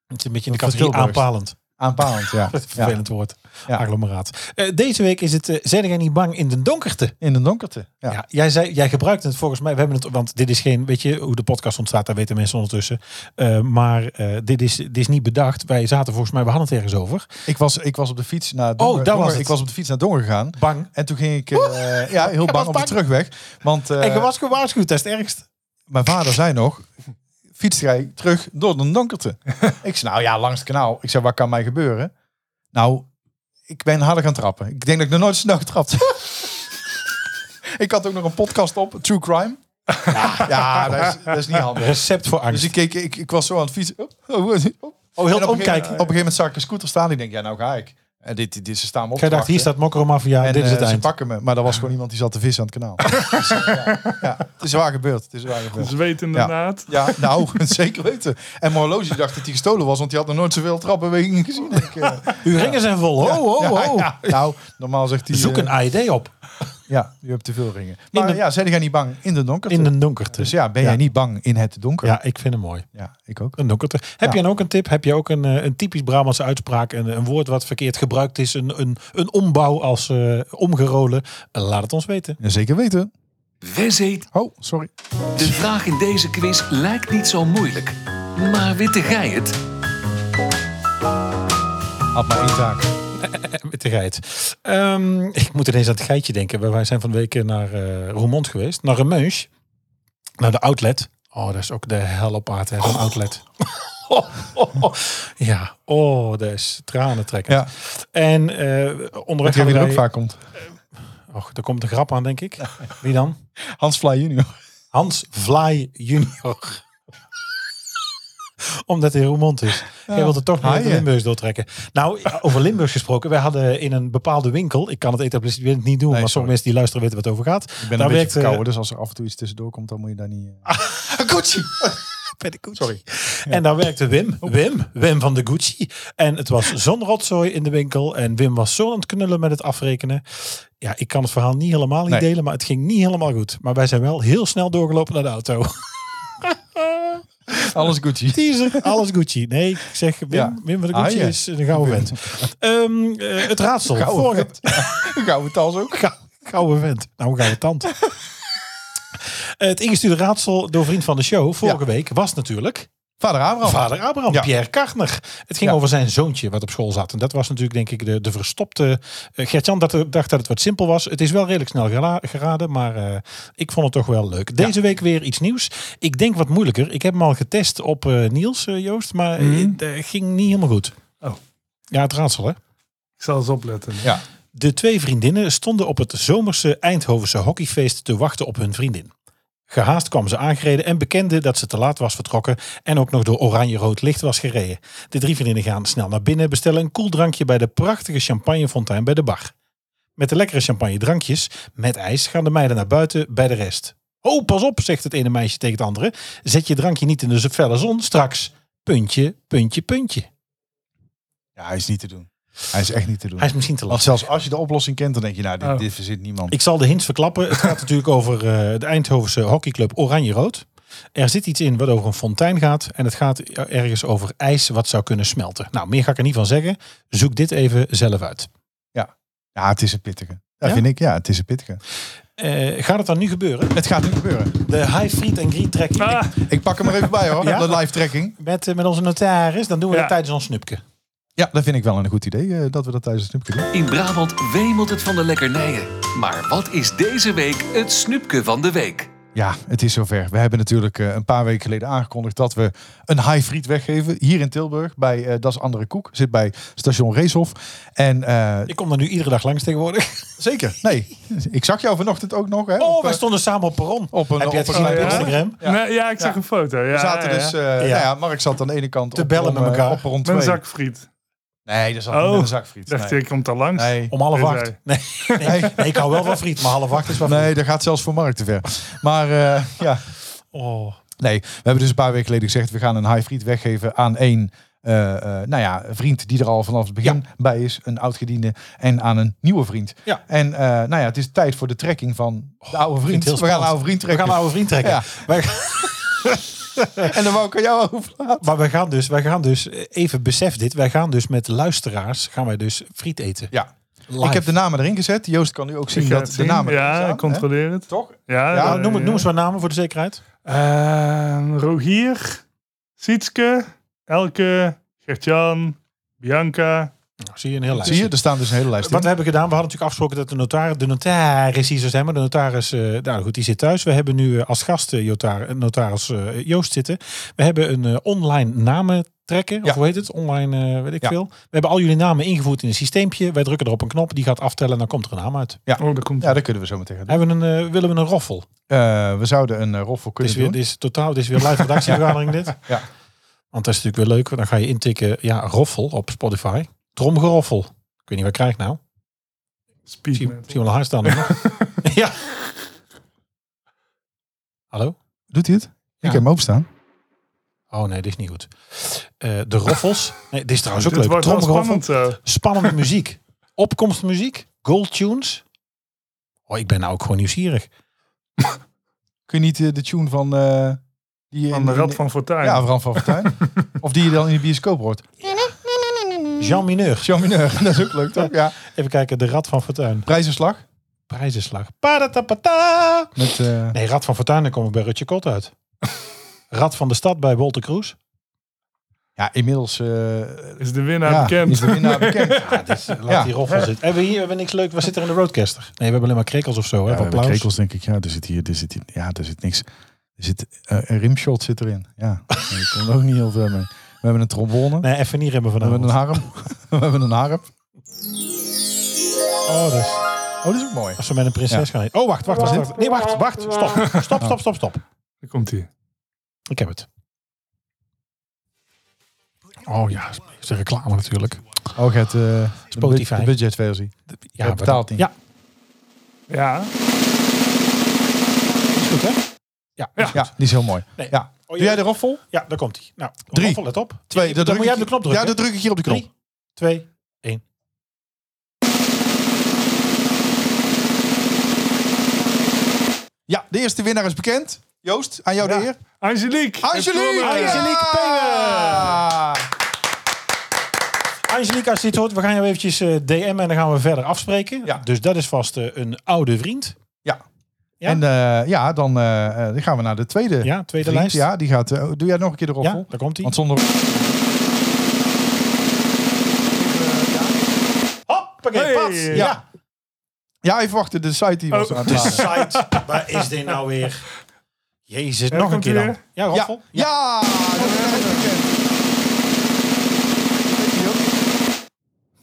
S2: Het is een beetje in de
S3: Dat is
S2: categorie
S3: Tilburgs.
S2: aanpalend.
S3: Aanpalend, ja.
S2: Dat is een
S3: ja.
S2: vervelend woord.
S3: Ja.
S2: Agglomeraat. Eh, deze week is het, eh zijn jij niet bang in de donkerte?
S3: In de donkerte. Ja.
S2: Ja. jij, zei, jij gebruikt het volgens mij, we hebben het, want dit is geen, weet je hoe de podcast ontstaat, daar weten mensen ondertussen. Eh, maar eh, dit, is, dit is niet bedacht. Wij zaten volgens mij, we hadden het ergens over.
S3: Ik, was, ik was op de fiets
S2: daar
S3: naar Dongen.
S2: was het.
S3: ik was op de fiets naar Dongen gegaan.
S2: Bang.
S3: En toen ging ik eh, ja, heel
S2: was
S3: bang op de
S2: bang.
S3: terugweg. Want eh,
S2: en je was gewaarschuwd, dat is het ergst.
S3: mijn vader zei nog, fietst jij terug door de donkerte.
S2: <laughs>
S3: ik zei, nou ja, langs het kanaal. Ik zei, wat kan mij gebeuren? Nou, ik ben harder gaan trappen. Ik denk dat ik nog nooit zo snel getrapt
S2: <laughs>
S3: heb. ik had ook nog een podcast op, True Crime. Ja, dat, is, dat is niet handig.
S2: Recept voor angst.
S3: Dus ik, keek, ik, ik was zo aan het fietsen. Op,
S2: oh, heel
S3: En
S2: het
S3: op, een gegeven,
S2: omkijken.
S3: op een gegeven moment zag ik een scooter staan. Ik denk, ja, nou ga ik. En dit, dit, dit- ze staan me op
S2: Jij
S3: te
S2: dacht, hier
S3: wachten.
S2: staat Mokro Mafia,
S3: En
S2: dit is
S3: eh,
S2: het
S3: ze
S2: eind.
S3: pakken me. Maar dat was gewoon iemand die zat te vissen aan
S2: <laughs>
S3: het kanaal. Dus, ja, ja, het is waar gebeurd. Het is waar gebeurd.
S4: Zweet in de
S3: Ja.
S4: naad.
S3: Ja, nou, <laughs> zeker weten. En mijn horloge dacht dat hij gestolen was, want die had nog nooit zoveel trappenwegingen gezien. Ik, eh,
S2: Uw ringen zijn vol. Oh, oh,
S3: ja,
S2: oh.
S3: ja. nou, normaal zegt hij...
S2: Zoek
S3: eh,
S2: een AED op.
S3: ja, je hebt te veel ringen. Maar
S2: de-
S3: ja, zijn jij niet bang in de donkerte?
S2: In de donkerte.
S3: Dus ja, ben jij niet bang in het donker?
S2: Ja, ik vind hem mooi.
S3: Ja, ik ook.
S2: Een donkerte. Heb
S3: Ja.
S2: jij dan ook een tip? Heb je ook een, eh, een typisch Brabantse uitspraak? Een, een woord wat verkeerd gebruikt is? Een, een, een ombouw als eh, omgerolen? Eh, Laat het ons weten.
S3: Ja, Zeker weten.
S1: Wes heet
S3: Oh, sorry.
S1: De vraag in deze quiz lijkt niet zo moeilijk. Maar witte gij het?
S3: Had maar één taak.
S2: Met de geit. Ehm, ik moet ineens aan het geitje denken. Wij- Wij zijn van de week naar eh Roermond geweest. Naar Remeusch. Naar de outlet. Oh, dat is ook de hel op aarde, hè, zo'n <laughs> outlet. Ja, oh, dat is tranen trekken.
S3: Ja.
S2: En eh onderweg
S3: Weet je wie er
S2: hadden
S3: ook
S2: wij-
S3: vaak komt?
S2: Och, daar komt een grap aan, denk ik. Wie dan?
S3: Hans Vlaai junior.
S2: Hans Vlaai junior. Omdat hij Roermond is. Jij wilt het toch nog
S3: Ah,
S2: uit de
S3: ja.
S2: Limburgs doortrekken. Nou, over Limburgs gesproken. Wij hadden in een bepaalde winkel. Ik kan het etablissement niet doen.
S3: Nee,
S2: maar
S3: sorry.
S2: sommige mensen die luisteren weten wat het over gaat.
S3: Ik ben een beetje
S2: eh,
S3: verkouden, dus als er af en toe iets tussendoor komt, dan moet je daar niet... eh,
S2: <laughs> Gucci. Bij de Gucci. Sorry. En daar werkte Wim. Wim. Wim van de Gucci. En het was zo'n rotzooi in de winkel. En Wim was zo aan het knullen met het afrekenen. Ja, ik kan het verhaal niet helemaal niet
S3: Nee.
S2: delen. Maar het ging niet helemaal goed. Maar wij zijn wel heel snel doorgelopen naar de auto.
S3: eh, <laughs> Alles Gucci.
S2: Teaser. <laughs> Alles Gucci. Nee, ik zeg Wim,
S3: Ja.
S2: Wim van de Gucci
S3: Ah, ja.
S2: is een gouden vent. Ehm, eh, het raadsel.
S3: Gouden
S2: Vorige, <laughs>
S3: vent. Een gouden tas ook.
S2: Gou- Gouden vent. Nou, een gouden
S3: <laughs>
S2: tand. Eh, Het ingestuurde raadsel door vriend van de show vorige week was natuurlijk
S3: Vader Abraham.
S2: vader Abraham,
S3: Ja.
S2: Pierre Kartner. Het ging
S3: Ja.
S2: over zijn zoontje wat op school zat. En dat was natuurlijk denk ik de, de verstopte... eh, Gert-Jan dat, dacht dat het wat simpel was. Het is wel redelijk snel gera- geraden, maar eh, ik vond het toch wel leuk. Deze week weer iets nieuws. Ik denk wat moeilijker. Ik heb hem al getest op eh, Niels, eh, Joost, maar
S3: Mhm.
S2: het eh, ging niet helemaal goed.
S4: Oh.
S2: Ja, het raadsel hè.
S4: Ik zal eens opletten.
S3: Ja.
S2: De twee vriendinnen stonden op het zomerse Eindhovense hockeyfeest te wachten op hun vriendin. Gehaast kwam ze aangereden en bekende dat ze te laat was vertrokken en ook nog door oranje-rood licht was gereden. De drie vriendinnen gaan snel naar binnen, bestellen een koeldrankje bij de prachtige champagnefontein bij de bar. Met de lekkere champagne drankjes, met ijs, gaan de meiden naar buiten bij de rest. Oh, pas op, zegt het ene meisje tegen het andere. Zet je drankje niet in de felle zon, straks. Puntje, puntje, puntje.
S3: Ja, hij is niet te doen. Hij is echt niet te doen.
S2: Hij is misschien te laat.
S3: Want zelfs als je de oplossing kent, dan denk je, nou, dit,
S4: Oh.
S3: dit verzint niemand.
S2: Ik zal de hints verklappen. Het
S3: <laughs>
S2: gaat natuurlijk over eh, de Eindhovense hockeyclub Oranje-Rood. Er zit iets in wat over een fontein gaat. En het gaat ergens over ijs wat zou kunnen smelten. Nou, meer ga ik er niet van zeggen. Zoek dit even zelf uit.
S3: Ja, het is een pittige. Dat
S2: Ja?
S3: vind ik, ja, het is een pittige.
S2: Eh, gaat het dan nu gebeuren?
S3: Het gaat nu gebeuren.
S2: De high friet en greet trekking
S4: Ah,
S3: Ik pak hem er even bij hoor,
S2: Ja?
S3: de live tracking.
S2: met, eh, met onze notaris. Dan doen we
S4: Ja.
S2: dat tijdens ons snupke.
S3: Ja, dat vind ik wel een goed idee, eh, dat we dat tijdens het snoepje doen.
S1: In Brabant wemelt het van de lekkernijen. Maar wat is deze week het snoepje van de week?
S3: Ja, het is zover. We hebben natuurlijk eh, een paar weken geleden aangekondigd dat we een high friet weggeven. Hier in Tilburg, bij eh Das Andere Koek. Zit bij station Reeshof. En eh,
S2: Ik kom er nu iedere dag langs
S3: <laughs>
S2: tegenwoordig.
S3: zeker, nee. Ik zag jou vanochtend ook nog. Hè,
S2: Oh,
S3: op,
S2: wij
S3: eh,
S2: stonden samen op perron.
S3: op een-
S2: Heb je het
S3: op
S2: gezien
S3: een- Oh,
S2: op
S4: ja.
S2: Instagram?
S4: ja. Nee, ja, ik zag
S3: Ja.
S4: een foto. Ja,
S3: we zaten
S4: ja, ja.
S3: dus, eh, nou ja, Mark zat aan de ene kant
S2: Te
S3: op
S2: bellen
S3: rond,
S2: met
S3: eh,
S2: elkaar.
S3: op rond
S4: Met een
S3: twee.
S4: zak friet.
S3: Nee, dat zat
S4: Oh.
S3: niet met een zakfriet.
S4: Dacht
S3: nee.
S4: ik, komt daar langs.
S3: Nee.
S2: Om half
S4: Is
S2: acht.
S4: hij.
S2: Nee, nee, nee, ik hou wel van friet, maar half acht is wel
S3: Nee, dat gaat zelfs voor Mark te ver. Maar <laughs> eh, ja,
S2: Oh.
S3: nee. We hebben dus een paar weken geleden gezegd... we gaan een high friet weggeven aan één eh, eh, nou ja, vriend die er al vanaf het begin bij is. Een oud-gediende. En aan een nieuwe vriend.
S2: Ja.
S3: En eh, nou ja, Oh, het is tijd voor de trekking van de oude
S2: vind
S3: vriend.
S2: het heel
S3: We gaan
S2: spannend.
S3: een oude vriend
S2: We
S3: trekken.
S2: gaan een oude vriend trekken.
S3: Ja.
S2: Wij-
S3: En dan wou ik aan jou overlaten.
S2: Maar wij gaan dus, wij gaan dus, eh, even besef dit, wij gaan dus met luisteraars, gaan wij dus friet eten.
S3: Ja.
S2: Live.
S3: Ik heb de namen erin gezet. Joost kan nu ook zien
S4: Ik ga
S3: dat
S4: het
S3: de
S4: zien.
S3: namen erin
S4: Ja,
S3: staan,
S4: ik controleer het.
S3: hè? Toch?
S4: Ja,
S3: Ja,
S2: nou, noem,
S4: eh,
S2: het- noem eens wat namen voor de zekerheid.
S4: Eh, Rogier, Sietske, Elke, Gertjan, Bianca.
S2: Nou, zie je een heel lijst.
S3: Zie je, er staan dus een hele lijst in.
S2: Wat we hebben gedaan, we hadden natuurlijk afgesproken dat de notaris, de notaris hier zou zijn, maar de notaris, eh, nou goed, die zit thuis. We hebben nu eh, als gast eh, jota- notaris eh, Joost zitten. We hebben een eh, online namen trekken, of
S3: Ja.
S2: hoe heet het? Online, eh, weet ik
S3: Ja.
S2: veel. We hebben al jullie namen ingevoerd in een systeempje. Wij drukken er op een knop, die gaat aftellen en dan komt er een naam uit.
S4: Oh, daar komt
S3: Ja, dat kunnen we zo meteen gaan doen.
S2: Hebben we een, eh, willen we een roffel?
S3: Eh, we zouden een uh, roffel
S2: Dit
S3: kunnen
S2: is, weer,
S3: doen.
S2: dit is totaal, dit is weer live redactievergadering
S4: <laughs>
S2: dit.
S3: Ja.
S2: Want dat is natuurlijk weer leuk. want Dan ga je intikken, ja, roffel op Spotify. Tromgeroffel. Ik weet niet wat ik krijg nou.
S4: Speed
S2: Zie,
S4: metal.
S2: zie wel een haarstaan.
S4: <laughs>
S2: ja. Hallo?
S3: Doet hij het? Ik heb hem openstaan.
S2: Oh nee, dit is niet goed. Eh, de roffels. Nee, dit is trouwens ook
S4: Dit
S2: leuk.
S4: Dus wordt wel
S2: Tromgeroffel. Spannende
S4: spannend eh, zo. <laughs>
S2: muziek. Opkomstmuziek. Gold tunes. Oh, ik ben nou ook gewoon nieuwsgierig.
S3: Kun je niet eh, de tune van... eh, die
S4: Van
S3: in-
S4: de Rad
S3: in-
S4: van Fortuin.
S3: Ja, Bram van
S4: <laughs>
S3: Fortuyn. of die je dan in de bioscoop hoort.
S2: Jean Mineur.
S3: Jean Mineur, <laughs> dat is ook leuk toch? Ja.
S2: Even kijken, de Rad van Fortuin.
S3: Prijzenslag.
S2: Prijzenslag. Padatapata.
S3: Met, eh,
S2: Nee,
S3: <laughs>
S2: Rad van Fortuin, dan komen we bij Rutje Kot uit. Rad van de Stad bij Wolter Kroes.
S3: Ja, inmiddels eh,
S4: Is de winnaar
S3: ja,
S4: bekend?
S3: is de winnaar
S4: <laughs>
S3: bekend. ja, dus, eh,
S2: <laughs> Laat die roffel zitten. Hebben we hier hebben we niks leuk? Wat zit er in de roadcaster? Nee, we hebben alleen maar krekels of zo. Hè,
S3: we
S2: van
S3: hebben
S2: applaus.
S3: krekels denk ik. Ja, er zit hier, er zit, hier- ja, er zit niks. Er zit, eh, een rimshot zit erin. Ja, <laughs> ik kon ook niet heel ver mee. We hebben een trombone.
S2: Nee, even niet remmen
S3: We hebben een
S2: vanavond.
S3: harp. <laughs> We hebben een harp.
S2: Oh, dat is,
S3: Oh, dat is ook mooi.
S2: als we met een prinses gaan eten. Oh, wacht, wacht. wacht, wacht. Nee, wacht, wacht.
S3: <laughs>
S2: Stop, stop, stop, stop, stop.
S4: Daar komt hij.
S2: Ik heb het. Oh ja, is de reclame natuurlijk.
S3: Oh, het eh
S2: Spotify.
S3: De budgetversie.
S2: Ja,
S3: Jij betaalt
S2: maar-
S3: niet.
S2: Ja,
S4: Ja,
S2: is goed hè? Ja, is
S3: Ja,
S2: goed.
S3: die is heel mooi.
S2: Nee.
S3: Ja.
S2: Oh,
S3: Doe jij de roffel?
S2: Ja, daar komt hij. Nou,
S3: Drie.
S2: roffel, let op.
S3: Twee.
S2: Dan moet jij op de knop drukken.
S3: Ja, dan druk ik hier op de knop.
S2: Drie, twee, één.
S3: Ja, de eerste winnaar is bekend. Joost, aan jou
S4: Ja.
S3: de eer.
S4: Angelique.
S3: Angelique!
S4: eh, Heeft gewonnen.
S2: Angelique
S3: Penger!
S2: Angelique, als je dit hoort, we gaan jou eventjes eh, DM en dan gaan we verder afspreken.
S3: Ja.
S2: Dus dat is vast eh, een oude vriend. Ja.
S3: En eh, ja, dan eh, eh, dan gaan we naar de tweede.
S2: Ja, tweede
S3: vriend.
S2: lijst.
S3: Ja, die gaat... eh, doe jij nog een keer de roffel?
S2: Ja, daar komt hij.
S3: Want zonder...
S2: Hoppakee,
S4: Hey.
S2: pats.
S4: Ja.
S2: Ja.
S3: Ja, even wachten. De site die was
S4: Oh.
S3: aan het
S2: De <laughs>
S3: laden.
S2: site, waar is dit nou weer? Jezus, nog een
S4: komt
S2: keer
S4: hij
S2: dan.
S4: weer.
S2: Ja,
S3: Ja,
S2: Raffel.
S3: ja. dat is echt bekend.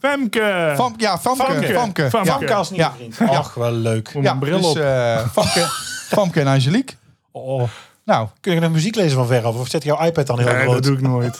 S4: Femke.
S3: Van, ja, Famke.
S4: Famke.
S3: Famke.
S4: Famke.
S3: Ja.
S2: Famke als nieuwe
S3: Ja.
S2: vriend.
S3: Ja.
S2: Ach, wel leuk.
S4: Om
S3: Ja,
S4: een bril
S3: dus,
S4: op.
S3: eh, <laughs> Famke, Famke en Angelique.
S2: Oh.
S3: Nou,
S2: Kun je nog muziek lezen van ver af? Of zet jouw iPad dan heel
S4: nee,
S2: groot?
S4: dat doe ik
S3: <laughs>
S4: nooit.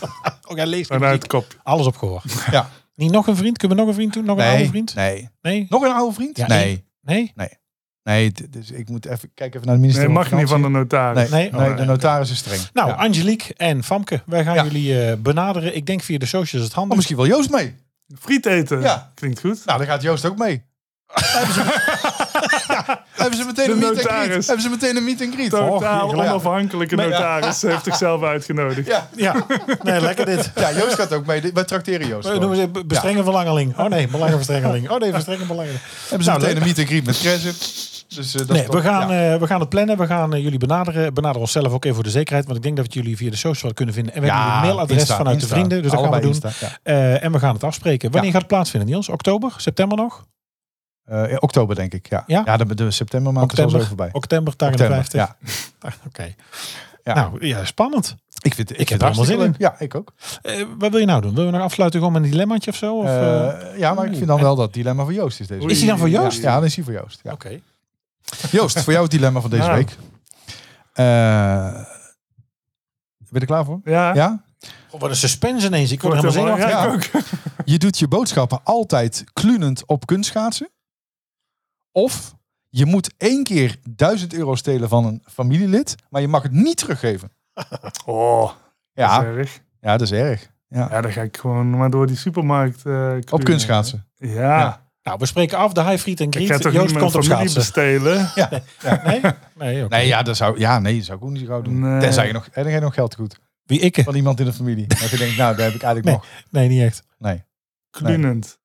S2: Oh, jij leest
S4: Vanuit
S2: muziek.
S4: het kop.
S2: Alles opgehoord.
S3: ja.
S2: Niet nog een vriend? Kunnen we nog een vriend doen? Nog een oude vriend?
S3: nee.
S2: Nee?
S3: Nog een oude vriend?
S2: Ja,
S3: nee.
S2: één. Nee?
S3: Nee, d- dus ik moet even kijken even naar de minister.
S4: Nee, mag niet van de
S3: Financiën.
S4: notaris.
S2: Nee?
S3: Nee, nee,
S4: Oh,
S3: de
S4: nee,
S3: notaris is streng.
S2: Nou,
S3: Ja.
S2: Angelique en Famke, wij gaan
S3: Ja.
S2: jullie eh, benaderen. Ik denk via de socials het
S3: Oh,
S2: handig.
S3: misschien wel Joost mee.
S4: Friet eten.
S3: Ja.
S4: Klinkt goed.
S3: Nou, dan gaat Joost ook mee.
S4: <laughs>
S3: hebben, ze, Ja, hebben ze meteen
S4: De
S3: een meet and greet?
S4: notaris.
S3: Hebben ze meteen een meet and greet?
S4: Totaal
S3: ja.
S4: onafhankelijke notaris heeft zichzelf uitgenodigd.
S3: Ja.
S2: Ja, <laughs> nee, lekker dit.
S3: ja, Joost gaat ook mee. Wij tracteren Joost.
S2: We
S3: gewoon.
S2: noemen ze be- bestrengen verlangeling. Oh nee, belangenverstrengeling. Oh nee, verstrengen belangen.
S3: Hebben ze
S2: Nou,
S3: meteen
S2: leuk.
S3: een meet and greet met Crescent. Dus, eh, dat is
S2: Nee, we
S3: top.
S2: gaan,
S3: Ja.
S2: eh, we gaan het plannen. We gaan eh, jullie benaderen. Benader onszelf ook even voor de zekerheid. Want ik denk dat we het jullie via de socials wel kunnen vinden. En we
S3: Ja,
S2: hebben jullie mailadres
S3: Insta,
S2: vanuit de
S3: Insta.
S2: vrienden. Dus dat gaan we doen.
S3: Allebei Insta, ja.
S2: Eh, en we gaan het afspreken. Wanneer
S3: Ja.
S2: gaat het plaatsvinden, Niels? Oktober? September nog?
S3: Eh, in oktober, denk ik. Ja,
S2: Ja?
S3: ja? de, de septembermaand is al zo
S2: Oktober.
S3: voorbij.
S2: Oktober, 58.
S3: ja.
S2: Ah, Oké.
S3: Ja.
S2: Nou, ja, spannend.
S3: Ik, vind, ik,
S2: heb
S3: vind
S2: er allemaal zin
S3: hartstikke
S2: in.
S3: leuk. Ja, ik ook.
S2: Eh, wat wil je nou doen? Wil je nog afsluiten gewoon met een dilemmaatje of zo? Of, eh,
S3: Eh, ja, maar ik vind dan wel dat dilemma voor Joost is deze
S4: Oei.
S2: Is die dan voor Joost?
S3: Ja, dan is hij voor Joost. Ja.
S2: Oké.
S3: Joost, voor jou het dilemma van deze
S4: Ja.
S3: week. Eh, ben je er klaar voor?
S4: Ja.
S3: Ja?
S2: Oh, wat een suspense ineens. Ik word er
S4: Wordt
S2: helemaal
S4: helemaal
S2: zenuwachtig.
S3: Ja. Je doet je boodschappen altijd klunend op kunstschaatsen. Of je moet één keer 1000 euro stelen van een familielid, maar je mag het niet teruggeven.
S4: Oh, dat is
S3: Ja,
S4: erg.
S3: ja dat is erg.
S4: Ja, dan ga ik gewoon maar door die supermarkt. eh,
S3: Op
S4: kleuren.
S3: kunstschaatsen.
S4: Ja.
S3: Ja.
S2: Nou, we spreken af. De high friet en
S4: Ik ga
S2: griet.
S4: toch
S2: Joost
S4: niet mijn
S2: komt op
S4: familie
S2: schaatsen.
S4: bestelen?
S2: Nee? <laughs> Nee, oké.
S3: Nee, ja, dat zou, ja, nee, dat zou ik ook niet zo gauw doen.
S4: Nee.
S3: Tenzij je nog, en dan heb je nog geld goed
S2: Wie ik?
S3: van iemand in de familie. Dat je denkt, nou, daar heb ik eigenlijk
S2: Nee.
S3: nog.
S2: Nee, niet echt.
S3: Nee.
S4: Klunend.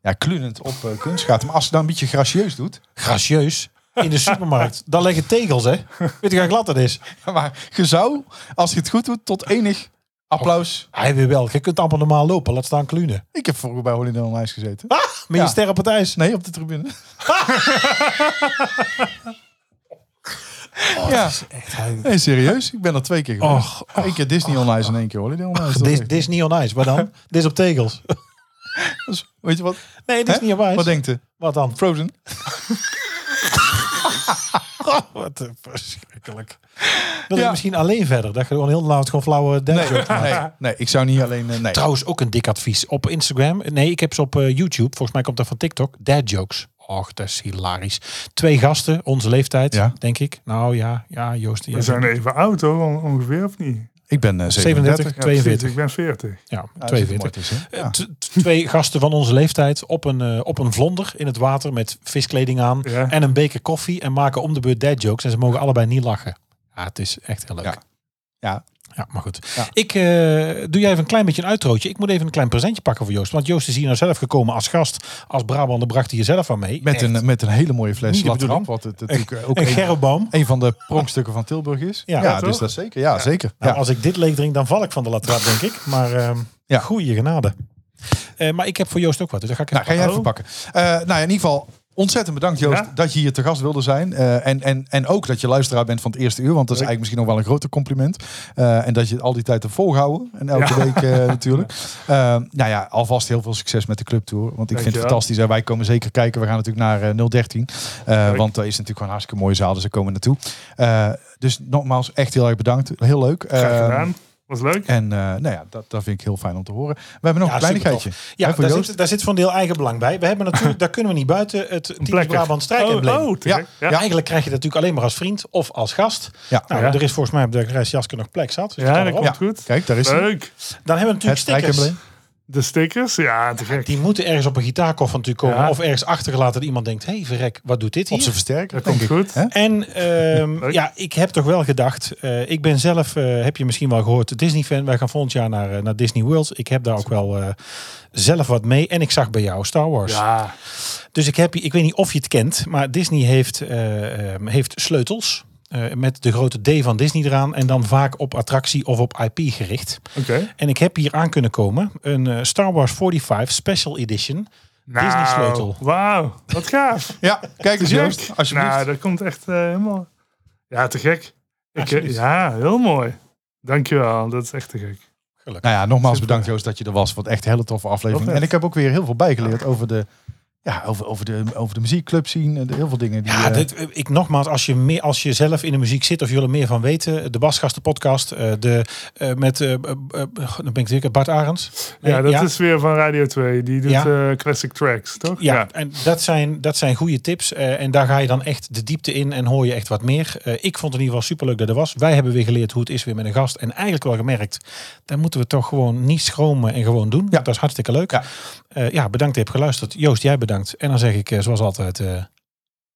S3: Ja, klunend op eh, kunstschaatsen. Maar als ze dan een beetje gracieus doet, <laughs>
S2: Gracieus. In de supermarkt. Daar liggen tegels,
S4: <laughs>
S2: hè? Weet je hoe glad dat is?
S3: Maar je zou, als je het goed doet, tot enig applaus.
S2: Hij wil wel. Je kunt allemaal normaal lopen. Laat staan klunen.
S3: Ik heb vroeger bij Holiday on Ice gezeten.
S2: Met je
S3: Ja.
S2: ster op het ijs.
S3: Nee, op de
S2: <laughs>
S3: tribune. ja,
S2: Echt, hij...
S3: nee, serieus. Ik ben er twee keer
S2: Och,
S3: geweest. Eén keer Disney on Ice en één keer Holiday on Ice. Dat
S2: Dit
S3: is-
S2: dit is niet on ice. Waar <laughs> dan? Dit is op tegels.
S3: dat is- Weet je wat?
S2: Nee, dit is
S3: Hè?
S2: niet op ijs.
S3: Wat denkt u?
S2: Wat dan?
S3: Frozen?
S2: Wat een verschrikkelijk. Dat
S3: Ja.
S2: is misschien alleen verder. Dat je gewoon heel laat gewoon flauwe dance
S3: Nee, nee, nee, ik zou niet alleen... eh, Nee.
S2: Trouwens, ook een dik advies. Op Instagram, nee, ik heb ze op eh, YouTube. Volgens mij komt dat van TikTok. Dad jokes. Och, dat is hilarisch. Twee gasten, onze leeftijd,
S3: Ja.
S2: denk ik. Nou ja, ja, Joost.
S4: We
S2: jij
S4: zijn
S2: bent-
S4: even oud hoor, on- ongeveer of niet?
S3: Ik ben eh
S2: 37,
S3: 37.
S4: Ja,
S2: 42.
S4: precies, ik ben 40.
S2: Ja,
S3: Ja, dat zit er
S2: 42.
S3: mooi tussen, hè?
S2: Eh,
S3: Ja.
S2: t- t- Twee <laughs> gasten van onze leeftijd op een, eh, op een vlonder in het water met viskleding aan
S4: Ja.
S2: en een beker koffie en maken om de beurt dad jokes en ze mogen allebei niet lachen. Ja, het is echt heel leuk.
S3: Ja. Ja.
S2: Ja, maar goed.
S3: Ja.
S2: Ik eh, doe jij even een klein beetje een uitrootje. Ik moet even een klein presentje pakken voor Joost. Want Joost is hier nou zelf gekomen als gast. Als Brabander bracht hij er zelf aan mee.
S3: Met een, met een hele mooie fles
S2: Niet de
S3: latrap.
S2: bedoeling.
S3: Wat het
S2: Echt.
S3: natuurlijk eh, ook
S2: Een
S3: een,
S2: gerreboom.
S3: een van de pronkstukken van Tilburg is.
S2: Ja.
S3: Ja,
S2: Ja,
S3: dus
S4: toch?
S3: dat zeker. Ja, zeker.
S2: Nou,
S3: ja.
S2: Als ik dit leeg drink, dan val ik van de latrap, denk ik. Maar ehm
S3: Ja.
S2: goede genade. Eh, maar ik heb voor Joost ook wat. Dus daar ga ik
S3: Nou,
S2: even
S3: ga jij
S2: pakken.
S3: even pakken. Eh, nou, ja, in ieder geval. Ontzettend bedankt Joost
S4: Ja.
S3: dat je hier te gast wilde zijn. Eh, en, en, en ook dat je luisteraar bent van het eerste uur. Want dat is eigenlijk misschien nog wel een groter compliment. Eh, en dat je al die tijd hebt volgehouden. En elke
S4: Ja.
S3: week
S4: <laughs>
S3: eh, natuurlijk. Eh, nou ja, alvast heel veel succes met de clubtour. Want ik
S4: Dank
S3: vind het
S4: je wel.
S3: fantastisch. En wij komen zeker kijken. We gaan natuurlijk naar eh, 013. Eh, want dat is natuurlijk gewoon een hartstikke mooie zaal. Dus daar komen we naartoe. Eh, dus nogmaals, echt heel erg bedankt. Heel leuk.
S4: Graag
S3: Eh,
S4: gedaan. Was leuk.
S3: En eh, nou ja, dat, dat vind ik heel fijn om te horen. We hebben nog
S2: Ja,
S3: een kleinigheidje.
S2: Ja,
S3: Hè, voor
S2: daar
S3: Joost?
S2: zit, daar zit van deel eigen belang bij. We hebben
S3: <laughs>
S2: natuurlijk, daar kunnen we niet buiten, het Team
S4: plekker.
S2: Brabant strijkembleem.
S4: Oh, oh, te
S3: Ja.
S4: gek. ja.
S2: Ja, Eigenlijk krijg je dat natuurlijk alleen maar als vriend of als gast.
S3: Ja.
S2: Nou,
S4: Ja.
S2: Er is volgens mij op de reis Jaske nog plek zat. Dus
S4: Ja,
S2: kan
S4: dat
S2: erop.
S4: komt goed.
S3: Kijk, daar is hij.
S4: Leuk.
S2: Dan hebben we
S3: Het
S2: natuurlijk stickers.
S3: strijkembleem.
S4: De stickers, ja, te gek.
S2: Die moeten ergens op een gitaarkoffer natuurlijk komen.
S4: Ja.
S2: Of ergens achtergelaten dat iemand denkt, hé hey, verrek, wat doet dit
S3: Op zijn
S2: hier?
S3: versterker,
S4: Dat
S3: denk
S4: komt
S3: ik.
S4: goed.
S3: Hè?
S2: En ehm,
S4: <laughs> Leuk.
S2: ja, ik heb toch wel gedacht, eh, ik ben zelf, eh, heb je misschien wel gehoord, Disney-fan. Wij gaan volgend jaar naar, eh, naar Disney World. Ik heb daar ook wel eh, zelf wat mee. En ik zag bij jou Star Wars.
S4: Ja,
S2: Dus ik, heb, hier- ik weet niet of je het kent, maar Disney heeft, eh, ehm, heeft sleutels. eh, met de grote D van Disney eraan. En dan vaak op attractie of op IP gericht.
S4: oké.
S2: En ik heb hier aan kunnen komen een eh, Star Wars 45 Special Edition.
S4: Nou,
S2: Disney sleutel.
S4: Wauw, wat gaaf.
S3: Ja, kijk eens Joost, alsjeblieft.
S4: Nou, dat komt echt eh, helemaal... Ja, te gek. Ik, eh,
S2: Alsjeblieft.
S4: ja, heel mooi. Dankjewel, dat is echt te gek.
S3: nou ja, nogmaals
S4: Super.
S3: bedankt Joost dat je er was. Wat echt een hele toffe aflevering.
S4: Heel vet.
S3: En ik heb ook weer heel veel bijgeleerd over de... Ja, over, over, de, over de muziekclub zien. en de- Heel veel dingen. Die,
S2: Ja,
S3: eh,
S2: dit, eh, ik nogmaals, als je, meer, als je zelf in de muziek zit of jullie er meer van weten. eh, De Basgasten podcast. eh, de, eh, met, eh, eh, eh, god, dan ben ik zeker Bart Arends. Eh, Nee,
S4: ja, dat is weer van Radio 2. Die doet
S2: Ja.
S4: eh, classic tracks, toch?
S2: Ja, en dat zijn, dat zijn goede tips. Eh, en daar ga je dan echt de diepte in en hoor je echt wat meer. Eh, ik vond het in ieder geval superleuk dat er was. Wij hebben weer geleerd hoe het is weer met een gast. En eigenlijk wel gemerkt, daar moeten we toch gewoon niet schromen en gewoon doen. Dat is hartstikke leuk. Ja, ja bedankt dat je hebt geluisterd. Joost, jij bedankt. En dan zeg ik eh, zoals altijd, eh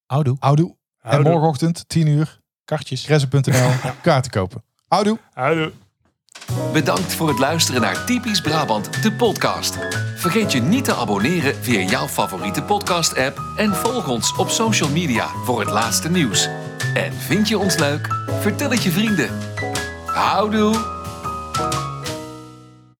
S2: houdoe,
S3: Houdoe. En
S4: Houdoe.
S3: morgenochtend, 10 uur,
S2: kartjes.
S3: kressen.nl,
S2: <laughs>
S3: kaarten kopen. Houdoe.
S4: Houdoe.
S1: Bedankt voor het luisteren naar Typisch Brabant, de podcast. Vergeet je niet te abonneren via jouw favoriete podcast-app en volg ons op social media voor het laatste nieuws. En vind je ons leuk? Vertel het je vrienden. Houdoe!